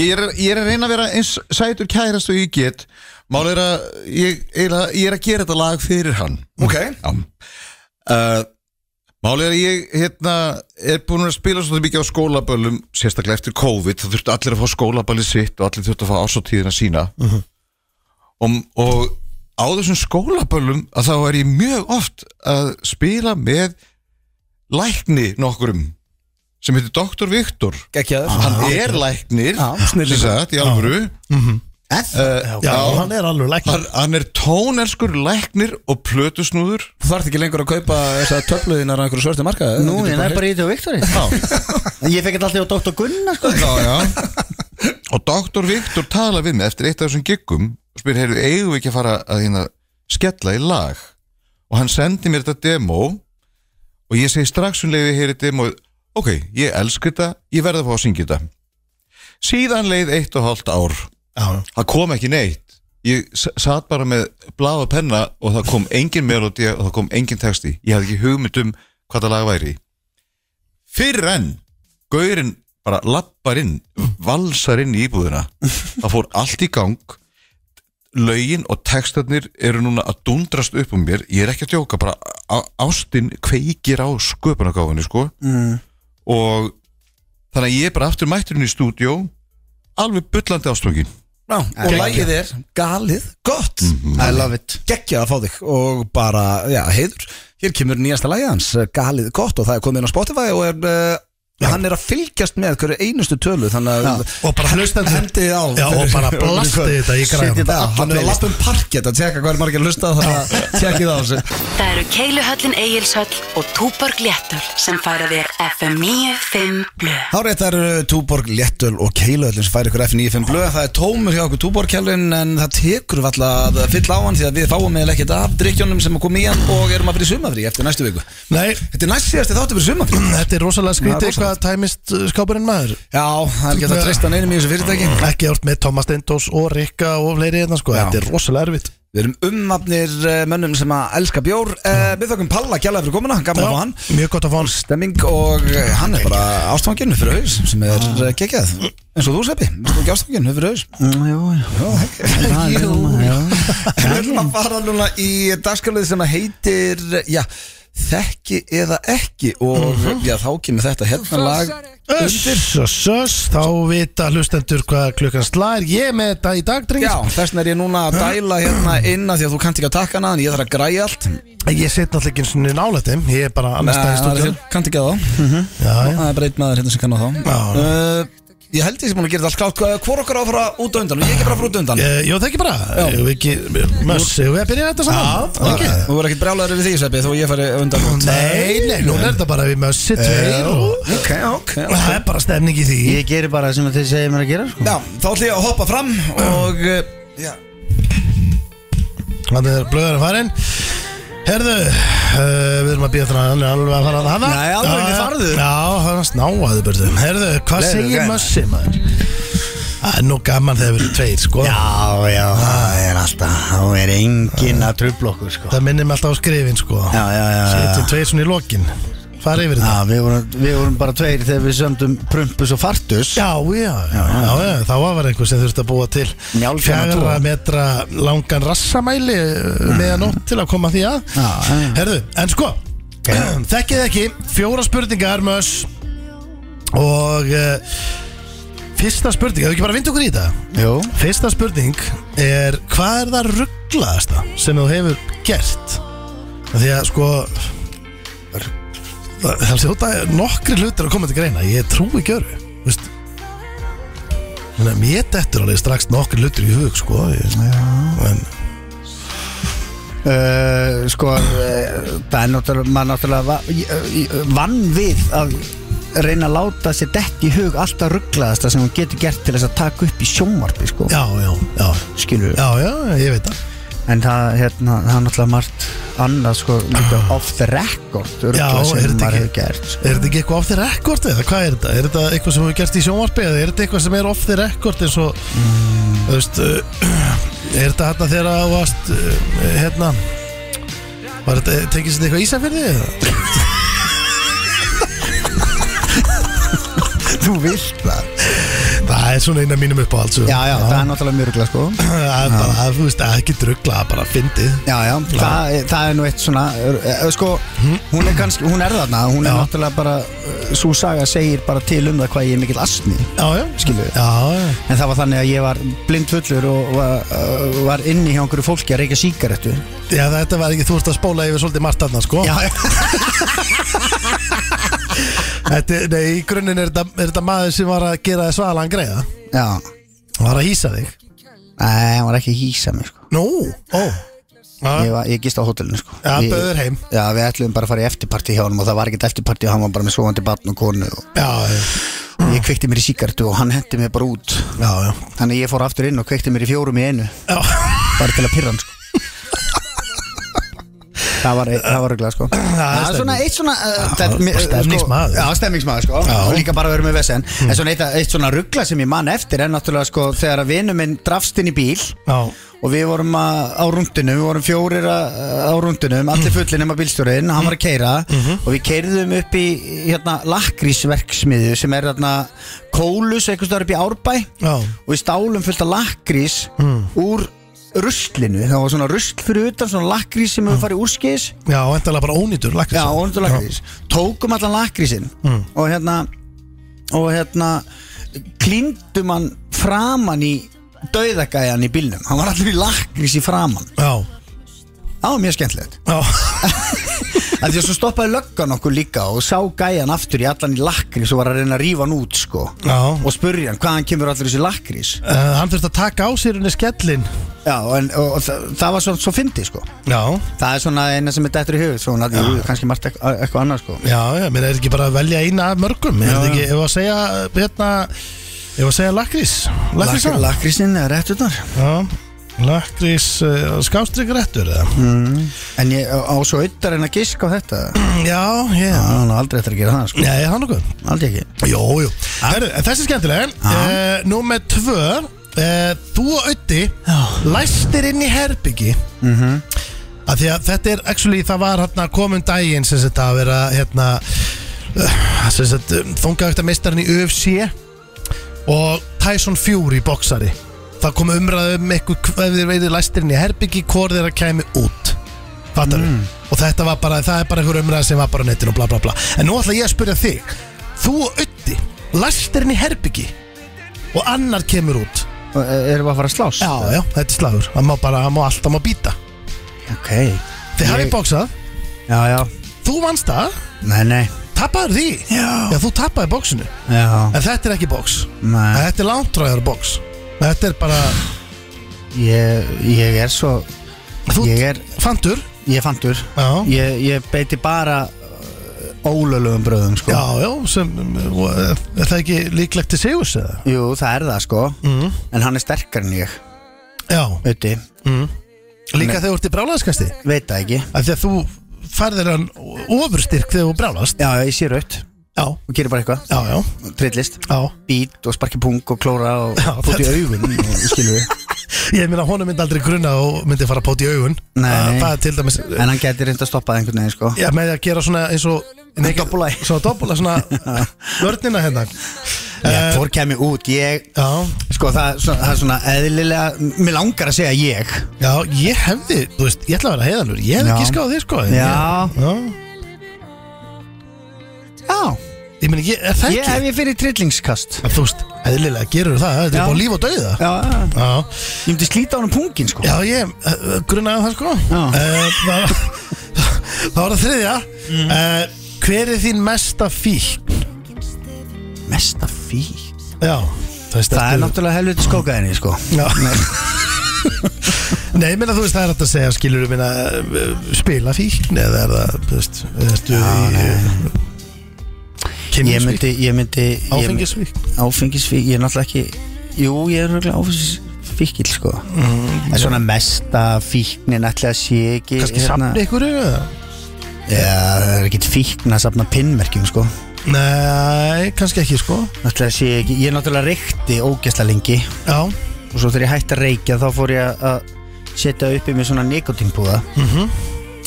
Speaker 4: Ég er, ég er að reyna að vera eins sætur kærast og ég get Mál er að ég, eiginlega- ég er að gera þetta lag fyrir hann
Speaker 1: Ok,
Speaker 4: Já uh, Mál er að ég hérna, er búin að spila svolítið mikið á skólaböllum sérstaklega eftir COVID þá þurftu allir að fá skólaballi sitt og allir þurftu að fá ásóttíðina sína og, og á þessum skólaböllum að þá er ég mjög oft að spila með lækni nokkurum sem heitir Dr. Viktor
Speaker 2: Ah.
Speaker 1: gekkjaður
Speaker 4: hann er læknir
Speaker 1: Já,
Speaker 4: sem
Speaker 1: snillingur.
Speaker 4: sagt, í alvöru
Speaker 3: Já, hann er alveg læknir
Speaker 4: hann, hann er tónelskur læknir og plötusnúður
Speaker 1: Þú þarf ekki lengur að kaupa þessa töfluðinar á einhverju svörstu markaði
Speaker 2: Nú, ég er bara í þetta og Viktori En Ég fekk þetta alltaf á Dr. Gunnar sko
Speaker 4: já, já. [laughs] og doktor Viktor tala við mig eftir eitt af þessum giggum og spyr, heyrðu, eigum við ekki að fara að hérna skella í lag og hann sendi mér þetta demo og ég segi strax um leiði heyri demo ok, ég elsk þetta, ég verði að fá að syngja þetta síðan leið eitt og hálft ár
Speaker 3: Já.
Speaker 4: það kom ekki neitt ég s- satt bara með blá og penna og það kom engin melodi og það kom engin texti ég hafði ekki hugmynd um hvað það lag væri fyrir enn gaurinn bara lappar inn valsar inn í íbúðina það fór allt í gang lögin og textarnir eru núna að dundrast upp um mér ég er ekki að djóka, bara á- ástin kveikir á sköpunagáfinni sko mm. og þannig að ég er bara aftur mætturinn í stúdíó alveg bullandi ástungin
Speaker 1: Já, og lagið er galið gott
Speaker 2: I love it
Speaker 1: Gekkjað að fá þig og bara, já, heiður Hér kemur nýjasta lagið hans, galið gott og það er komið inn á Spotify og er uh, hann er að fylgjast með hverju einustu tölu þannig að
Speaker 3: Og bara hlustandi
Speaker 1: hendið á
Speaker 3: Já, og bara blasti þetta í græðum.
Speaker 1: Setjið það, hann er að lappa um parkett að tjekka hvað er margir að hlusta á, þannig að tjekkið á þessu
Speaker 5: Það eru Keiluhöllin Egilshöll og Túborg Léttul sem færa þér FM 95 Blu.
Speaker 1: Hárið það eru uh, Túborg, Léttöl og Keiluhöllin sem færi ykkur F95 blöð Það er tómur hjá okkur Túborg-kjælun en það tekur við alltaf að fylla á hann því að við fáum eða ekkert af drikkjónum sem að koma í hann og erum að fyrir sumafrí eftir næstu viku
Speaker 3: Nei,
Speaker 1: Þetta er næst síðasti þáttu fyrir sumafrí
Speaker 3: þetta er rosalega
Speaker 1: Það er
Speaker 3: skrítið
Speaker 1: rosalegt.
Speaker 3: hvað tæmist uh, skápurinn maður
Speaker 1: Já, það er ekki hægt að treysta neinum í þessu fyrirtæki
Speaker 3: Ekki árt með Thomas Steindós og Rikka og fleiri hérna sko
Speaker 1: Já.
Speaker 3: Þetta er rosalega erfitt
Speaker 1: Við erum umnafnir eh, mönnum sem að elska bjór Eh, Við þökkum Palla kjallaði fyrir komuna, gaman að fá hann
Speaker 3: Mjög gott að fá hann
Speaker 1: Stemming og eh, hann er bara ástfangin fyrir haus sem er
Speaker 3: Ah.
Speaker 1: eh, geggjað eins og þú seppi, þú ekki ástfangin fyrir haus
Speaker 2: Jú, jú
Speaker 1: Jú
Speaker 2: já.
Speaker 1: En [laughs] við ætlum að fara núna í dagskalið sem að heitir já, þekki eða ekki og
Speaker 3: Mhm.
Speaker 1: já, þá kemur þetta hérna lag undir
Speaker 3: Söss, þá vita hlustendur hvað klukkan slær Ég er með þetta í dag, drengir
Speaker 1: Já, þess vegna er ég núna að dæla hérna inn að því að þú kannt ekki að taka hana en ég þarf að græja allt
Speaker 3: Ég set náttúrulega ekki eins og nálætt þeim Ég er bara annars
Speaker 1: Nei, það
Speaker 3: staðar í
Speaker 1: er því
Speaker 3: stúdíun
Speaker 1: að þú kannt ekki að þá
Speaker 3: Já, já
Speaker 1: Það er bara einn maður hérna sem kannar þá
Speaker 3: Já.
Speaker 1: uh, Ég held ég sem búin að gera þetta allt klátt Hvað- Hvor okkar á að fara út á undan og ég ekki bara að fara út á undan
Speaker 3: Eh, Jó, það ekki bara
Speaker 1: Já.
Speaker 3: Jú, ekki Möss, jú, við að byrja þetta saman
Speaker 1: Það
Speaker 3: ekki?
Speaker 1: Þú verður ekkert brjálæður við því, Seppi, þó ég fari á undan
Speaker 3: Nei, nei, nú er þetta bara við mössi tveir og
Speaker 1: Ok, ok
Speaker 3: og Það er bara stemning í því
Speaker 2: Ég gerir bara sem að þið segir mér að gera sko.
Speaker 1: Já, þá ætlum ég að hoppa fram og uh, já,
Speaker 3: Þannig er blöður að farin Herðu, uh, við erum að býja þannig að hann er alveg að fara að hana
Speaker 2: Nei, alveg ekki farðu.
Speaker 3: Já, hann snáaði börðu Herðu, hvað
Speaker 2: Leiðu
Speaker 3: segir
Speaker 2: gæna.
Speaker 3: Mössi maður? Það er nú gaman þegar við erum tveir, sko
Speaker 2: Já, já, það er alltaf Það er engin að trubla okkur sko.
Speaker 3: Það minnir mig alltaf á skrifin, sko
Speaker 2: Já, já, já, já.
Speaker 3: Settum tveir svona í lokin Fara yfir
Speaker 2: já
Speaker 3: þetta
Speaker 2: við, vorum, við vorum bara tveir þegar við sömdum Prumpus og Fartus
Speaker 3: Já, já, já, já, þá var einhver sem þurfti að búa til
Speaker 2: Njálfjarnar tvo.
Speaker 3: fjagra metra langan rassamæli meðan nótt til að koma því að
Speaker 2: Já, já, já.
Speaker 3: Herðu, en sko [clears throat] Þekkið þið ekki, fjóra spurningar mös og uh, fyrsta spurning, hefur ekki bara vind okkur í þetta
Speaker 2: Jú
Speaker 3: Fyrsta spurning er hvað er það rugglaðasta sem þú hefur gert Af því að sko það það hljóta nokkri hlutir að koma til greina, ég trúi ekki öru veist Þannig að mér dettur alveg strax nokkri hlutir í hug sko ég, en,
Speaker 2: Uh, sko uh, það er náttúrulega, maður náttúrulega va- í- í- vann við að reyna að láta sér dett í hug alltaf rugglaðasta sem hún getur gert til þess að taka upp í sjónvarpi sko,
Speaker 3: Já, já, já
Speaker 2: skilur
Speaker 3: Já, já, ég veit það
Speaker 2: en það, hérna, það er náttúrulega margt annað sko, líka off the record
Speaker 3: Já,
Speaker 2: rugglað
Speaker 3: er
Speaker 2: sem
Speaker 3: þetta
Speaker 2: maður
Speaker 3: ekki-
Speaker 2: hefur gert sko.
Speaker 3: Er þetta ekki eitthvað off the record eða hvað er þetta? Er þetta eitthvað sem þú hefur gert í sjónvarpi eða er þetta eitthvað sem er off the record eins og Þú veist uh, Er þetta hérna þegar þú varst uh, hérna Var þetta, tekist þetta eitthvað ísafyrði eða?
Speaker 2: þú vilt það
Speaker 3: Það er svona eina mínum upp á alls
Speaker 2: já, já, það er náttúrulega mjög rugglað sko
Speaker 3: Það er bara, þú veist, það er ekki drugla, bara fyndið
Speaker 2: Já, já, það, er- það er nú eitt svona eh, eh, sko, hún er kannski, hún er þarna hún er
Speaker 3: Já.
Speaker 2: náttúrulega bara svo saga segir bara til um það hvað ég er mikill asni
Speaker 3: Já, já,
Speaker 2: Skilur.
Speaker 3: Já, já,
Speaker 2: En það var þannig að ég var blind fullur og var, uh, var inni hjá einhverju fólki að reyka síkarettu
Speaker 3: já, þetta var ekki, þú ert að spóla yfir svolítið margt þarna, sko
Speaker 2: já, [laughs]
Speaker 3: þetta, er- Nei, í grunninn er þetta, er þetta maður sem var að gera þið svalan greiða
Speaker 2: já
Speaker 3: Hann Var að hýsa þig
Speaker 2: Nei, hann var ekki að hýsa mig sko
Speaker 3: Nú, ó
Speaker 2: Ég,
Speaker 3: Já,
Speaker 2: var, ég gist á hótelinu sko
Speaker 3: Já,
Speaker 2: Við-
Speaker 3: bauð þér heim.
Speaker 2: Já, við ætluðum bara að fara í eftirparti hjá honum og það var ekkert eftirparti og hann var bara með sofandi batn og konu og
Speaker 3: já, já.
Speaker 2: ég kveikti mér í síkaretu og hann hendi mér bara út
Speaker 3: Já, já
Speaker 2: Þannig að ég fór aftur inn og kveikti mér í fjórum í einu
Speaker 3: Já,
Speaker 2: bara til að pyrra hann sko Það var, það var röglega sko Það er svona eitt svona uh, það- mér- sko-
Speaker 3: stemningsmaður.
Speaker 2: Já, stemningsmaður sko
Speaker 3: Já. Mm.
Speaker 2: Og líka bara verið með vesen En svona eitt, eitt svona ruggla sem ég man eftir er náttúrulega sko Þegar að vinur minn drafst inn í bíl
Speaker 3: já,
Speaker 2: Og við vorum að, á rúndinu, við vorum fjórir að, á rúndinum
Speaker 3: Mm.
Speaker 2: Allir fullir nema bílstjórinn, hann var að keira
Speaker 3: Mhm.
Speaker 2: Og við keirðum upp í hérna lakrísverksmiðju Sem er hérna kólus, einhvers staðar upp í Árbæ
Speaker 3: já,
Speaker 2: og við stálum fullt af lakrís úr ruslinu það var svona rusl fyrir utan svona lakrís sem hefur farið úrskis
Speaker 3: já, endalega bara ónýtur lakrís
Speaker 2: já, ónundur lakrís tókum allan lakrísin og hérna og hérna klíndum hann framan í dauðagæjan í bílnum hann var allir í lakrís í framan
Speaker 3: Já,
Speaker 2: það var mjög skemmtilegt
Speaker 3: já,
Speaker 2: að því að svo stoppaði löggan okkur líka og sá gæjan aftur í allan í lakrís og var að reyna að rífa hann út sko
Speaker 3: já.
Speaker 2: og spurja hann hvaðan kemur allir þessi lakrís
Speaker 3: Uh, Hann þurfti að taka á sér henni skellin
Speaker 2: já, en, og, og það, það var svo, svo fyndið sko
Speaker 3: Já,
Speaker 2: Það er svona eina sem er dættur í hugið Svona, jú, kannski margt ekk- eitthvað annað sko
Speaker 3: já, já, mér er ekki bara að velja eina af mörgum Er þetta ekki, ef að segja, hérna Ef að segja lakrís Lakrís,
Speaker 2: Lak- Lakrísinn er rétt utan
Speaker 3: já Lakrís, uh, skástríkrættur eða
Speaker 2: En ég á á svo yttar en að giska á þetta
Speaker 3: Já, já yeah.
Speaker 2: Það er nú aldrei eftir að gera það sko
Speaker 3: Nei, hann okkur
Speaker 2: Aldrei ekki
Speaker 3: Jó, jú Herru, en þessi er skemmtileg uh, Eh, Númer tvö uh, Þú og Ötti Læstir inn í herbyggi mm Af því að þetta er actually, Það var hérna komin daginn sem þetta að vera hérna uh, sem sagt, þungaugtameistarinn í UFC og Tyson Fury boksari það kom umræðu um eitthvað hvað þeir veiði læstirinn í herbyggi hvor þeirra kæmi út fattar mm. og þetta var bara, það er bara einhver umræðu sem var bara á netinu og bla bla bla en nú ætla ég að spyrja þig þú og Ötti, læstirinn í herbyggi og annar kemur út
Speaker 2: e, Erum við að fara að slás?
Speaker 3: já, já, þetta er slagur, það má bara, það má allt, það má býta
Speaker 2: Ok
Speaker 3: þið
Speaker 2: Ég-
Speaker 3: hafið bóksað,
Speaker 2: Já, já
Speaker 3: þú vannst það
Speaker 2: Nei, nei
Speaker 3: tapaður því,
Speaker 2: Já.
Speaker 3: já þú tapaði bóksinu
Speaker 2: Já
Speaker 3: en þetta er ekki bóks,
Speaker 2: Nei
Speaker 3: þetta er langtræður bóks þetta er bara,
Speaker 2: Ég, ég er svo
Speaker 3: þú
Speaker 2: Ég er
Speaker 3: fantur
Speaker 2: Ég er fantur
Speaker 3: Já.
Speaker 2: Ég, ég beiti bara ólögum bröðum sko
Speaker 3: Já, já, sem, og, eh, er það ekki líklegt til sigus eða?
Speaker 2: Jú, það er það sko mm. En hann er sterkar en ég
Speaker 3: Já,
Speaker 2: Ötti
Speaker 3: líka þegar þú ert í brálaðskasti
Speaker 2: Veit það ekki
Speaker 3: Af því að þú færðir hann ofurstyrk þegar þú brálast
Speaker 2: Já, ég sé raut
Speaker 3: Já,
Speaker 2: Og gerir bara eitthvað
Speaker 3: já, já,
Speaker 2: Trillist
Speaker 3: já
Speaker 2: Bít og sparki pung og klóra og
Speaker 3: Já,
Speaker 2: Búti í
Speaker 3: þetta-
Speaker 2: augun
Speaker 3: [laughs]
Speaker 2: og Skilur við
Speaker 3: Ég meina honum myndi aldrei grunna og myndi fara að póta í augun
Speaker 2: Nei.
Speaker 3: Að Það er til dæmis
Speaker 2: En hann gæti reynda að stoppa það einhvern veginn sko
Speaker 3: Já, með því að gera svona eins og
Speaker 2: Nei, doppulai.
Speaker 3: Svona doppula, svona vörnina hérna
Speaker 2: Já, Hvor kem ég út? Ég
Speaker 3: Já,
Speaker 2: Sko það, svo- það er svona eðlilega Mér langar að segja ég
Speaker 3: já, ég hefði, þú veist, ég ætla að vera heiðanur Ég hefði
Speaker 2: Já.
Speaker 3: ekki skáð þig sko en
Speaker 2: Já.
Speaker 3: ég- já.
Speaker 2: Já
Speaker 3: Ég meina, ég, er það
Speaker 2: Ég hef
Speaker 3: ekki?
Speaker 2: ég fyrir trillingskast
Speaker 3: Þú veist, eðlilega gerur það, þetta
Speaker 2: Já.
Speaker 3: er bara líf og dauða
Speaker 2: Já, já.
Speaker 3: Já,
Speaker 2: ég myndi slíta honum pungin sko
Speaker 3: já ég uh, grunnaði það sko
Speaker 2: Já.
Speaker 3: uh, það, [laughs] var- það var að þriðja
Speaker 2: Mm.
Speaker 3: uh, Hver er þín mesta fík?
Speaker 2: Mesta fík
Speaker 3: Já
Speaker 2: Það er náttúrulega helviti skókaðinni sko
Speaker 3: náttúrulega Nei, ég meina þú veist, það er hægt að segja skilur um minna spila fíkn eða er það, þú veist, ertu í
Speaker 2: Ég
Speaker 3: kynlífsfíkn,
Speaker 2: myndi, ég myndi ég-
Speaker 3: áfengisfíkn
Speaker 2: Áfengisfík, ég er náttúrulega ekki Jú, ég er náttúrulega áfengisfíkil sko En svona mesta fíknin ætla að sé ekki
Speaker 3: Mhm.
Speaker 2: hérna-
Speaker 3: Kannski safna ykkur eða?
Speaker 2: Já, það er ekkit fíkn að safna pinnmerkjum sko
Speaker 3: Nei, kannski ekki sko
Speaker 2: Náttúrulega sé ég ekki, ég náttúrulega reykti ógæsla lengi
Speaker 3: Já,
Speaker 2: og svo þegar ég hætti að reykja þá fór ég að setja upp í mig svona nikotínpúða mm -hmm.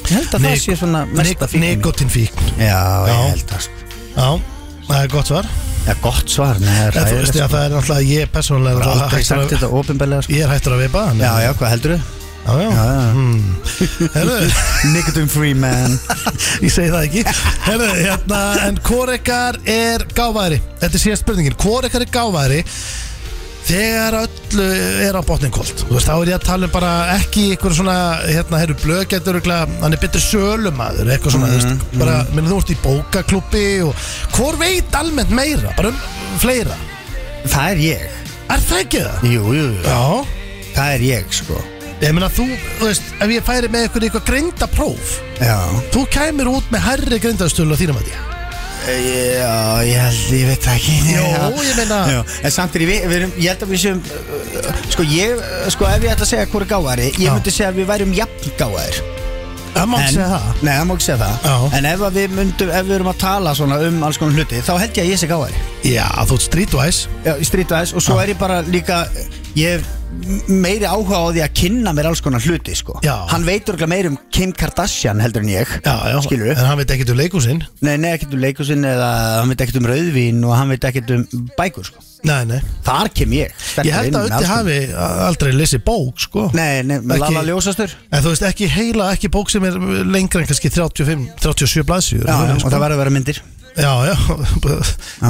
Speaker 2: ég held að það
Speaker 3: Mhm. Nik-
Speaker 2: sé svona mesta fíkn mín.
Speaker 3: nikotinfíkn
Speaker 2: já, ég
Speaker 3: Já.
Speaker 2: held að sko.
Speaker 3: Já, það er gott svar
Speaker 2: já, gott svar, nei, það er
Speaker 3: En þú veist,
Speaker 2: ræðilegt
Speaker 3: já,
Speaker 2: sko.
Speaker 3: það er náttúrulega ég persónulega
Speaker 2: Bara
Speaker 3: náttúrulega
Speaker 2: aldrei
Speaker 3: hættur
Speaker 2: sagt
Speaker 3: að-
Speaker 2: þetta ofinbælega sko.
Speaker 3: Ég er hættur að veipa hann
Speaker 2: já, já, hvað heldur þú?
Speaker 3: já, já. Hmm. Herðu,
Speaker 2: Nicotine free man
Speaker 3: [laughs] ég segi það ekki Herðu, hérna, en hvor ykkar er gáfæri? Þetta er síðast spurningin Hvor ykkar er gáfæri þegar öllu er á botningkolt? Þú veist, þá er ég að tala um bara ekki ykkur svona, hérna, herru blöggetur hann er betri sölumæður, eitthvað svona þú veist, bara, minn þú ert í bókaklubbi og hvor veit almennt meira bara um fleira,
Speaker 2: það er ég
Speaker 3: er það ekki það?
Speaker 2: jú, jú, jú.
Speaker 3: Já,
Speaker 2: það er ég sko
Speaker 3: Ég meina þú, þú veist, ef ég færi með ykkur eitthvað grindapróf
Speaker 2: já,
Speaker 3: Þú kæmir út með herri grindastölu á þínum að ég
Speaker 2: já, ég held, ég veit það ekki
Speaker 3: Jó,
Speaker 2: Já.
Speaker 3: ég meina
Speaker 2: Já, en samt er ég, við, við erum, ég held að við séum uh, Sko ég, uh, sko ef ég ætla að segja hvori gáðari Ég
Speaker 3: Já.
Speaker 2: myndi segja að við værum jafn gáðar
Speaker 3: Það má ekki
Speaker 2: en,
Speaker 3: segja það
Speaker 2: Nei, það má ekki segja það
Speaker 3: Já.
Speaker 2: En ef að við myndum, ef við erum að tala svona um alls konar hluti Þá held ég að ég sé gáðari
Speaker 3: Já, þú ert streetwise
Speaker 2: Já, í streetwise Og svo er ég bara líka Ég hef m- meiri áhuga á því að kynna mér alls konar hluti sko
Speaker 3: Já.
Speaker 2: Hann veitur ekki meir um Kim Kardashian heldur en ég
Speaker 3: Já, já,
Speaker 2: Skilurðu?
Speaker 3: en hann veit ekkert um leikúsinn
Speaker 2: Nei, nei, ekkert um leikusinn eða Hann veit ekkert um rauðvín og hann veit ekkert um bækur sko
Speaker 3: Nei, nei
Speaker 2: Þar kem ég
Speaker 3: Ég held að Ötti hafi aldrei lesið bók, sko
Speaker 2: Nei, nei,
Speaker 3: Ekki-
Speaker 2: Lala Ljósastur
Speaker 3: En þú veist, ekki heila, ekki bók sem er lengra en kannski 35, 37 blaðsjúr
Speaker 2: Já, já, og það verður að vera myndir
Speaker 3: sko. Já, já,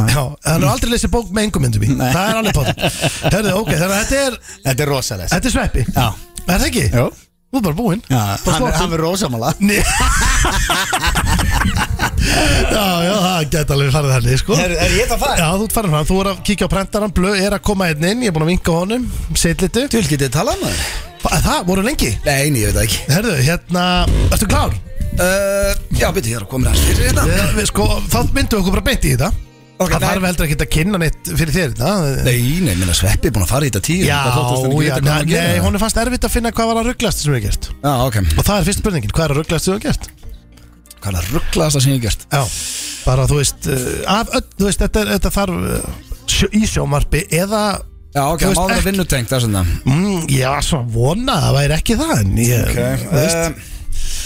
Speaker 3: já, hann er aldrei lesið bók með engum myndum í Það er alveg pátum Herðu, ok, þannig að þetta er,
Speaker 2: Þetta er rosalegt
Speaker 3: þetta er sveppi
Speaker 2: Já,
Speaker 3: Er það ekki?
Speaker 2: já,
Speaker 3: Þú er bara búinn Bara
Speaker 2: hann, er-
Speaker 3: sloppinn.
Speaker 2: hann er rosamala
Speaker 3: Nei. já, já, það geta alveg farið þannig sko.
Speaker 2: Er, er ég það að fara?
Speaker 3: Já, þú ert farin fram, þú er að kíkja á prentaran Blöð er að koma einn inn, ég er búin að vinka honum Seitt litu,
Speaker 1: Þú vil getið talað maður?
Speaker 3: það voru lengi
Speaker 1: Nei, nei, ég veit það ekki
Speaker 3: Herðu, hérna, ertu klár?
Speaker 1: uh, Já, byrju, ég er að koma hans fyrir hérna
Speaker 3: Eh, Við, sko, þá myndum við okkur bara beint í þetta
Speaker 1: Ok,
Speaker 3: Það
Speaker 1: nei.
Speaker 3: þarf heldur ekki að kynna neitt fyrir þér þetta
Speaker 1: Nei, nei, minna Sveppi er búin að fara í þetta tíu
Speaker 3: Já, já, nei, nei,
Speaker 1: nei, hún
Speaker 3: honum fannst erfitt að finna hvað var að rugglast sem við gert
Speaker 1: Já, ok,
Speaker 3: Og það er fyrst spurningin, hvað er að rugglast sem við gert?
Speaker 1: hvað er að rugglaðast það sem ég hef gert
Speaker 3: Já, eh, bara þú veist, uh, af, öll- þú veist þetta, er- þetta þarf uh, sjö- í sjómarpi eða
Speaker 1: Já, ok,
Speaker 3: Þú
Speaker 1: það
Speaker 3: veist
Speaker 1: má vera
Speaker 3: ekki-
Speaker 1: vinnutengt þess vegna
Speaker 3: mm, Ég var svo að vona að það væri ekki það En ég, þú veist
Speaker 1: uh,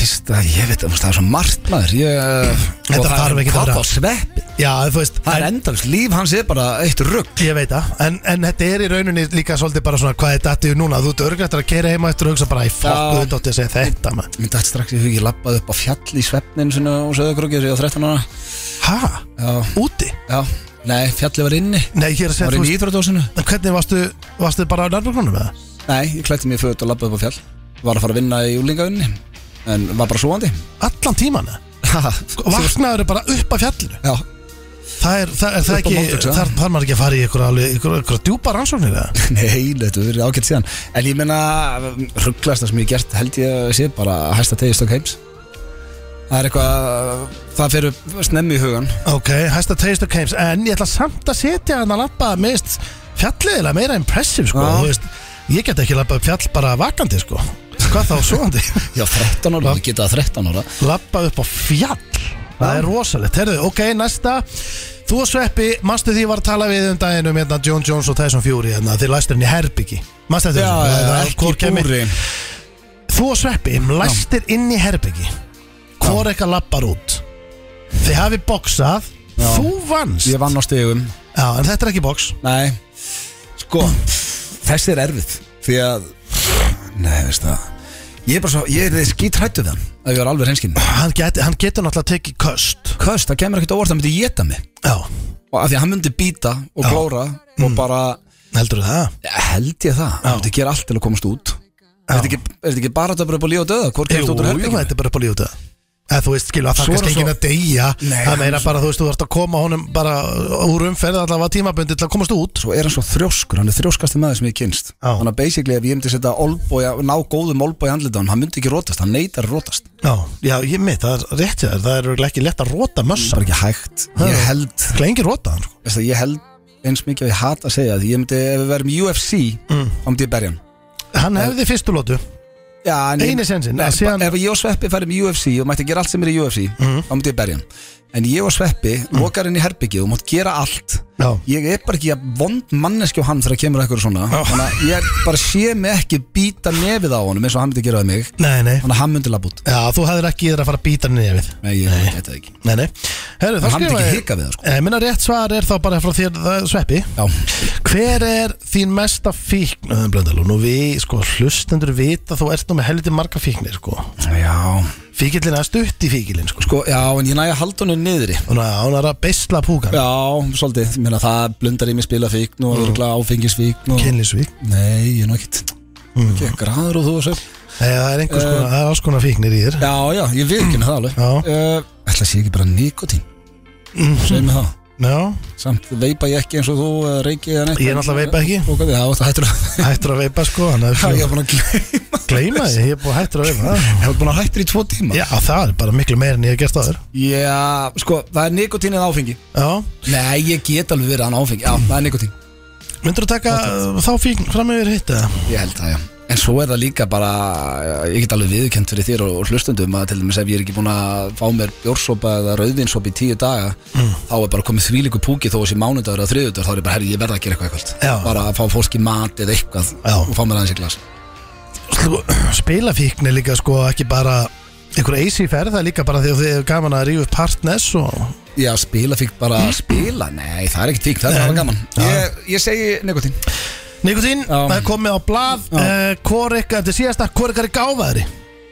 Speaker 1: Fyrst að ég veit að það er svo margt maður ég,
Speaker 3: Þetta þarf ekki að
Speaker 1: að
Speaker 3: vera.
Speaker 1: vera svepp,
Speaker 3: Já, þú veist
Speaker 1: Það er endalist, líf hans er bara eitt rugg
Speaker 3: Ég veit það, en, en þetta er í rauninni líka svolítið bara svona hvað er dattið núna Þú ert örglættur að keira heima eftir og hugsa bara Í
Speaker 1: Já.
Speaker 3: fokku þetta átti að segja þetta man.
Speaker 1: Mér dætt strax í hug ég labbaði upp á fjall í sveppnin sinna og söðukruggi þegar ég var 13 ára
Speaker 3: Ha?
Speaker 1: Já,
Speaker 3: Úti?
Speaker 1: já, nei, fjalli var inni
Speaker 3: Nei, ég er
Speaker 1: Það
Speaker 3: að segja,
Speaker 1: var inni í
Speaker 3: þú veist,
Speaker 1: íþrótdósinu
Speaker 3: en hvernig varstu, varstu bara á nærmurkonum eða?
Speaker 1: Nei, ég klætti mig föt og labbaði upp á fjall Var að fara að vinna í júlingaunni En var bara svoandi
Speaker 3: Allan tíman eða?
Speaker 1: sko,
Speaker 3: Vaknaður bara upp af fjallinu
Speaker 1: Já, [laughs]
Speaker 3: Það er, það er, það
Speaker 1: Upp á
Speaker 3: ekki,
Speaker 1: Móttöku,
Speaker 3: þar þarf maður ekki að fara í ykkur alveg, ykkur, ykkur djúpa
Speaker 1: [laughs]
Speaker 3: rannsóknir eða?
Speaker 1: Nei, þetta verður ágætt síðan En ég meina, rugglasta sem ég hef gert held ég að sé bara að hæsta tegja stökk heims Það er eitthvað Það fyrir snemmi í hugan
Speaker 3: Ok, hæsta taste of games En ég ætla samt að setja hann að lappa meðist fjalliðilega meira impressive sko
Speaker 1: Já.
Speaker 3: Þú veist, ég get ekki lappað upp fjall bara vakandi sko Hvað þá svoandi?
Speaker 1: [laughs] Já, 13 ára, það geta 13 ára
Speaker 3: Lappa upp á fjall Það er rosalegt, herðu, ok, næsta Þú og Sveppi, manstu því ég var að tala við um daginn um hérna John Jones og Tyson Fury hérna, þeir læstir henni herbyggi Manstu þetta?
Speaker 1: það er
Speaker 3: Hvor
Speaker 1: ekki
Speaker 3: kemur-
Speaker 1: búri
Speaker 3: Þú og Sveppi læstir inn í herbyggi Hvor eitthvað lappar út Þið hafi boksað Þú vannst
Speaker 1: Ég vann á stegum
Speaker 3: Já, en þetta er ekki boks
Speaker 1: Nei, sko Þessi er erfið Því að Nei, veist það Ég er bara svo, ég er þið skítrættu þann Ef ég var alveg hreinskinn
Speaker 3: hann, get, hann getur náttúrulega tekið köst
Speaker 1: Köst, það kemur ekkert á orð, það myndi geta mig
Speaker 3: Já,
Speaker 1: Og af því að hann myndi býta og glóra
Speaker 3: Mm.
Speaker 1: Og bara
Speaker 3: heldur það?
Speaker 1: Ja, held ég það, það myndi gera allt til að komast út Er þetta ekki, er þetta ekki bara þetta bara upp á líf og döða? Hvor
Speaker 3: Jú,
Speaker 1: kemst út úr
Speaker 3: jú,
Speaker 1: herbygginu?
Speaker 3: þetta er bara upp á lífið Eða þú veist, skilu, að það
Speaker 1: Svo er
Speaker 3: kannski
Speaker 1: svo-
Speaker 3: enginn að deyja
Speaker 1: Nei,
Speaker 3: Það meira
Speaker 1: hann-
Speaker 3: bara, þú veist, þú þarfst að koma honum bara úr umferð allavega tímabundi til að komast út
Speaker 1: Svo er hann svo þrjóskur, hann er þrjóskasti maður sem ég kynst
Speaker 3: Já.
Speaker 1: Þannig að basically ef ég myndi setja olboja, ná góðum olboja andlitaðan Hann myndi ekki rótast, hann neytar að rótast
Speaker 3: Já, já, ég mitt, það er rétt hjá þér Það er örugglega ekki lett að róta mössa
Speaker 1: Bara ekki hægt Ég held,
Speaker 3: Það er engin róta hann, sko
Speaker 1: veist það, ég held eins mikið að ég hata að segja Því ég myndi, ef við verðum í UFC,
Speaker 3: Mm.
Speaker 1: þá myndi ég berja hann
Speaker 3: Hann hefði fyrstu lótu
Speaker 1: Já, en ég-
Speaker 3: Eini sensinn,
Speaker 1: Nei,
Speaker 3: að síðan- Mm.
Speaker 1: ba- Ef ég og Sveppi færum í UFC og mætti gera allt sem er í UFC Þá myndi ég berja hann En ég og Sveppi lokar inn í herbyggið og mátt gera allt
Speaker 3: Já,
Speaker 1: ég er bara ekki að vond manneski á hann þegar kemur eitthvað svona þannig að ég bara sé mig ekki býta nefið á honum eins og hann myndi gera það mig
Speaker 3: nei, nei
Speaker 1: þannig að hann myndi labba út
Speaker 3: Já, þú hefðir ekki í þér að fara að býta hann nefið
Speaker 1: nei, ég nei. geta það ekki
Speaker 3: Nei, nei Herru,
Speaker 1: En
Speaker 3: það
Speaker 1: hann myndi
Speaker 3: skrifa
Speaker 1: ekki
Speaker 3: ég
Speaker 1: hika við það sko
Speaker 3: Ég minna rétt svar er þá bara frá þér það, Sveppi
Speaker 1: já,
Speaker 3: Hver er þín mesta fíkn Öðum blöndal og nú við sko hlustendur vita þú ert nú með helviti marga fíknir sko
Speaker 1: já
Speaker 3: Fíkillin er stutt í fíkillin sko
Speaker 1: sko, já, en ég næja haldunni niðri
Speaker 3: Hún er- hún er að beisla púkan
Speaker 1: já, svolítið, Ég meina það blundar í mig spilafíkn og örgla áfengisfíkn og...
Speaker 3: Kynlisvík
Speaker 1: nei, ég er nú ekkit ekki graður og þú og sér
Speaker 3: Nei, það er
Speaker 1: Eh.
Speaker 3: einhvers konar, það er alls konar fíknir í þér
Speaker 1: já, já, ég viðkynna það alveg
Speaker 3: Já.
Speaker 1: uh, ætla að sé ekki bara nikotín segir mig það
Speaker 3: Já,
Speaker 1: samt veipa ég ekki eins og þú eða reyki eða neitt
Speaker 3: ég er náttúrulega veipa ekki
Speaker 1: Ok, já, það hættur að
Speaker 3: Hættur að veipa sko, hann
Speaker 1: Já,
Speaker 3: er
Speaker 1: ég
Speaker 3: fyrir
Speaker 1: hef búin að gleyma
Speaker 3: að gleyma því Ég er búið að hættur að veipa
Speaker 1: Ég hef búin að hættur í tvo tíma
Speaker 3: Já, það er bara miklu meir en ég hef gert áður
Speaker 1: Já, sko, það er nikotín eða áfengi
Speaker 3: Já,
Speaker 1: Nei, ég get alveg verið hann áfengi Já, það er nikotín
Speaker 3: myndur þú taka uh, þá fíkn fram yfir hitt eða?
Speaker 1: Ég held það, já En svo er það líka bara eh, Ég get alveg viðurkend fyrir þér og, og hlustundum að til dæmis ef ég er ekki búin að fá mér bjórsopa eða rauðvinsopa í tíu daga
Speaker 3: Mm.
Speaker 1: þá er bara komið þvílíku púki þó þessi mánudagur eða þriðudagur þá er ég bara, herri, ég verða að gera eitthvað
Speaker 3: Já.
Speaker 1: eitthvað bara að fá fólki mat eða eitthvað
Speaker 3: Já.
Speaker 1: og fá mér aðeins í glas
Speaker 3: Sko, spilafíkn er líka sko ekki bara einhver eisi ferð, það er líka bara því að þið hefur gaman að rífa upp partners og
Speaker 1: Já, spila fikk bara
Speaker 3: Mm.
Speaker 1: spila Nei, það er ekkert fík, það er bara gaman ég, ég segi nikotín
Speaker 3: Nikotín,
Speaker 1: Já.
Speaker 3: það er komið á blað uh, hvor ykkar, þetta er síðasta, hvor ykkar er gáfaðri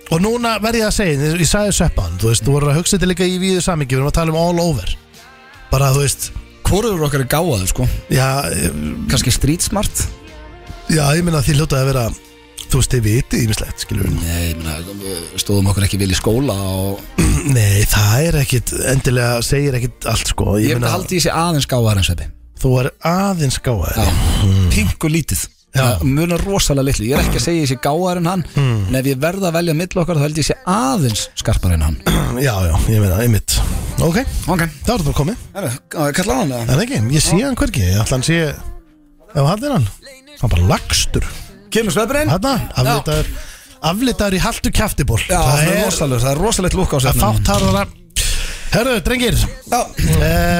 Speaker 3: og núna verð ég að segja ég, ég sagði sveppan, þú veist, þú voru að hugsa þetta líka í víðu samingi, við erum að tala um all over bara þú veist,
Speaker 1: Hvorur okkar er gáðaður sko
Speaker 3: já eh,
Speaker 1: Kanski street smart
Speaker 3: já, ég minna að þið hljótaði að vera þú veist, þið vitið ímislegt, skilur við
Speaker 1: Nei, ég meina, við stóðum okkur ekki vel í skóla og
Speaker 3: nei, það er ekkit, endilega segir ekkit allt, sko,
Speaker 1: Ég
Speaker 3: ég,
Speaker 1: myndi
Speaker 3: meina,
Speaker 1: haldi í sig aðeins gáðaður en sveppi
Speaker 3: þú er aðeins gáfaðri
Speaker 1: Pingu lítið
Speaker 3: Já.
Speaker 1: Það munar rosalega litlu, ég er ekki að segja ég sé gáðar en hann En ef ég verða að velja mittl okkar þá held ég sé aðeins skarpar en hann
Speaker 3: Já, já, ég meina, einmitt Ok,
Speaker 1: Ok,
Speaker 3: þá er þetta bara komið
Speaker 1: kallar hann
Speaker 3: En ekki, ég sé hann hvergi Ég ætla hann sé Ef hann er hann Hann bara lagstur
Speaker 1: Kemur sveppurinn?
Speaker 3: Hanna, aflitaður Aflitaður í haldu kjaftiból
Speaker 1: Já, það er rosalegt, það er rosalegt lúk á
Speaker 3: Það er
Speaker 1: sveppurinn
Speaker 3: fátt harðara Herru, drengir
Speaker 1: Já,
Speaker 3: uh,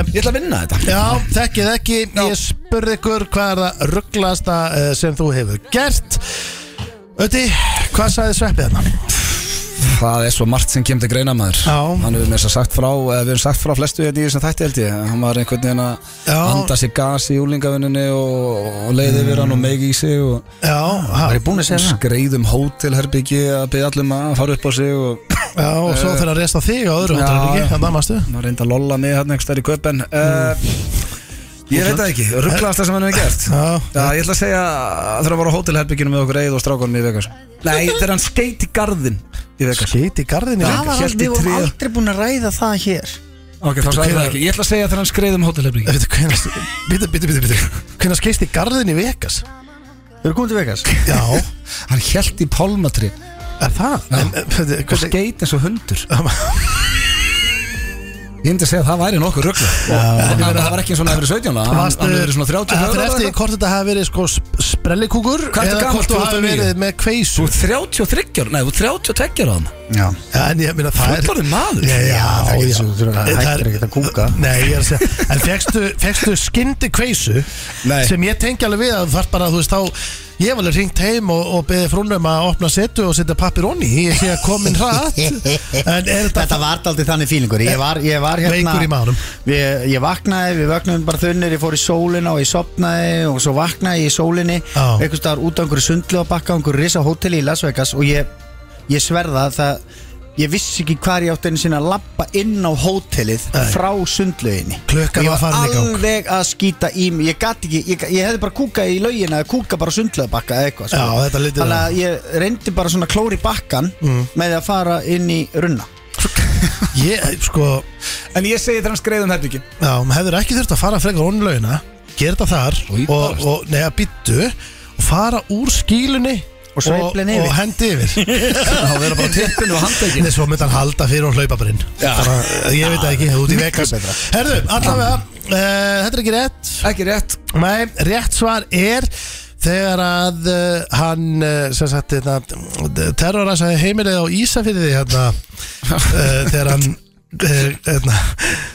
Speaker 1: ég ætla að vinna þetta
Speaker 3: Já, þekkið ekki
Speaker 1: Já.
Speaker 3: Ég spurði ykkur hvað er það rugglasta eh, sem þú hefur gert Ötti, hvað sagði sveppið hérna?
Speaker 1: Það er svo margt sem kemur til greina maður
Speaker 3: Já.
Speaker 1: Hann hefur með þess að sagt frá eh, Við hefum sagt frá flestu hérna í þessum þætti held ég Hann var einhvern veginn að
Speaker 3: Já.
Speaker 1: anda sér gas í júlingavinnunni og, og leiði yfir hann og meigi í sig og
Speaker 3: Já, ha,
Speaker 2: Var ég búin að segja það?
Speaker 1: skreiðum hótelherbyggi að byggja allum að fara upp á sig og
Speaker 3: já, og svo þegar að resta þig á öðru
Speaker 1: Já.
Speaker 3: hundrað ekki, þannig að mastu
Speaker 1: hann var reynd að lolla mig hann einhverstað í köpen
Speaker 3: Mm.
Speaker 1: uh, Ég veit það ekki, rugglaðast það sem hann hefur gert
Speaker 3: Já.
Speaker 1: Já, ég ætla að segja að þegar hann var á hótelherbygginu með okkur Eið og strákonum í Vegas Nei, þegar hann skeit í garðin í Vegas
Speaker 3: Skit í garðinni
Speaker 1: Já.
Speaker 2: Það
Speaker 1: Hélt
Speaker 2: var
Speaker 1: í
Speaker 2: aldrei, við vorum
Speaker 1: tréð.
Speaker 2: aldrei búin að ræða það hér
Speaker 1: Ok, þá sagði
Speaker 3: hver
Speaker 1: það
Speaker 3: er-
Speaker 1: ekki Ég ætla að segja þegar hann um skreiðum hótelherbygginu
Speaker 3: Býtu, býtu, býtu, býtu Hvernig skeist í garðinni í Vegas?
Speaker 2: Við erum komin til Vegas
Speaker 3: Já,
Speaker 1: [laughs] Hann hjælt í pálmatri
Speaker 3: er það? En, eh, hvernig-
Speaker 1: og
Speaker 3: hvernig-
Speaker 1: skeit eins og hundur Ég myndi að segja að það væri nokkuð ruggla Það var ekki eins og hann hefur verið 17 ára, Hann
Speaker 3: Varstu-
Speaker 1: hann hefur verið svona 30
Speaker 3: Það er eftir hvort þetta hafi verið sko sp- sprellikúkur
Speaker 1: Hvað ertu
Speaker 3: eða
Speaker 1: gamall
Speaker 3: hvort þú hafi
Speaker 1: 2009?
Speaker 3: verið með kveisu
Speaker 1: Þú ert 33 ára, nei, þú ert 32 ára þannig
Speaker 2: Já
Speaker 3: Já, En ég meina það er
Speaker 1: Fullorðin maður
Speaker 3: Já, já,
Speaker 2: það er ekki
Speaker 3: já.
Speaker 2: svo- þú þurfir að-
Speaker 3: En það
Speaker 2: hættir ekkert að kúka.
Speaker 3: Nei, ég er að segja En fegstu, fegstu skyndi kveisu
Speaker 1: Nei.
Speaker 3: sem ég tengi alveg við að þú þarf bara, þú veist, þá ég var alveg hringt heim og, og beðið frúnum að opna setu og setja pappir onni ég sé að komin hratt En er þetta
Speaker 2: Þetta var aldrei þannig fílingur Ég var, ég var hérna
Speaker 3: Veikur í maganum.
Speaker 2: Við- Ég vaknaði, við vaknaðum bara þunnir Ég fór í sólina og ég sopnaði Og svo vaknaði ég í sólinni
Speaker 3: Já.
Speaker 2: Einhvers staðar út á einhverju sundlu að bakka Einhverju risa hóteli í Las Vegas Og ég, ég sverða það Ég vissi ekki hvar ég átti einu sinni að labba inn á hótelið frá sundlauginni
Speaker 3: Klukkan
Speaker 2: Og ég
Speaker 3: var farin í gang.
Speaker 2: alveg að skýta í mig Ég gat ekki, ég, ég hefði bara kúkað í laugina eða kúkað bara sundlaugabakka eða eitthvað sko.
Speaker 3: Já, þetta lítið Mm.
Speaker 2: Þannig að ég reyndi bara svona klóri bakkan með því að fara inn í runna
Speaker 3: Ég, sko,
Speaker 1: En ég segi þegar hann um skreiðum
Speaker 2: [laughs]
Speaker 1: herbyggin
Speaker 3: Já, maður hefur ekki þurft að fara frekar onlauna Gera þetta þar
Speaker 1: Og
Speaker 3: Og, og,
Speaker 1: íbarast.
Speaker 3: nei, að byttu Og fara úr skílunni
Speaker 2: Og sveifla henni
Speaker 3: og,
Speaker 2: yfir.
Speaker 3: og hendi
Speaker 1: [laughs]
Speaker 3: yfir
Speaker 1: Það verður bara tippinu og handtekinu
Speaker 3: Nei, svo myndi hann halda fyrir hún hlaupa bara inn
Speaker 1: Já.
Speaker 3: Bara, Ég veit það ekki, út í
Speaker 2: Miklu
Speaker 3: vekas
Speaker 2: betra.
Speaker 3: Herðu, allavega, uh, þetta er ekki rétt
Speaker 1: Ekki rétt
Speaker 3: Nei, rétt svar er Þegar að uh, hann uh, sem sagt, hérna, terrorasaði heimilið á Ísafyrði
Speaker 1: [laughs]
Speaker 3: hérna, uh, þegar hann uh, hérna,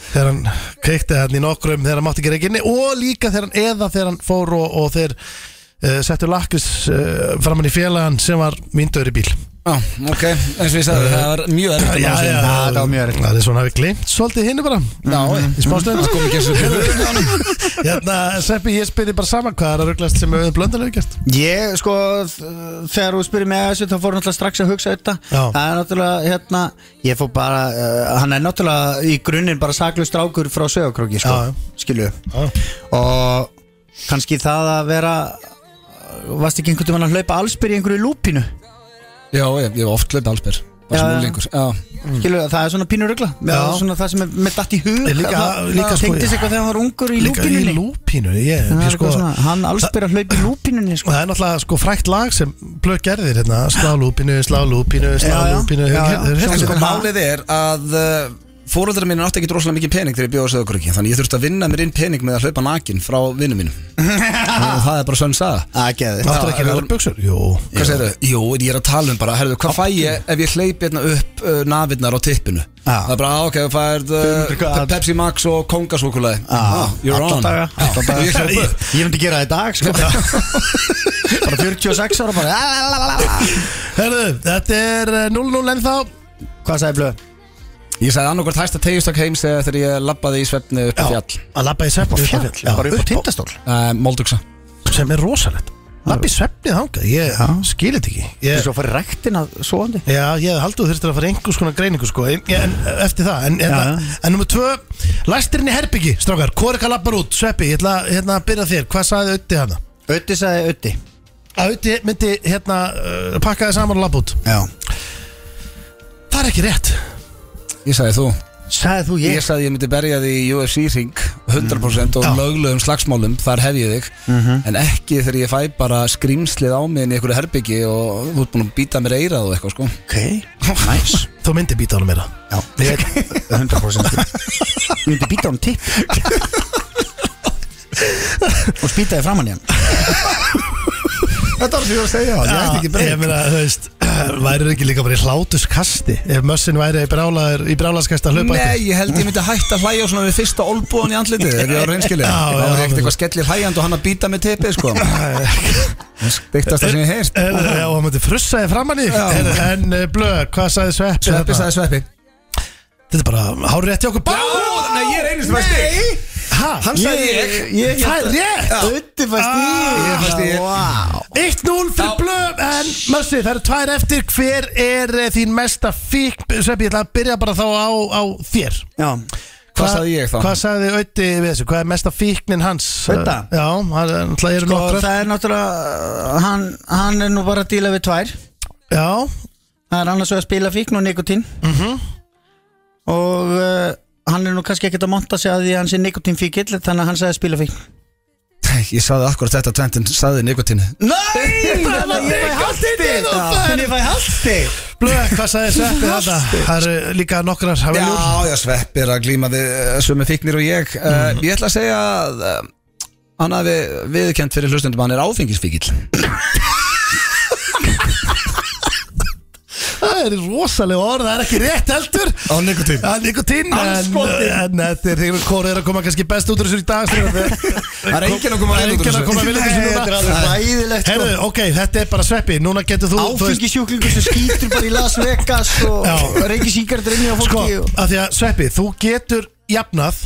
Speaker 3: þegar hann kveikti hann í nokkrum þegar hann mátti ekki reikinni og líka þegar hann eða þegar hann fór og, og þeir uh, settu lakkis uh, framann í félagann sem var myndur í bíl
Speaker 1: Já, ok, eins og ég sagði það var mjög erfitt að ná þessu.
Speaker 2: það var mjög erfitt.
Speaker 3: Það er svona að við glimt svolítið hinni bara Mhm.
Speaker 1: Já,
Speaker 3: í smástöðum
Speaker 1: það kom ekki eins og höfðum á honum.
Speaker 3: Hérna, Sveppi, ég spyrir bara saman hvað er að rugglast sem auðvitað blöndan hefur gert
Speaker 2: Ég sko þ- þegar þú spyrir mig að þessu þá fór náttúrulega strax að hugsa þetta
Speaker 3: Já.
Speaker 2: það er náttúrulega hérna ég fór bara, uh, hann er náttúrulega í grunninn bara saklaus strákur frá sögakróki sko,
Speaker 3: Já, já.
Speaker 2: skilju
Speaker 3: Já.
Speaker 2: og kannski það að vera varst ekki einhvern veginn að hlaupa allsbyr í einhverju lúpinu
Speaker 1: Já, ég ég hef oft hlaupið allsbyr Bara
Speaker 2: Já,
Speaker 1: sem
Speaker 2: já.
Speaker 1: úlingur Já,
Speaker 3: Mm.
Speaker 2: skilju, það er svona pínur rugla það er svona það sem er með datt í hug
Speaker 3: Líka-
Speaker 2: það,
Speaker 3: líka, sko,
Speaker 2: tengdist eitthvað þegar hann var ungur í
Speaker 3: Líka í
Speaker 2: lúpinunni
Speaker 3: lúpínu ég,
Speaker 2: Það
Speaker 3: ég
Speaker 2: er eitthvað
Speaker 3: sko,
Speaker 2: svona, hann allsbyr að hlaupa í lúpinunni sko.
Speaker 3: Það er náttúrulega sko frækt lag sem blöð gerðir hérna, slá lúpínu, slá lúpínu, slá
Speaker 2: Já, já.
Speaker 3: lúpínu
Speaker 2: Já, já.
Speaker 1: En sko,
Speaker 2: Svona-
Speaker 1: málið er að uh, fóreldrar mín átti ekki droslega mikið pening þegar ég bjóði á Söðukriki þannig ég þurfti að vinna mér inn pening með að hlaupa nakin frá vinnum
Speaker 2: [laughs]
Speaker 1: mínum og það er bara sönn saga
Speaker 2: Það geði
Speaker 3: Áttur ekki
Speaker 1: Já,
Speaker 3: verið buksur? Jú
Speaker 1: Hvað segir þau? Jú, en ég er að tala um bara, herðu, hvað fæ ég ef ég hleypi hérna upp uh, nafinnar á tippinu?
Speaker 2: Já.
Speaker 1: Það er bara, ah, ok, þú fær uh,
Speaker 2: 500 kall.
Speaker 1: Pe- Pepsi Max og kongasúkulaði
Speaker 2: Já,
Speaker 1: You're
Speaker 2: alla
Speaker 1: on
Speaker 2: daga, alla
Speaker 1: Já, og ég hljóp upp.
Speaker 2: Ég myndi gera það í dag sko. [laughs] Bara 46 ára bara "Ah, lalalala.
Speaker 3: Herðu, þetta er eh, 0-0 ennþá
Speaker 2: Hvað sagði Blöð?
Speaker 1: Ég sagði annarkvært hæsta tegjustak heims eða þegar ég labbaði í svefni upp á fjall
Speaker 3: Að labba í svefni upp á fjall Já,
Speaker 2: Bara upp á
Speaker 3: upp
Speaker 2: tindastól
Speaker 1: uh, Moldugsa
Speaker 3: á- Sem er rosalegt Labba í svefni þangað, ég skil þetta ekki
Speaker 2: Þú
Speaker 3: Ég-
Speaker 2: svo farið ræktina svoandi
Speaker 3: Já, ég hef haldið þú þurftir að fara í einhvers konar greiningu sko en, en, Eftir það, en, en, en,
Speaker 2: já.
Speaker 3: en nummer tvö Læstirinn í herbyggi, strákar, hvað er ekki að labba út? Sveppi, ég ætla hérna, að byrja þér, hvað sagði Ötti hana?
Speaker 2: Ötti sagði Ötti
Speaker 3: Að Ötti myndi hérna eh, pakka þið saman og labba út
Speaker 2: Já
Speaker 3: Það er ekki rétt
Speaker 1: Ég sagði þú
Speaker 2: Sagði þú
Speaker 1: Ég
Speaker 2: ég? Mm.
Speaker 1: sagði ég myndi berja þig í UFC-ring 100% og
Speaker 3: Já.
Speaker 1: löglegum slagsmálum Þar hef ég þig
Speaker 2: Mhm.
Speaker 1: En ekki þegar ég fæ bara skrýmslið á mig inn í einhverju herbyggi og þú ert búin að býta mér eirað og eitthvað sko
Speaker 2: Ok, [laughs] nice
Speaker 3: Þú myndi býta honum meira
Speaker 2: Já, ég veit 100% Ég myndi býta honum tipp Og spýtaði framann í hann
Speaker 3: Þetta var því að segja
Speaker 2: ég ætti ekki breyk.
Speaker 3: Ég meina, þú veist, [clears throat] Værir ekki líka bara í hlátuskasti Ef mössin væri í, brjálaður, í brjálaskasta hlaupa
Speaker 1: Nei, ég held ég myndi hætta að hlæja svona við fyrsta olbúan í andlitið, ef ég var reynskilið
Speaker 3: Já,
Speaker 1: Það
Speaker 3: já,
Speaker 1: var ekkert
Speaker 3: já.
Speaker 1: eitthvað skellir hlæjandi og hann að býta með tepið,
Speaker 3: [laughs]
Speaker 1: sko Bygtast það sem ég heyrst
Speaker 3: Já, hann myndi frussaði framann í
Speaker 1: Já.
Speaker 3: Heyrðu, En eh, blöð, hvað sagði Sveppi?
Speaker 1: Sveppi
Speaker 3: þarna?
Speaker 1: sagði sveppi
Speaker 3: Þetta er bara hárið rétt hjá okkur
Speaker 1: Já, nei, ég er einust fæst
Speaker 3: Nei. Hæ?
Speaker 1: Hann sagði ég,
Speaker 2: ég-
Speaker 3: Það er rétt
Speaker 2: Ötti fast í
Speaker 1: Ég fæst í-
Speaker 2: Ah. Vá.
Speaker 3: 1-0 fyrir
Speaker 1: Já.
Speaker 3: blöð En Mössi, það eru tvær eftir Hver er eh, þín mesta fík Sveppi, ég ætla að byrja bara þá á, á þér
Speaker 2: Já,
Speaker 1: Hvað sagði ég þá?
Speaker 3: Hvað sagði Ötti við þessu? Hvað er mesta fíknin hans?
Speaker 2: Audda?
Speaker 3: Já, hann er náttúrulega eru
Speaker 2: sko,
Speaker 3: nokkrar
Speaker 2: það er náttúrulega hann, hann er nú bara að díla við tvær
Speaker 3: Já,
Speaker 2: Það er annars vegar að spila fíkn og nikotín Og uh, hann er nú kannski ekkert að monta sig að því að hann sé nikotín fíkill Þannig að hann sagði spila fíkn
Speaker 1: Ég sagði akkurat þetta tventin, sagði nikotínu
Speaker 2: [laughs] Nei,
Speaker 3: Það var
Speaker 2: ég fæ halvstig
Speaker 3: nikótín og það er-
Speaker 2: Ég fæ halvstig
Speaker 3: blöð, hvað sagði Sveppi þetta? Það eru líka nokkrar Það var ljúr
Speaker 1: Já, já, Sveppi er að glíma við eh, sömu fíknir og ég uh,
Speaker 3: Mhm.
Speaker 1: Ég ætla að segja að uh, hann hafi viðkjönt fyrir hlustundum hann er áfengisfíkil
Speaker 3: Það er rosalega orð, það er ekki rétt heldur
Speaker 1: Á nikótín.
Speaker 3: Á nikotín En, eh,
Speaker 1: Andskotinn.
Speaker 3: en þetta er þegar hvort er að koma kannski best út úr þessu í dag Það
Speaker 1: Það er enginn að koma vel út úr
Speaker 3: enginn að
Speaker 1: þessu.
Speaker 3: koma vel út úr
Speaker 2: Nei, þetta er
Speaker 3: þessu núna
Speaker 2: alveg ræðilegt sko.
Speaker 3: Herðu, ok, þetta er bara sveppi Núna getur þú þú veist-
Speaker 2: Áfengisjúklingur sem skýtur bara í Las Vegas og
Speaker 3: Já.
Speaker 2: reykir síkardur inni á
Speaker 3: Sko,
Speaker 2: fólki og...
Speaker 3: að því að sveppi, þú getur jafnað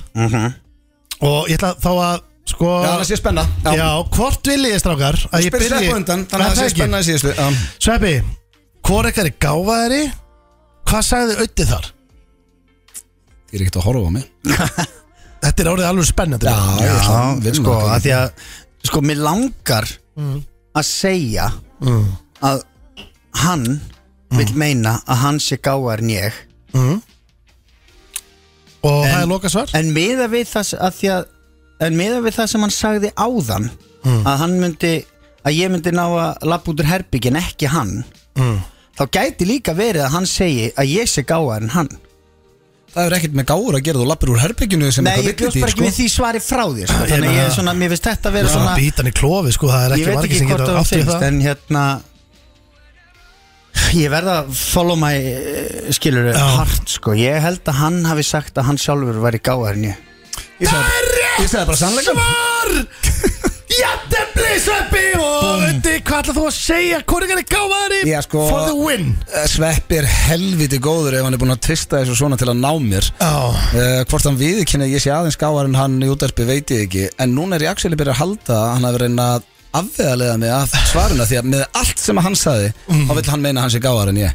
Speaker 3: Og ég ætla þá að Sko
Speaker 1: Mhm. Já, það sé spenna
Speaker 3: Já, hvort vil ég strákar að ég
Speaker 1: Spyrir
Speaker 3: byrji
Speaker 1: Sveppi á undan, þannig að
Speaker 3: Er
Speaker 1: það sé
Speaker 3: ekki?
Speaker 1: spenna í síðustu Já.
Speaker 3: Sveppi, hvort ekkert er gáfaðari Hvað sagði auðvitað þar?
Speaker 1: Ég er ekkert að horfa á mig
Speaker 3: Þetta er orðið alveg spennandi
Speaker 1: ég ætla að vinna
Speaker 2: sko,
Speaker 1: það.
Speaker 2: að því að sko, mér langar að segja Mm. að hann vil meina að hann sé gáðar en ég
Speaker 3: Og það er loka svar
Speaker 2: en miða við það s- að því að en miða við það sem hann sagði áðan
Speaker 3: Mm.
Speaker 2: að hann myndi að ég myndi ná að lappa út úr herbyggin ekki hann
Speaker 3: Mm.
Speaker 2: þá gæti líka verið að hann segi að ég sé gáðar en hann
Speaker 1: Það er ekkert með gáur að gera þú lappir úr herbygginu sem
Speaker 2: Nei, ég
Speaker 1: eitthvað
Speaker 2: bjóst
Speaker 1: villidýr, sko.
Speaker 3: sko.
Speaker 2: bara ekki við því svari frá þér sko. þannig að ég er svona, mér finnst þetta að vera
Speaker 3: Svona
Speaker 2: svona
Speaker 3: bítan í klofi, sko, það er
Speaker 2: ég
Speaker 3: ekki
Speaker 2: veit
Speaker 3: margir
Speaker 2: ekki
Speaker 3: sem
Speaker 2: hvort
Speaker 3: getur
Speaker 2: það
Speaker 3: átt við
Speaker 2: finnst
Speaker 3: það
Speaker 2: en hérna ég verða að follow my eh, skilur
Speaker 3: Já.
Speaker 2: hart sko ég held að hann hafi sagt að hann sjálfur væri gáðar en ég
Speaker 1: Ég sagði ég sagði bara sannleikann
Speaker 3: Svar! [laughs] Jættefli, Sveppi og Undi, hvað ætlað þú að segja? Hvoringar er gáfaðari
Speaker 1: Já, sko-
Speaker 3: for the win
Speaker 1: Sveppi er helviti góður ef hann er búin að tvista þessu svona til að ná mér
Speaker 3: Já,
Speaker 1: Uh, hvort hann viðkynna ég sé aðeins gáðar en hann í útarpi veit ég ekki en núna er ég axeli byrja að halda að hann hafi reyna að afveðalega mig að svaruna því að með allt sem hann saði
Speaker 2: Mm.
Speaker 1: þá vill hann meina að hann sé gáðar en ég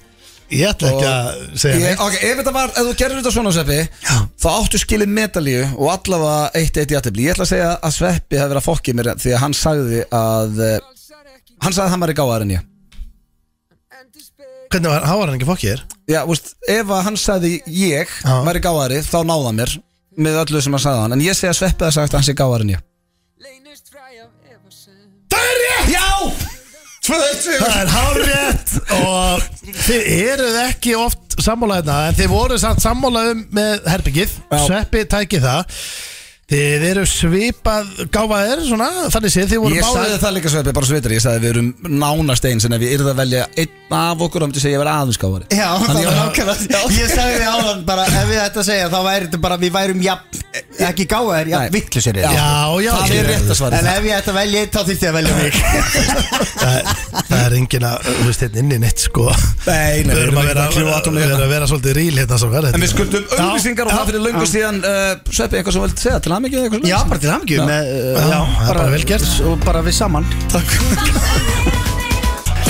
Speaker 3: ég ætla ekki að segja
Speaker 1: ég,
Speaker 3: neitt
Speaker 1: ok, ef þetta var, ef þú gerir þetta svona Sveppi þá áttu skilið metalíu og allavega eitt eitt í aðtefli, ég ætla að segja að Sveppi hafi verið að fokki mér því að hann sagði að uh, hann sagði að hann væri gáðar en ég
Speaker 3: Hvernig var, hann var hann ekki fokkir?
Speaker 1: Já, veist, ef að hann sagði ég
Speaker 3: Já.
Speaker 1: væri gáðari, þá náða mér með öllu sem hann sagði hann, en ég segi að Sveppi hafi sagt að hann sé gáðari en ég Já!
Speaker 3: Það er hárétt og þið eruð ekki oft sammálaðina en þið voru samt sammálaðum með herbyggið
Speaker 1: Já.
Speaker 3: Sveppi tæki það Þið eru svipað gáfaðir svona, þannig séð þið voru
Speaker 1: Ég sagði það líka Sveppi, bara sveitar, ég sagði við erum nánast eins en ef ég yrði að velja einn af okkur þá myndi ég segja ég verið aðeins gáðari
Speaker 2: Já, það
Speaker 1: Þannig
Speaker 2: var
Speaker 1: að-
Speaker 2: nákvæmlega [laughs] Ég sagði því áðan bara ef við þetta segja þá væri þetta bara við værum jafn, ekki gáðar, jafn
Speaker 1: Nei.
Speaker 2: vittlusir
Speaker 3: Já, já,
Speaker 1: Það
Speaker 3: ég-
Speaker 1: er rétt að svara
Speaker 2: En
Speaker 1: það
Speaker 2: ef ég ætti að velja eitt þá þýtti ég að velja mig
Speaker 3: það, það er engin að, þú veist, hérna inni neitt sko
Speaker 1: Nei, nei,
Speaker 3: Við erum að vera,
Speaker 1: ekki kljúa atónu
Speaker 3: við erum
Speaker 1: hérna
Speaker 3: að vera svolítið ríl hérna svo verður
Speaker 1: En við skuldum auðlýsingar og það fyrir löngu síðan uh, Sveppi, eitthvað sem þú vilt segja til aðmyggju eða eitthvað
Speaker 2: Já,
Speaker 1: svoleiðis?
Speaker 2: bara til hamingju
Speaker 1: Já.
Speaker 2: með, uh,
Speaker 3: Já, það er bara vel gert.
Speaker 2: Og bara við saman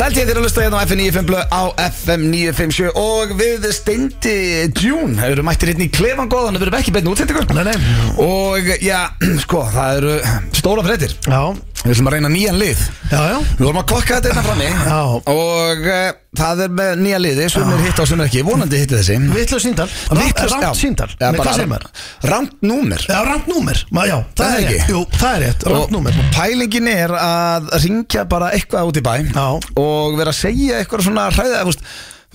Speaker 1: Þælt ég þér að lusta hérna á FM 95 blöð á FM 957 og við Steindi Djún erum mættir hérna í klefan góðan við erum ekki beinu útsendingu
Speaker 3: Nei, nei.
Speaker 1: og já, [clears throat] sko, það eru stóra fréttir
Speaker 3: Já,
Speaker 1: við ætlum að reyna nýjan lið
Speaker 3: já, já
Speaker 1: við vorum að kokka þetta hérna frammi
Speaker 3: Já.
Speaker 1: og uh, það er með nýja liði sem er hitt á sem er ekki, vonandi hitti þessi
Speaker 3: Vittlust síndal
Speaker 1: Vitlaust- já.
Speaker 3: Rámt síndal
Speaker 1: Já,
Speaker 3: Nei,
Speaker 1: bara
Speaker 3: hvað segir maður?
Speaker 1: Rangt númer
Speaker 3: Já, rámt númer Ma- Já, það
Speaker 1: Það
Speaker 3: er
Speaker 1: er
Speaker 3: rétt
Speaker 1: ekki.
Speaker 3: Jú, það er rétt Rámt númer
Speaker 1: Og Pælingin er að ringja bara eitthvað út í bæ
Speaker 3: Já.
Speaker 1: og vera að segja eitthvað svona hræða, þú veist,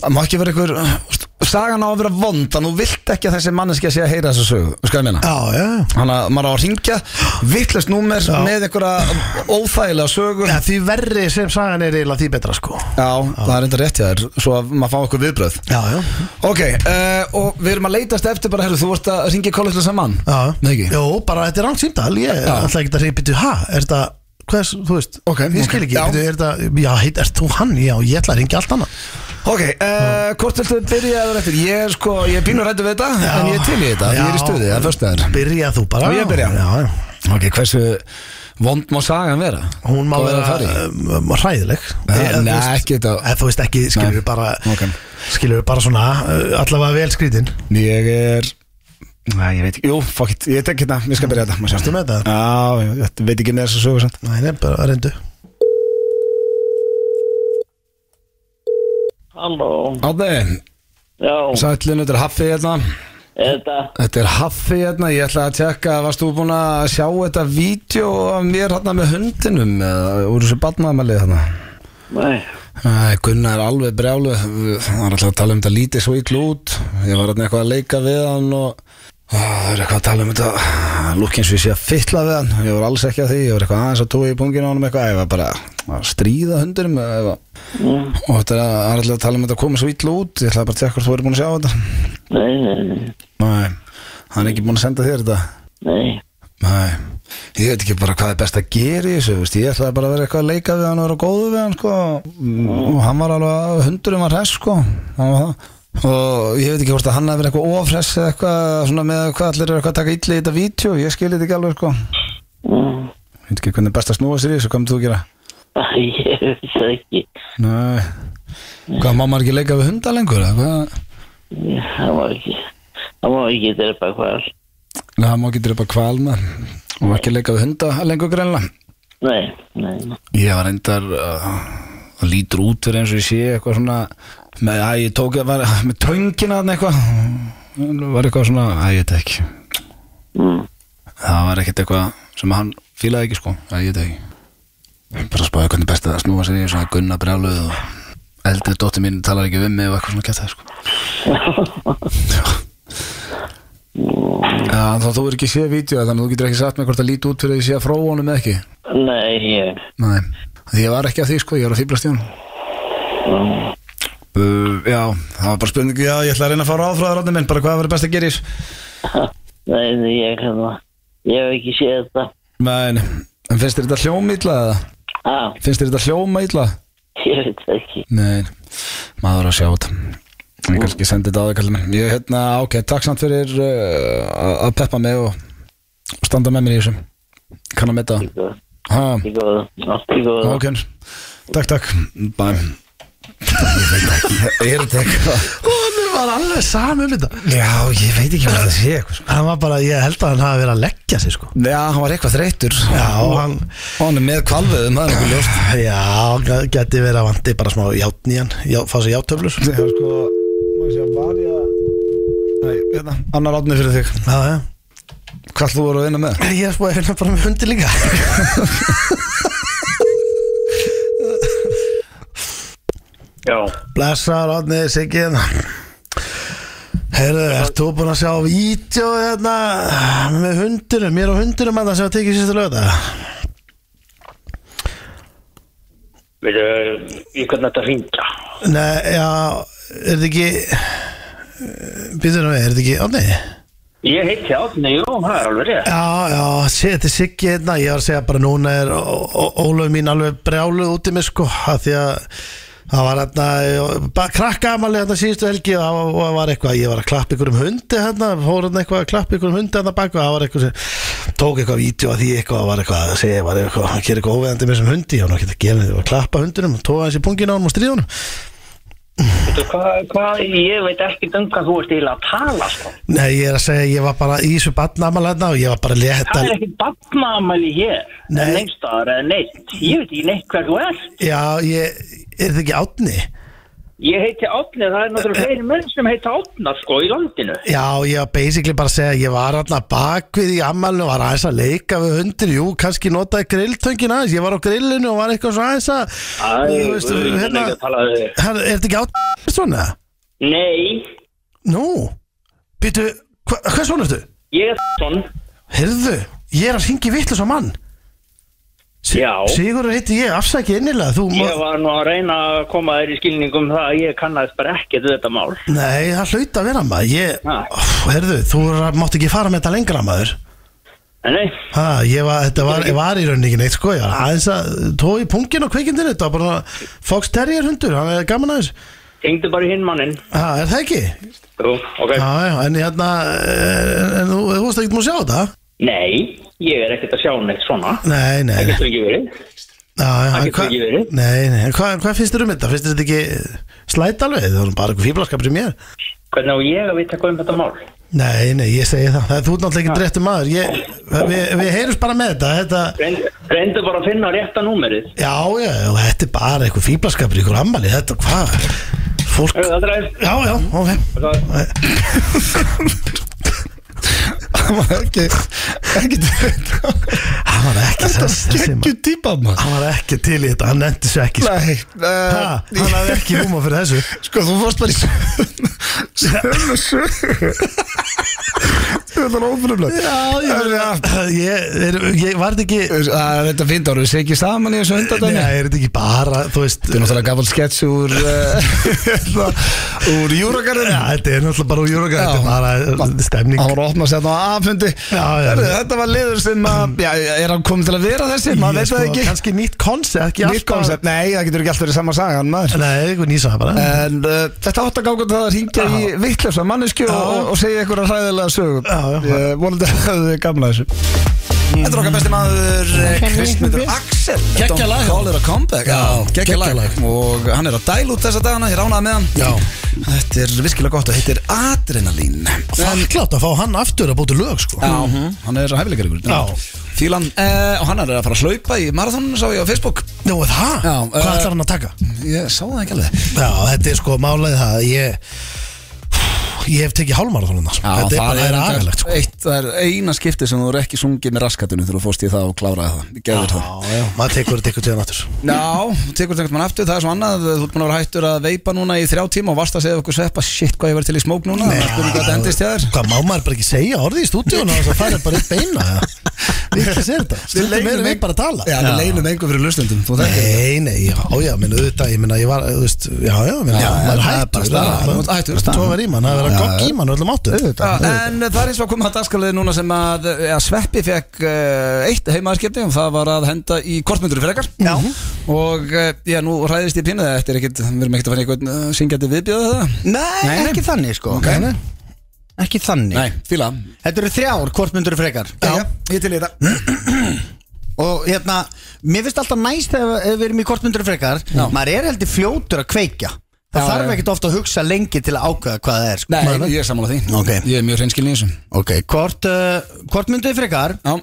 Speaker 1: það má ekki vera eitthvað sagan á að vera vond Þannig þú vilt ekki að þessi manneski sé að heyra þessu sögu Skal ég meina?
Speaker 3: Já, já, já
Speaker 1: Þannig að maður á að ringja Vittlust númer með einhverja óþægilega sögur
Speaker 3: Ja, því verri sem sagan er eiginlega því betra sko
Speaker 1: Já, það er enda rétt hjá þér Svo að maður fá okkur viðbröð
Speaker 3: Já, já
Speaker 1: Ok, uh, og við erum að leitast eftir bara Herru, þú vorst að ringja kollega sem mann
Speaker 3: Já,
Speaker 1: Nei ekki?
Speaker 3: Jó, bara þetta er rangt símdal Ég ætla ekki að segja, byrju, ha, er þetta Hvað er, þú veist,
Speaker 1: Ok,
Speaker 3: ég skil
Speaker 1: ok,
Speaker 3: ekki
Speaker 1: já.
Speaker 3: byrju, er þetta, Já, heit, ert þú hann? Já, ég ætla að ringja allt annað
Speaker 1: Ok, uh, hvort viltu byrja eða eftir? Ég er sko, ég er pínur rættu við þetta
Speaker 3: Já.
Speaker 1: En ég er til í þetta, ég er í stuði, það er föstuðar
Speaker 3: Byrja þú
Speaker 1: Á
Speaker 3: bara
Speaker 1: ég að byrja?
Speaker 3: Já, já
Speaker 1: Ok, hversu vond má sagan vera?
Speaker 3: Hún má
Speaker 1: Hvað er
Speaker 3: vera
Speaker 1: að fara í?
Speaker 3: um, hræðileg
Speaker 1: Ja,
Speaker 3: Eða, þú
Speaker 1: nei,
Speaker 3: veist-
Speaker 1: ekki þetta-
Speaker 3: eða, Þú veist ekki, skilur við bara
Speaker 1: ok.
Speaker 3: Skilur við bara svona, uh, allavega vel skrítin
Speaker 1: Ég er Nei, ég veit ekki, jú, fuck it, ég tek hérna, ég skal byrja þetta
Speaker 3: Ertu með þetta?
Speaker 1: Já, ég veit- veit ekki með þessu sögur samt
Speaker 3: Nei, nei, bara reyndu
Speaker 6: Halló,
Speaker 1: Átni,
Speaker 6: já,
Speaker 1: sælun, þetta er Haffi hérna
Speaker 6: þetta,
Speaker 1: Þetta er Haffi hérna, ég ætla að tjekka Varst þú búin að sjá þetta vídeo af mér hérna með hundinum eða úr þessu badnaðmæli hérna
Speaker 6: nei,
Speaker 1: Æ, Gunnar er alveg brjálu Það var alltaf að tala um þetta lítið svo ítlu út Ég var hérna eitthvað að leika við hann og Ó, Það er eitthvað að tala um þetta Lúk eins og ég sé að fytla við hann Ég var alls ekki að því, ég var eitthvað aðeins að tói í punginu á hann eitthvað, ég var bara að stríða hundurum eða, og þetta er að- það er alltaf að tala um þetta að koma svo ítlu út Ég ætlaði bara að tjekka hvort þú verið búin að sjá þetta
Speaker 6: nei, nei, nei,
Speaker 1: Nei, hann er ekki búin að senda þér þetta
Speaker 6: nei,
Speaker 1: Nei, ég veit ekki bara hvað er best að gera í þessu, veist, ég ætlaði bara að vera eitthvað að leika við hann og vera góðu við hann, sko og hann var alveg, hundurum var hress, sko hann var það og ég veit ekki hvort að hann hafi verið eitthvað ofress eða eitthvað, svona með hvað allir eru eitthvað að taka illi í þetta vítjó, ég skil þetta ekki alveg, sko ég
Speaker 6: mm,
Speaker 1: veit ekki hvernig er best að snúa sér í þessu, hvað myndir þú að gera?
Speaker 6: æ, ég veit það ekki,
Speaker 1: Nei, hvað má maður ekki leika við hunda lengur, eða hvað?
Speaker 6: það má ekki, það má ekki drepa hval,
Speaker 1: Nei, það má ekki drepa kvalma og ekki leika við hunda lengur greinlega
Speaker 6: nei, nei, nei,
Speaker 1: Ég var reyndar uh, það lítur út fyrir eins og ég sé eitthvað svona með að ég tók var, með töngina þarna eitthvað var eitthvað svona að ég veit það ekki
Speaker 6: mm,
Speaker 1: það var ekkert eitthvað sem hann fílaði ekki sko að ég veit það ekki bara spáði hvernig best að snúa sér í svona gunna brjáluð og eldri dóttir mín talar ekki við mig og eitthvað svona geta það sko Já, þannig að þú er ekki séð vídeo þannig að þú getur ekki sagt mig hvort það líti út fyrir að ég sé að frá honum eða ekki
Speaker 6: nei, ég,
Speaker 1: Nei, því ég var ekki að því sko, ég var að fýblast í hún Mm. uh, Já, það var bara spurning Já, ég ætla að reyna að fá ráð frá ráðnum minn Bara hvað verður best að gera í þessu
Speaker 6: nei, nei, ég hérna, ég hef ekki séð þetta,
Speaker 1: Nei, nei. en finnst þér þetta hljóma illa? eða?
Speaker 6: ha,
Speaker 1: Finnst þér þetta hljóma illa?
Speaker 6: ég veit það ekki,
Speaker 1: Nei, maður er að sjá þetta Ég kannski sendi þetta á þig kallið minn Ég, hérna, ok, takk samt fyrir uh, að- að peppa mig og og standa með mér í þessu Kann að metta
Speaker 6: ekki góð,
Speaker 1: Ha,
Speaker 6: ekki góð, ekki góð,
Speaker 1: ok, takk, takk Bæ Ég [laughs] er þetta eitthvað
Speaker 3: Hún var alveg sami um þetta
Speaker 1: Já, ég veit ekki hvað það sé eitthvað
Speaker 3: Hann var bara, ég held að hann hafi verið að leggja sig sko
Speaker 1: Já, hann var eitthvað þreytur
Speaker 3: Já, hann,
Speaker 1: Hann er með kvalveðum, það er eitthvað ljóst
Speaker 3: já, g- geti verið að vandi bara smá játn í hann, já, fá sér játtöflur
Speaker 1: Já, sko, maður sé að varja Nei, hérna, annar átni fyrir þig
Speaker 3: Já, já
Speaker 1: Hvað þú voru að [laughs] vinna með?
Speaker 3: Ég er sko að finna bara með hundi líka
Speaker 6: já,
Speaker 3: Blessaður átni, Siggi hérna Herðu, ert þú búinn að sjá vídeo hérna með hundinum, mér og hundinum að það sem að tekið sýstu lögða
Speaker 6: við, ég hvernig þetta hringja,
Speaker 3: Nei, já, er þetta ekki Býður nú við, er þetta ekki Átni?
Speaker 6: ég heiti Átni, jú, það er alveg rétt,
Speaker 3: Já, já, sé, þetta er Siggi hérna Ég var að segja bara núna er Ó- Ó- Ólöf mín alveg brjáluð út í mig sko að Því að það var hérna Krakka amalega hérna síðustu helgi og það var- var eitthvað, ég var að klappa ykkur um hundi hérna, fór hérna eitthvað að klappa ykkur um hundi hérna bak og það var eitthvað sem tók eitthvað vídeo að því eitthvað var eitthvað að segja var eitthvað, hann gerir eitthvað óveðandi með þessum hundi og hann geta gerðið, það var að klappa hundinum og tóa hans í pungin á hann og stríða hann
Speaker 6: veitu, hvað, hvað, ég veit ekki um hvað þú ert eiginlega að tala, sko,
Speaker 3: Nei, ég er að segja, ég var bara í þessu badnamalæðna og ég var bara létt
Speaker 6: Það
Speaker 3: að
Speaker 6: er ekkert barnaamæli hér
Speaker 3: Nei.
Speaker 6: Neinstar eða neitt Ég veit ekki neitt hver þú er
Speaker 3: Já, ég, er það ekki átni?
Speaker 6: Ég heiti Átni, það er náttúrulega fleiri menn sem heita Átnar sko í landinu
Speaker 3: Já, ég var basically bara að segja að ég var alltaf bakvið í ammælinu og var aðeins að leika við hundir, jú, kannski notaði grilltöngin aðeins, ég var á grillinu og var eitthvað svo aðeins að
Speaker 6: Æ,
Speaker 3: þú veist,
Speaker 6: guð, ég er
Speaker 3: hérna,
Speaker 6: ekki að tala við þig.
Speaker 3: hann, er þetta ekki átni svona?
Speaker 6: Nei,
Speaker 3: Nú, býtu, hva, hvað svona ertu?
Speaker 6: Ég er svon
Speaker 3: Heyrðu, ég er að hringi vittlis á mann Si-
Speaker 6: Já.
Speaker 3: Sigurður heiti ég, afsæki innilega Þú, ma-
Speaker 6: Ég var nú að reyna að koma þér í skilningum um það að ég kannast bara ekkert við þetta mál
Speaker 3: Nei, það hlaut að vera maður ég,
Speaker 6: Ha.
Speaker 3: Ó, Heyrðu, þú er- mátt ekki fara með þetta lengra maður
Speaker 6: En nei,
Speaker 3: ha, ég var, Þetta var, ég var í rauninni ekki neitt sko ég var aðeins að tói í pungin og kveikindinu Þetta var bara Fox Terrier hundur Hann er gaman aðeins
Speaker 6: tengdu bara í hinn mannin
Speaker 3: ha, Er það ekki?
Speaker 6: Jú, ok
Speaker 3: Já, já, en hérna eh, En þú þú veist ekki múið að sjá þetta?
Speaker 6: Nei, ég er ekkert að sjá neitt svona
Speaker 3: Nei, nei,
Speaker 6: Það
Speaker 3: nei
Speaker 6: getur ekki verið
Speaker 3: Já, já,
Speaker 6: Það
Speaker 3: en
Speaker 6: getur
Speaker 3: hvað-
Speaker 6: ekki verið.
Speaker 3: Nei, nei, en hvað hva finnst þér um þetta? Finnst þér þetta ekki slæt alveg? Það er bara eitthvað fíblaskapur sem ég er
Speaker 6: Hvernig á ég að vita hvað um þetta mál?
Speaker 3: Nei, nei, ég segi það, það er þú ert náttúrulega ekki drettum maður ég, við, við heyrjumst bara með þetta, þetta
Speaker 6: Reyndu, reyndu bara að finna rétta númerið
Speaker 3: Já, já, já, þetta er bara eitthvað fýblaskapur, eitthvað ammali, þetta, hvað Fólk,
Speaker 6: Hörðu, Það er
Speaker 3: já, já, ok
Speaker 6: það
Speaker 1: Það var ekki Ekki þetta
Speaker 3: Hann var ekki
Speaker 1: Þetta
Speaker 3: þess, þessi
Speaker 1: skeggju
Speaker 3: maður
Speaker 1: típa maður
Speaker 3: Hann var ekki til í þetta, hann nefndi sér ekki sko.
Speaker 1: Nei,
Speaker 3: ha, Hann
Speaker 1: uh,
Speaker 3: hafði ekki húma fyrir þessu
Speaker 1: sko þú fórst bara í sömu sömu [laughs] sömu Þetta er ófrumlega eh,
Speaker 3: ég, ég, er, ég var þetta ekki
Speaker 1: Þetta finnst ára, við segjum ekki saman í þessu
Speaker 3: Nei,
Speaker 1: undardanni
Speaker 3: er þetta ekki bara, þú veist
Speaker 1: Þetta er náttúrulega gafal skets úr uh, [laughs] hérna, úr júragarðinu
Speaker 3: Já, þetta er náttúrulega bara úr júraka, þetta er bara stemning
Speaker 1: Það var að opna sér þetta á aðfundi
Speaker 3: Já, já.
Speaker 1: Þetta var liður sem að já, Er hann komið til að vera þessi? Maður
Speaker 3: Ég,
Speaker 1: veit
Speaker 3: sko,
Speaker 1: það ekki
Speaker 3: Kannski nýtt koncept, ekki
Speaker 1: Nýtt koncept, nei það getur ekki alltaf verið sama sagan maður
Speaker 3: Nei, eitthvað nýsaða bara
Speaker 1: En uh, þetta átt að ganga til að hringja í vittlösa mannesku og, og segja einhverja hræðilega sögum
Speaker 3: Já, já.
Speaker 1: Ég vonandi að það er gamla þessu Þetta er okkar besti maður eh, Kristmundur Axel
Speaker 3: Geggjað lag.
Speaker 1: Don't Call it a comeback Já, geggja lag Og hann er að dæla út þessa dagana, ég ránaði með hann Já Þetta er virkilega gott og heitir Adrenalín En-
Speaker 3: Þakklátt að fá hann aftur að búti lög sko
Speaker 1: Já, Mhm. hann er hæfileikar ykkur
Speaker 3: Já.
Speaker 1: Fílan, uh, og hann er að fara að hlaupa í marathónu sá ég á Facebook
Speaker 3: Nú, er það?
Speaker 1: Já, eh,
Speaker 3: Hvað ætlar hann að taka?
Speaker 1: Ég sá það ekki alveg
Speaker 3: Já, þetta er sko málaðið það að Ég Ég hef tekið hálmarðunum sko.
Speaker 1: Já,
Speaker 3: Þetta er bara aðra agalegt sko.
Speaker 1: eitt, það er eina skipti sem þú eru ekki sungið með raskatunni þegar þú fórst í það og kláraði það, gerðir það
Speaker 3: Já, já, maður tekur þetta eitthvað tíðan aftur
Speaker 1: Já, þú tekur þetta einhvern veginn aftur, það er svo annað þú ert búin að vera hættur að veipa núna í þrjá tíma og varst að segja okkur sveppa, shit hvað ég var til í smók núna það er spurning hvað þetta endist hjá þér
Speaker 3: Hvað, má maður bara ekki segja orðið í stúdíun og það er bara upp
Speaker 1: [laughs]
Speaker 3: beina eða? Við ekki að segja þetta Stundum erum við bara að tala
Speaker 1: Já, við leynum einhver fyrir hlustundum, þú þekkir
Speaker 3: Nei, nei, já, já, minn auðvitað, ég minna, ég var, þú veist, já, já, minna,
Speaker 1: Já,
Speaker 3: maður
Speaker 1: það er
Speaker 3: er
Speaker 1: bara
Speaker 3: hættur,
Speaker 1: staðan, þú ert hættur, staðan.
Speaker 3: tóðar í mann, það er að vera gogg í mann, öllum áttu,
Speaker 1: Já, en það er eins og að koma að dagskaliði núna sem að ja, Sveppi fekk uh, eitt heimaðarskipni og það var að henda í kortmyndur fyrir ekkar já.
Speaker 2: Mhm.
Speaker 1: og uh, já, nú ræðist ég pínu það þetta er ekkit, við erum ekkit að fara í einhvern uh, syngjandi viðbjöðu það
Speaker 2: Nei,
Speaker 1: Nei, nei.
Speaker 2: ekki þannig sko
Speaker 1: Ok.
Speaker 2: Ekki þannig
Speaker 1: Nei, fíla
Speaker 2: Þetta eru þrjár, hvort myndur frekar
Speaker 1: ég til í þetta
Speaker 2: Og hérna, mér finnst alltaf næst ef, ef við erum í kortmyndur frekar
Speaker 1: Já.
Speaker 2: Maður er heldur fljótur að kveikja Það
Speaker 1: Já,
Speaker 2: þarf
Speaker 1: já.
Speaker 2: ekkert ofta að hugsa lengi til að ákveða hvað það er sko.
Speaker 1: Nei,
Speaker 2: Maður-
Speaker 1: ég er sammála því
Speaker 2: Ok.
Speaker 1: Ég er mjög hreinskilin í þessu Mhm.
Speaker 2: Ok, hvort, uh, hvort myndu frekar
Speaker 1: Já,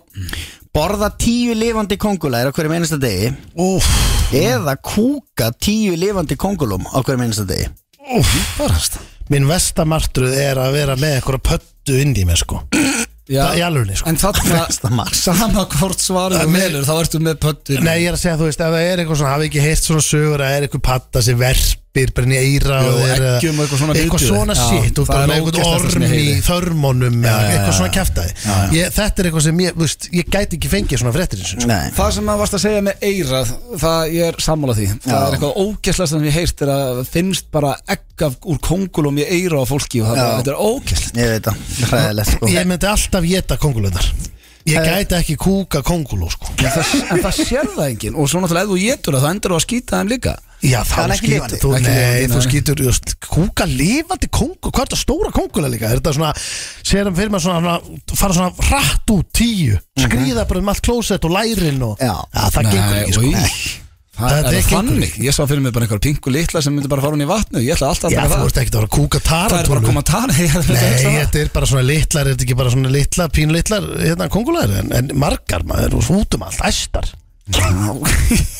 Speaker 2: Borða tíu lifandi kongulæðir á hverjum einasta degi
Speaker 3: úf,
Speaker 2: Eða kúka tíu lifandi kongulum á hverjum einasta degi
Speaker 3: úf, minn vestamartruð er að vera með eitthvað pöttu inn í mér, sko,
Speaker 1: já.
Speaker 3: það er alveg, sko.
Speaker 1: En
Speaker 2: Næsta
Speaker 1: þarna,
Speaker 2: mark.
Speaker 1: sama hvort svarið þú meilur, þá ertu með pöttur
Speaker 3: Nei, ég er að segja, þú veist, ef það er eitthvað svona, hafi ekki heyrt svona sögur, að er eitthvað patta sem verpir, brenni eira
Speaker 1: Jú,
Speaker 3: og er
Speaker 1: eggjum og eitthvað svona
Speaker 3: eitthvað
Speaker 1: viðbjóður.
Speaker 3: svona
Speaker 1: Já,
Speaker 3: shit, þú
Speaker 1: það er
Speaker 3: bara með
Speaker 1: ógeðslegt það
Speaker 3: eitthvað
Speaker 1: sem ég
Speaker 3: orm í
Speaker 1: heyri.
Speaker 3: þörmónum eða
Speaker 1: já,
Speaker 3: eitthvað svona
Speaker 1: já.
Speaker 3: kæftæði. Ég- Þetta er eitthvað sem ég, þú veist, ég gæti ekki fengið svona fréttir eins og sko.
Speaker 2: Nei
Speaker 1: Það sem maður varst að segja með eira Það ég er sammála því Það
Speaker 2: Já.
Speaker 1: er eitthvað ógæslega sem ég heirt er að finnst bara egg af úr kongulum í eira á fólki og það
Speaker 2: Já.
Speaker 1: þetta er ógæslega
Speaker 2: Ég veit það, hræðilegt sko
Speaker 3: Ég myndi alltaf geta kongulöðar Ég
Speaker 1: Eh.
Speaker 3: gæti ekki kúka konguló sko
Speaker 1: en, það- en það sér það enginn og svo náttúrulega ef þú getur það þá endur þú að skýta þeim líka
Speaker 3: Já
Speaker 2: Það
Speaker 3: þá
Speaker 2: er ekki
Speaker 3: skýtur
Speaker 2: lifandi.
Speaker 3: þú
Speaker 1: Ekki
Speaker 3: Nei
Speaker 1: lifandi,
Speaker 3: þú
Speaker 1: nei.
Speaker 3: skýtur just, Kúka lifandi konguló Hvað er þetta stóra konguló líka Er þetta svona Sér hann fyrir maður svona, svona Fara svona rætt út tíu
Speaker 1: Mhm.
Speaker 3: Skrýða bara um allt klósett og lærin og
Speaker 2: Já.
Speaker 3: það gengur ekki sko
Speaker 1: oj. Það
Speaker 3: Þetta
Speaker 1: er
Speaker 3: gengur
Speaker 1: þannig, ég sá fyrir mig bara einhver pingu litla sem myndi bara fara hún í vatnu, ég ætla alltaf að
Speaker 3: Já
Speaker 1: taka
Speaker 3: þú
Speaker 1: það
Speaker 3: ert ekki að fara að kúka
Speaker 1: Það er bara að
Speaker 3: taratúlum
Speaker 1: koma að tana [laughs] Nei,
Speaker 3: Nei, þetta er bara svona litlar, er þetta ekki bara svona litlar, pínlitlar, hérna, kongulæður, en, en margar maður, og svo út um allt, æstar.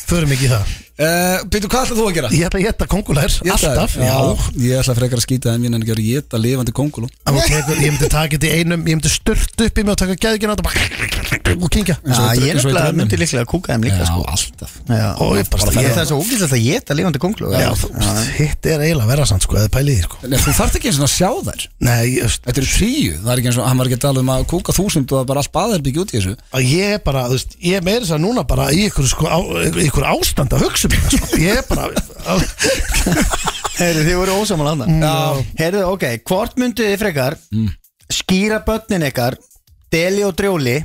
Speaker 3: Förum ekki í það.
Speaker 1: uh, Býtu, hvað ætlað þú að gera?
Speaker 3: Ég ætla að geta kongulær,
Speaker 1: Éta þær?
Speaker 3: alltaf Já,
Speaker 1: Ég ætla frekar að skýta þeim inn en að gera geta lifandi kongulum
Speaker 3: Ef þú tekur, Ég myndi taka þetta í einum Ég myndi stört upp í mig og taka gæðikinn á þetta bara- og kingja
Speaker 1: Eins og í dra-
Speaker 2: ég
Speaker 1: eins og í
Speaker 2: nefnilega
Speaker 1: draumnum.
Speaker 2: myndi líklega að kúka þeim líka
Speaker 1: Já,
Speaker 2: sko.
Speaker 1: alltaf
Speaker 2: Já,
Speaker 3: Og ég bara-
Speaker 2: það
Speaker 3: ég-
Speaker 2: er það svo ógæðilegt að geta lífandi konglu
Speaker 3: Já, þú veist, hitt er eiginlega verra samt sko, eða pælið í því, sko
Speaker 1: Nei, Þú þarft ekki eins og að sjá þær
Speaker 3: Nei, ég, veist,
Speaker 1: Þetta eru tríu, það er ekki eins og hann var ekki að tala um að kúka þúsund og það er bara allt baðherbyggja út í þessu
Speaker 3: að ég er bara, þú veist, ég er meira þess að núna bara í ykkur, sko, á, ykkur ástand að hugsa um þetta, sko Ég er bara, [laughs] að,
Speaker 2: Heyrðu, þið voru ósamal andan
Speaker 1: Já.
Speaker 2: Heyrðu, ok, hvort myndu þið frekar skýra börnin ykkar deli og drjóli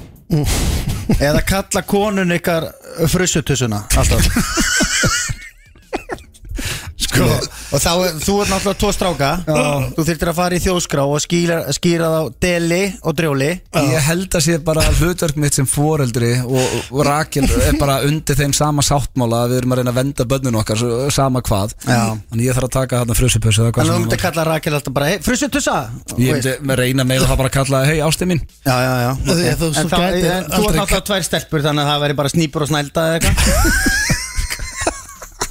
Speaker 2: eða kalla konun ykkar frussutussuna alltaf Sko, og þá, er- þú ert náttúrulega tvo stráka þú þyrftir að fara í þjóðskrá og skýra, skýra þá deli og drjóli
Speaker 1: Ég held að sé bara hlutverk mitt sem foreldri og, og rakin er bara undir þeim sama sáttmála að við erum að reyna að venda bönnun okkar s- sama hvað
Speaker 2: Já.
Speaker 1: Þannig ég þarf að taka þarna frusupössu eða hvað
Speaker 2: Þannig að þú
Speaker 1: sem
Speaker 2: myndi
Speaker 1: það
Speaker 2: að kalla Rakel alltaf bara hey, Frussutussa
Speaker 1: var Ég myndi með reyna meira það bara að kalla hei ástið mín
Speaker 2: Já, já, já ok.
Speaker 3: Þú- þú-
Speaker 2: En
Speaker 3: þú
Speaker 2: það-
Speaker 3: gætir
Speaker 2: en þú
Speaker 3: aldrei
Speaker 2: ert náttúrulega tvær stelpur þannig að það væri bara snýpur og snælda eða eitthvað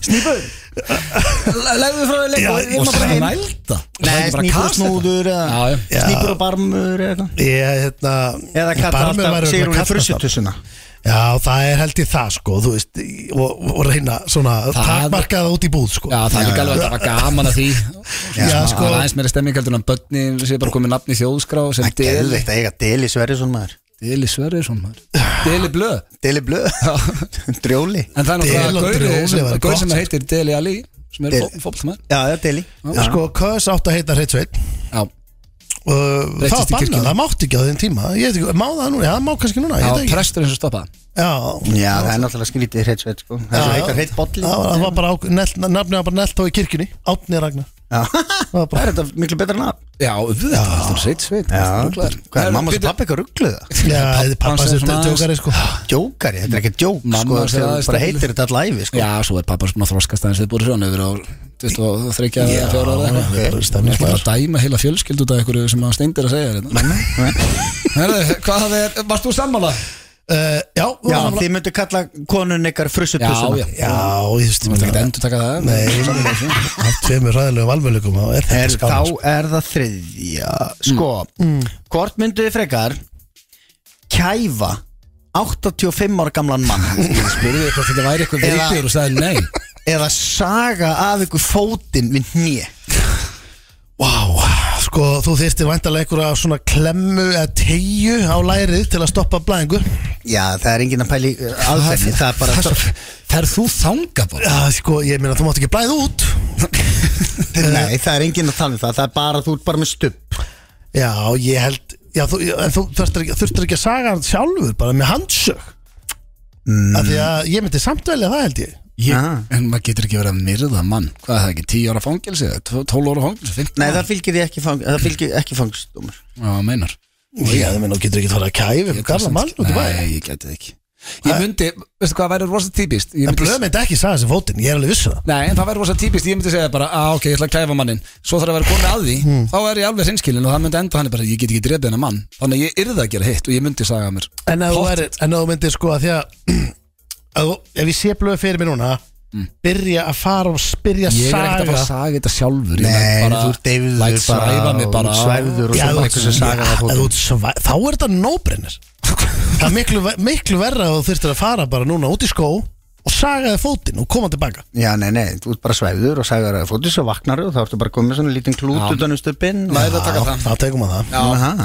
Speaker 2: Snýpur?
Speaker 1: Legðu frá þig
Speaker 3: Já,
Speaker 1: leik
Speaker 3: og
Speaker 1: og
Speaker 3: snælda.
Speaker 1: snælda
Speaker 2: Nei, snýpur og snúður eða
Speaker 1: Já, já.
Speaker 2: snýpur og barmur eða eitthvað
Speaker 3: ég, hérna
Speaker 2: Eða kalla
Speaker 3: barmur væri
Speaker 2: alltaf
Speaker 3: örugglega
Speaker 2: Sigrúni
Speaker 3: kallast alltaf.
Speaker 2: Frussutussuna
Speaker 3: Já, það er held í það, sko, þú veist í- og, og reyna svona, takmarkaða út í búð, sko
Speaker 1: Já, það er líka alveg að það var gaman að því Já,
Speaker 3: Já,
Speaker 1: sko
Speaker 3: sko.
Speaker 1: Það er aðeins meira stemming heldur en að börnin sé bara komið nafn í þjóðskrá sem
Speaker 2: Það gerði
Speaker 1: Deli
Speaker 2: þetta eiga Deli Sverrisson maður
Speaker 1: Deli Sverriðsson maður Deli Blöð
Speaker 2: Deli Blöð [laughs] Drjóli
Speaker 1: En það er
Speaker 3: Del og
Speaker 1: náttúrulega
Speaker 3: Drjóli
Speaker 1: gaur sem,
Speaker 3: væri
Speaker 1: gaur
Speaker 3: gott.
Speaker 1: sem heitir Deli Ali sem er
Speaker 2: Del-
Speaker 1: fólksmaður
Speaker 2: Já, já, Deli
Speaker 3: Já, sko, kös átt að heita Hreitsveit
Speaker 1: Já,
Speaker 3: og það
Speaker 1: Breyttist
Speaker 3: var
Speaker 1: í kirkjunni.
Speaker 3: bannað, það mátti ekki á þeim tíma ég veit ekki, má það núna, já, það má kannski núna
Speaker 1: já
Speaker 3: ég veit ekki.
Speaker 1: prestur eins og stoppa
Speaker 3: já,
Speaker 2: Já, það er náttúrulega skrítið hreitt sveit sko Það
Speaker 3: Já,
Speaker 2: er svo
Speaker 3: já.
Speaker 2: eitthvað hreitt bolli
Speaker 3: það var, það var bara, á- nelt- nafnið var bara nelt á í kirkjunni Átni Ragnar
Speaker 2: Já. [laughs]
Speaker 3: var
Speaker 1: [laughs]
Speaker 2: Það er þetta miklu betra nafn
Speaker 1: Já, auðvitað, þetta er sveit sveit
Speaker 2: Hvað er mamma sem pappi eitthvað ruggluða?
Speaker 3: já, þið
Speaker 1: hans
Speaker 3: pappa
Speaker 1: er
Speaker 3: sem
Speaker 1: svona
Speaker 3: tjókari, sko
Speaker 2: Jókari, þetta er ekki jók
Speaker 1: Mamma
Speaker 2: sko,
Speaker 1: sem
Speaker 2: þegar
Speaker 1: aðeins
Speaker 2: þú bara
Speaker 1: stelpur.
Speaker 2: heitir þetta allæfi sko.
Speaker 1: Já, svo er pappa svona þroskast aðeins við búið svona yfir á 23 eða 4 ára eða
Speaker 3: það er bara
Speaker 1: Það er ekki að
Speaker 3: stemningsmaður.
Speaker 1: dæma heila fjölskyld út af ykkur sem að steindir að segja þetta Hvað er, varst þú sammála?
Speaker 3: Eh, já,
Speaker 2: Já,
Speaker 3: já,
Speaker 2: þið myndu kalla konun ykkar
Speaker 1: Já,
Speaker 2: frussutussuna
Speaker 1: já,
Speaker 3: já, ég veist
Speaker 1: þú
Speaker 3: ég
Speaker 1: mátt ekki
Speaker 3: meina,
Speaker 1: endur taka það
Speaker 3: nei, af tveimur ræðilegum almöðlegum þá er þetta
Speaker 2: er,
Speaker 3: skála,
Speaker 2: Þá
Speaker 3: sko.
Speaker 2: er það þriðja Sko, hvort myndu þið frekar kæfa 85 ára gamlan mann
Speaker 1: [laughs] Ég spurði þig hvort þetta væri eitthvað
Speaker 2: Eða-
Speaker 1: veikur og sagði nei
Speaker 2: eða saga af ykkur fótinn við hnið
Speaker 3: Vá, sko, þú þyrftir væntalega einhverja svona klemmu eða tegju á lærið til að stoppa blæðingu
Speaker 2: Já, það er enginn að pæli aðferðni Það er bara
Speaker 1: Ferð þú þanga bara?
Speaker 3: Já, sko, ég meina, þú mátt ekki blæða út
Speaker 2: Nei, það er enginn að tala um það Það er bara, þú ert bara með stupp
Speaker 3: Já, ég held Já, þú, en þú þurftir ekki, þurftir ekki að saga hann sjálfur bara með handsög mm. af því að ég myndi samt velja það held ég
Speaker 2: Ah.
Speaker 1: Ég, en maður getur ekki verið að myrða mann Hvað er það ekki, 10 ára fangilsi, 12 ára fangilsi 15
Speaker 2: Nei,
Speaker 1: ára,
Speaker 2: það fylgir því ekki, fang, það fylgir ekki fangstumur
Speaker 1: Já, meinar
Speaker 3: Já, það meina, þú getur ekki að fara að kæfi með gamla mann út í bæ
Speaker 1: Nei, ég geti það ekki Ég myndi, veistu hvað, það væri rosa típist Ég
Speaker 3: En
Speaker 1: myndi-
Speaker 3: blöð myndi ekki saga sem fótinn, ég er alveg vissu það
Speaker 1: Nei, en það væri rosa típist, ég myndi segja bara að ok, ég ætla að kæfa mannin, svo þarf að vera komið að því þá er ég alveg sinnskilin og það myndi enda hann bara, ég get ekki drefið hennar mann, þannig að ég yrði að gera hitt og ég myndi saga mér
Speaker 3: En ef þú
Speaker 1: Hot.
Speaker 3: værir- en ef þú myndir sko að því að [clears throat] að þú- ef ég sé blöð fyrir mig núna byrja að fara og spyrja
Speaker 1: Ég er ekkert að fara
Speaker 3: saga
Speaker 1: að saga þetta sjálfur ég
Speaker 2: Nei,
Speaker 1: læt bara-
Speaker 2: þú ert deyfður
Speaker 1: læt
Speaker 2: bara
Speaker 1: svæfa mig
Speaker 2: og
Speaker 1: bara
Speaker 2: svæfður og
Speaker 3: Já,
Speaker 2: svo
Speaker 3: þú ert-
Speaker 2: bara einhver sem sagar
Speaker 3: já,
Speaker 2: það fótum.
Speaker 3: ef þú ert svæ- þá er þetta nóbrennir það er miklu, ver- miklu verra að þú þurftir að fara bara núna út í skó og saga þig fótinn og koma tilbaka
Speaker 2: Já, nei, nei, þú ert bara svæður og sagar að fótið svo vaknar og þá ertu bara komið með svona lítinn klút
Speaker 1: Já.
Speaker 2: utan um stuppin
Speaker 1: Maður er að taka það
Speaker 3: þá tekum maður það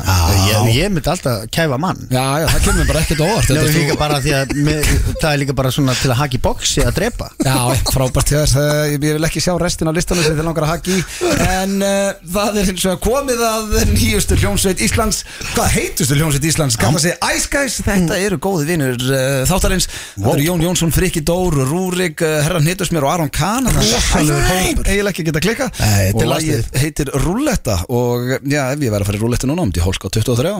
Speaker 2: Ég, ég myndi alltaf kæfa mann
Speaker 1: Já, já, það kemur mér bara ekkert á óvart Þetta
Speaker 2: Það er
Speaker 1: er
Speaker 2: líka
Speaker 1: þú-
Speaker 2: bara því að með, það er líka bara svona til að haki boxi að drepa
Speaker 1: Já, frábært hjá þess, eh, ég ég vil ekki sjá restin af listanum sem þið langar að haki En uh, það er eins og komið að nýjustu hljómsveit Íslands Hvað heitustu hljómsveit Íslands? Kalla sig Ice Guys, þetta eru góði vinur uh, þáttarins Þetta eru Jón Jónsson, Friki Dór, Rúrik, uh, Herran Hittusmér og Aron Kahn Það er
Speaker 3: Rosalegur hópur.
Speaker 1: eiginlega ekki að geta klika
Speaker 3: Nei, þetta er
Speaker 1: Og lagið heitir Rúletta Og já, ef ég væri að fara í Rúletta núna, um til hólska 23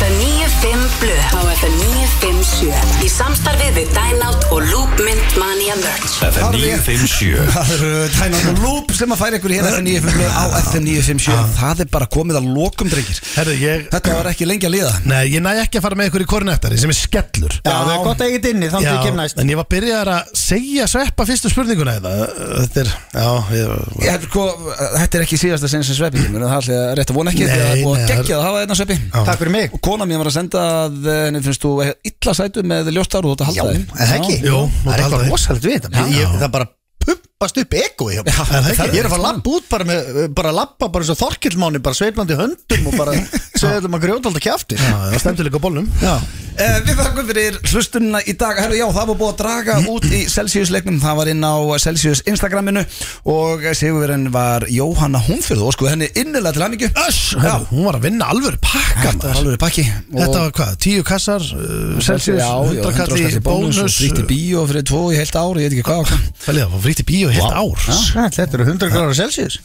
Speaker 5: FM 95 Blu á FM 957 í samstarfið við Dynout og Loop Mint Mania Merch
Speaker 7: FM
Speaker 1: Það er rétt.
Speaker 7: 957
Speaker 1: Það eru Tænan og Loop sem að færa ykkur hér FM 957 á FM 957 Það er bara komið að lokum drengir
Speaker 3: Herðu, ég
Speaker 1: Þetta var ekki lengi að liða
Speaker 3: Nei, ég næ ekki að fara með ykkur í kornettari sem er skellur
Speaker 2: Já, það er gott að ekkert inni, þannig að ég kem næst
Speaker 3: en ég var byrjaðar að segja sveppa fyrstu spurninguna eða, þetta er, já, ég,
Speaker 1: Ég, sko, þetta er ekki síðasta sen sem sveppi kemur en Það er alltaf rétt að vona ekki
Speaker 3: Nei,
Speaker 1: Það er búið
Speaker 3: nei,
Speaker 1: að
Speaker 3: það er-
Speaker 1: gegja það að hafa einna sveppi
Speaker 2: Takk fyrir mig
Speaker 1: Og kona mér var að senda að eh, henni finnst þú illa sætu með ljóstar og þú átt að
Speaker 2: Já,
Speaker 1: halda
Speaker 2: er
Speaker 1: þig.
Speaker 2: það ekki?
Speaker 3: Jú,
Speaker 2: það er
Speaker 3: og
Speaker 2: eitthvað
Speaker 3: taldi.
Speaker 2: rosalegt við þetta Ég- ég- Það bara pumpast upp ego hjá mér.
Speaker 3: er það ekki?
Speaker 2: Ég er að fara að labba út bara með bara að labba bara eins og þorkillmáni bara sveiflandi höndum og
Speaker 3: [laughs]
Speaker 2: bara sveiflum að grjóta alltaf kjafti
Speaker 3: já, það stendur líka á bollum
Speaker 2: Já,
Speaker 1: Eh, Við þakkum fyrir hlustunina í dag Herru, já, það var búið að draga út í Celsius leiknum Það var inn á Celsius Instagraminu Og sigurverðin var Jóhanna Húnfjörð Og sko henni innilega til hamingju
Speaker 3: Öss, herru, hún var að vinna alvöru pakka
Speaker 1: Þetta var alveg pakki
Speaker 3: Þetta var hvað, tíu kassar, uh, Celsius, hundrakalli, bónus
Speaker 1: Frítti bíó fyrir tvo í heilt ár Ég veit ekki hvað og hvað
Speaker 3: Fælið, það var frítt í bíó heilt ár
Speaker 2: Sæll, þetta eru 100 gráður Celsius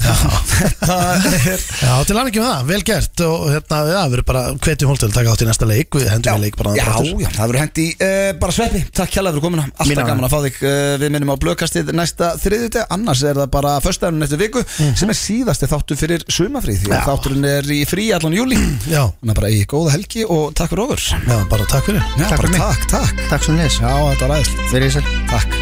Speaker 1: Það er
Speaker 3: [laughs] Já, til hann ekki með það, vel gert og hérna, já, við erum bara hvetjum hóltel taka átt í næsta leik, við hendum í leik bara
Speaker 1: já,
Speaker 3: bara aftur.
Speaker 1: já, það verður hengt í uh, bara sveppi, takk hjá fyrir komuna alltaf
Speaker 2: Mín ánægja.
Speaker 1: gaman að fá þig, uh, við minnum á blökastið næsta þriðjuteg, annars er það bara förstæðunum næstu viku, sem er síðasti þáttu fyrir sumafríð, því að þátturinn er í frí allan júli,
Speaker 3: Já.
Speaker 1: þannig að bara í góða helgi og takk fyrir ofur, já,
Speaker 3: Já, bara takk fyrir
Speaker 1: bara
Speaker 2: fyrir mig.
Speaker 1: takk, takk
Speaker 2: Takk sem leys
Speaker 1: já, þetta var aðeinslitt,
Speaker 2: Verið sér
Speaker 1: takk